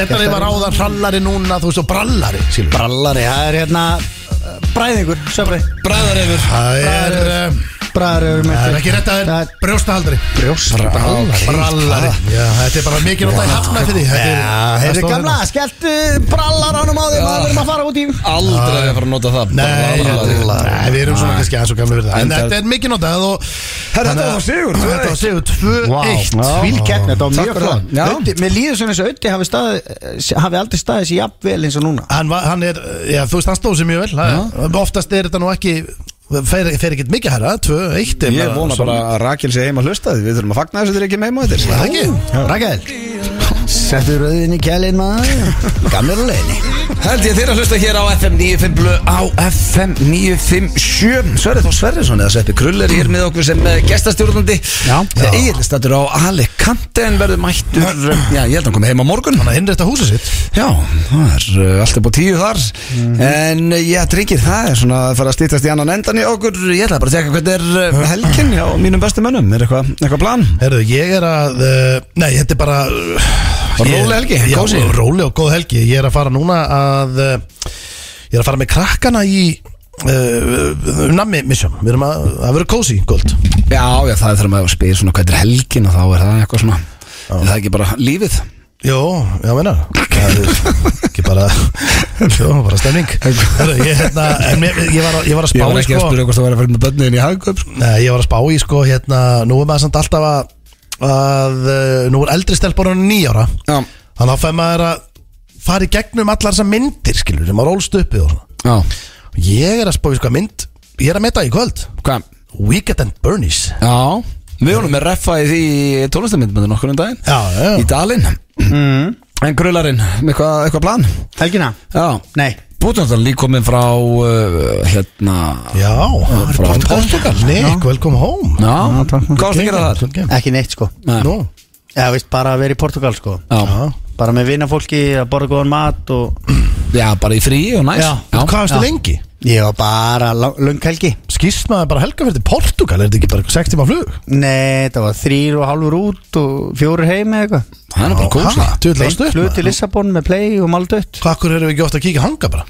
Kettari var áðan hrallari núna Þú veist og brallari Silvi
Brallari, það er hérna uh, bræðingur, söfri
Bræðarefur
Það er um,
Bræðaröfur
Það er ekki rétt að það
Það
er brjóstahaldari
Brjósbrallari
Brallari Já, þetta er bara mikið notað í hafna fyrir því
Já, hérna. heyrðu gamla,
hérna.
skelltu brallaranum á því
Já.
maður verðum að fara út í
Aldrei að fara að nota það
Nei,
Brallari.
þetta- nei, við erum svona kannski aðeins og gamla fyrir það En
Enda-
þetta er mikið notað og
Herra, þetta
Þannig að-
var sigur,
Þetta var sigur 2-1
Svíl keppni, þetta var
Takk
mjög
fyrir það.
flott
Já.
Auddi- Mér líður svona eins og Ötti hafi, staði, hafi aldrei staðið sér jafnvel eins og núna
Hann, var, hann er, já, þú veist, hann stóð sér mjög vel það- Oftast er þetta nú ekki Fer, fer ekkert mikið herra, 2-1 er
Ég vona bara að Rakel sé heima að hlusta því Við þurfum að fagna þessu þegar ekki heima þetta
Það ekki?
Rækæðil Settu rauðin í kælin maður Gamlir á leiðinni
Held ég þeir að hlusta hér á FM 95 blö á FM 957 Sverri Þór Sverrisson eða Sveppi Krull er hér með okkur sem eh, gestastjórnandi
Já.
Það er stættur á Alicante en verður mættur eh, Já, ég held að hann kom heim á morgun
Hann er innrætt að húsa sitt
Já, það er uh, allt upp á tíu þar En uh, já, drengir, það er svona að fara að stýttast í annan endan í okkur Ég ætla bara að teka hvernig er uh, helgin hjá mínum bestu mönnum Er eitthvað eitthva plan?
Herru, ég er að uh, Nei, þetta er bara uh,
Róleg helgi,
já,
kósí.
Róli og góð helgi Ég er að fara núna að uh, Ég er að fara með krakkana í uh, Nammi misjum Við erum að, að vera kósi góld
Já, já, það er þegar maður spyr svona hvernig er helgin og þá er það eitthvað svona Er það ekki bara lífið?
Jó, já meina Það er ekki bara Jó, bara stemning Herru, ég, hérna, en mér- ég, var, að- ég var að spá
Ég var
í,
ekki að
sko,
spyrja hvort það var að fara með börnin í hagkaup sko.
Nei, ég var að spá í sko hérna Nú er maður samt alltaf að, að uh, Nú er eldri stelpunum nýjára
Já,
Þannig að fæði maður að fara í gegnum allar þessar myndir skilur sem maður ólst uppið og svona
já,
Ég er að spá í sko mynd Ég er að meta í kvöld
hvað?
Weekend and Bernies
Já, við vorum með reffa í því tónlistamindmyndu nokkur um daginn
Já, já,
Í dalinn En krullarinn, eitthvað, eitthvað plan
Mm-hmm. Helgina?
Já,
Nei
Bútjónsson lík komið frá uh, hérna
já það er
Frá
gott.
Portugal. Já.
Nick, welcome home
Já, hvað varst að gera þar?
Ekki neitt sko
Nei.
Nú,
Eða veist bara að vera í Portugal sko
Já,
Bara með vinafólki að borða góðan mat og
já, bara í frí og næs
Já.
hvað varstu
Já.
lengi?
Ég var bara lang, löng helgi
Skýrst maður bara helga fyrir til Portugal Er þetta ekki bara 6 tíma flug?
Nei, það var þrýr og halvur út og fjórir heim eða eitthvað
Það er nú bara kósi
Tjóðlega
Beint flug til
stuð
Lissabon með play og maldött
Hvað akkur erum við ekki oft að kíkja hanga bara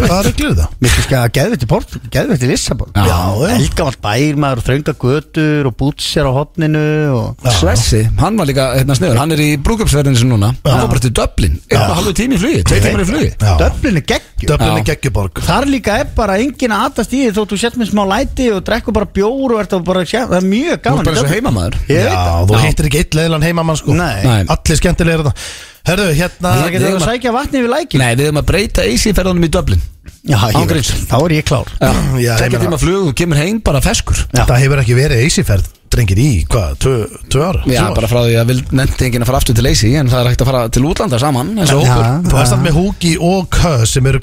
Hvað ruglir það?
Mér finnst ekki að geðvitt í Port, geðvitt í Lissabon
Já,
já.
Elgamall bær, maður og þrönga götur og bútsjar á hotninu og
Svessi, hann var líka hérna sniður Hann er í brúkupsverðinu sem núna Hann var bara til Dublin Einn og halvu tími í flugi Tvei tímar í flugi
Já.
Döflin er geggjur
Döflinni
Já.
geggjuborg
Þar líka er bara engin að atast í því þó þú sett með smá læti og drekku bara bjór og ert að bara sjá, það er mjög
Þú er
gaman
bara eins og
í Dublin.
heimamaður
Ég veit
Já,
það.
þú hittir ekki eitt leiðlan heimamann sko
Nei.
Nei.
Allir skemmtilegir þetta Herðu, hérna
Það getur
Ég-
að sækja vatni við lækin
Nei, við höfum að breyta AC-ferðunum í Dublin
Já, ég veit,
Ángríns.
þá er ég klár
Já, ég
Tekja
meina-
tíma flug og kemur heim bara feskur
Já.
Það hefur ekki verið eisiferð Drengir í, hvað, tvö, tvö ára?
Já, bara frá því að vil nefndi enginn að fara aftur til AC En það er hægt að fara til útlanda saman eins og hópur.
Þú veist það með Hugi og Kös sem eru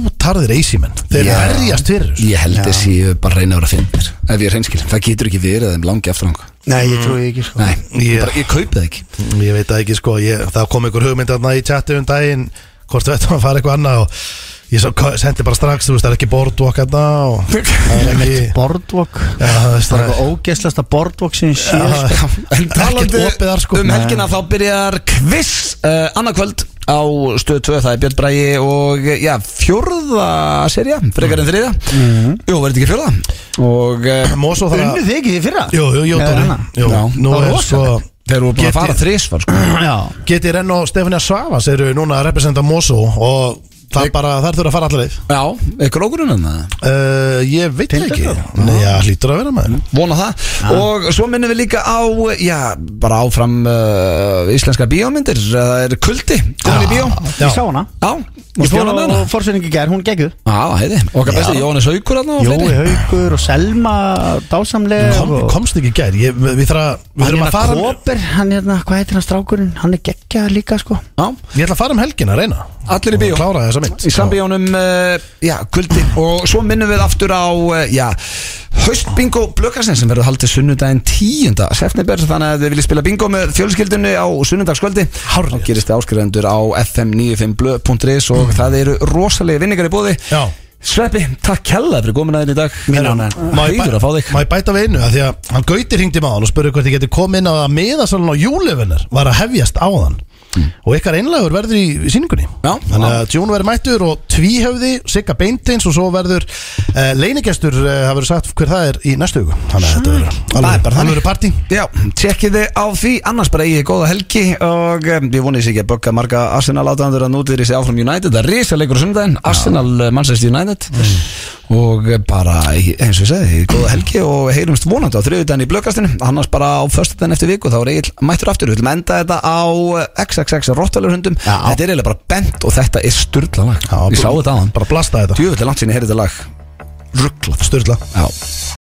grjótarðir eisimenn Þeir
Já.
verjast fyrir þessu.
Ég held þessi ég bara reyna að vera finnir Ef ég er hreinskilin, það getur ekki verið að þeim langi aftur hanga
Nei, ég trúi ekki sko
Nei,
Ég-
ég, bara, ég kaupi það ekki
Ég veit það ekki sko, ég, það kom einhver hugmynd þarna í chati um daginn hvort við ættum að fara eitthvað annað og ég svo, Kös sendi bara strax, þú veist, það er ekki boardwalk þarna og það er ekki
Boardwalk
Já, það er
Það er
strax
eitthvað ógeslasta boardwalk sem ég sé sko.
En talandi
Ekkert opið þar, sko.
um helgina þá byrjar quiz uh, annarkvöld á stöð 2 það er Björn Bræi og eh, já, fjórða serja, frekar en þriða Jú, verður þetta ekki fjórða Mhm. og uh,
Mosó þarf
Unnu
að
þið ekki þið fyrra?
Jú, jú, jú,
Eða
Dóri
hana?
Jú,
Já.
Það
nú
var
hérna. er sko
rosalegt.
þeir eru búin
Get
að fara
ég-
þrisvar sko.
Já
Getið Renn og Stefania Svavas eru núna að representa Mosó og það er bara, þær þurfa að fara allar leið
Já, er grókurinn en það?
uh, Ég veit það ekki
það?
Nei, Já, hlýtur að vera maður
Vona það Og svo minnum við líka á, já, bara áfram uh, íslenskar bíómyndir Það er kuldi, komin í bíó
Já.
Ég sá hana
Já,
Ég
varstu
fór
ánægð með
á
hana?
forsvinningi gær, hún gegguð
Já, heiði, okkar besti Jóhannes Haukur þarna og
Jói
fleiri.
Haugur og Selma Dásamleg
Kom,
og-
komst ekki í gær ég, við, við, þarf að-
Hann
við þurfum
hérna
að fara um-
Kóper, hann hérna, hvað heitir hann strákurinn Hann er geggjaður líka sko
Já,
Ég ætla að fara um helgina að reyna
Allir í
Og
bíó.
Klára þessa mynd
í sambíónum uh, já, kvöldi og svo minnum við aftur á uh, já, haustbingo blökarsinn sem verður haldið sunnudaginn 10. september þannig að við viljum spila bingo með fjölskyldunni á sunnudagskvöldi
Hárrétt. Mhm.
þá gerist þið áskrifandur á fm95blö.is og það eru rosalegi vinningar í bóði
Já.
Sveppi, takk kella fyrir komin aðeins í dag
Minna ánægð.
Má ég
Hýður að fá þig
bæ- má ég bæta við einu að því að hann gauti hringdi maður og spurði hvort ég geti komið inn á að miðasalun á júlifinnar var að hefjast á þann og ykkar einlagur verður í síningunni
Já.
þannig að Jón verður mættur og tvíhöfði Sigga Beinteins og svo verður uh, leinigestur, uh, það verður sagt hver það er í næstu hugu þannig að þetta verður
Það er
alveg,
bara þannig.
alveg partí
Já, tjekkið þið á því annars bara eigið góða helgi og um, ég vonið sér ekki að bögga marga Arsenal átandur að nútir í sig áfram United það er risaleikur á sundaginn, Arsenal uh, Manchester United og uh, bara eh, eins og ég segi, góða helgi og heyrumst vonandi á þriðudaginn í blökastinu annars bara á föstudaginn eftir viku þá er eigið mættur aftur, við viljum enda þetta á eh, XXX Rottalurhundum, þetta er eiginlega bara bent og þetta er styrla lag ég sá þetta á hann,
bara blasta þetta,
djöfull er langt sinni heyrði þetta lag
ruggla, styrla
Já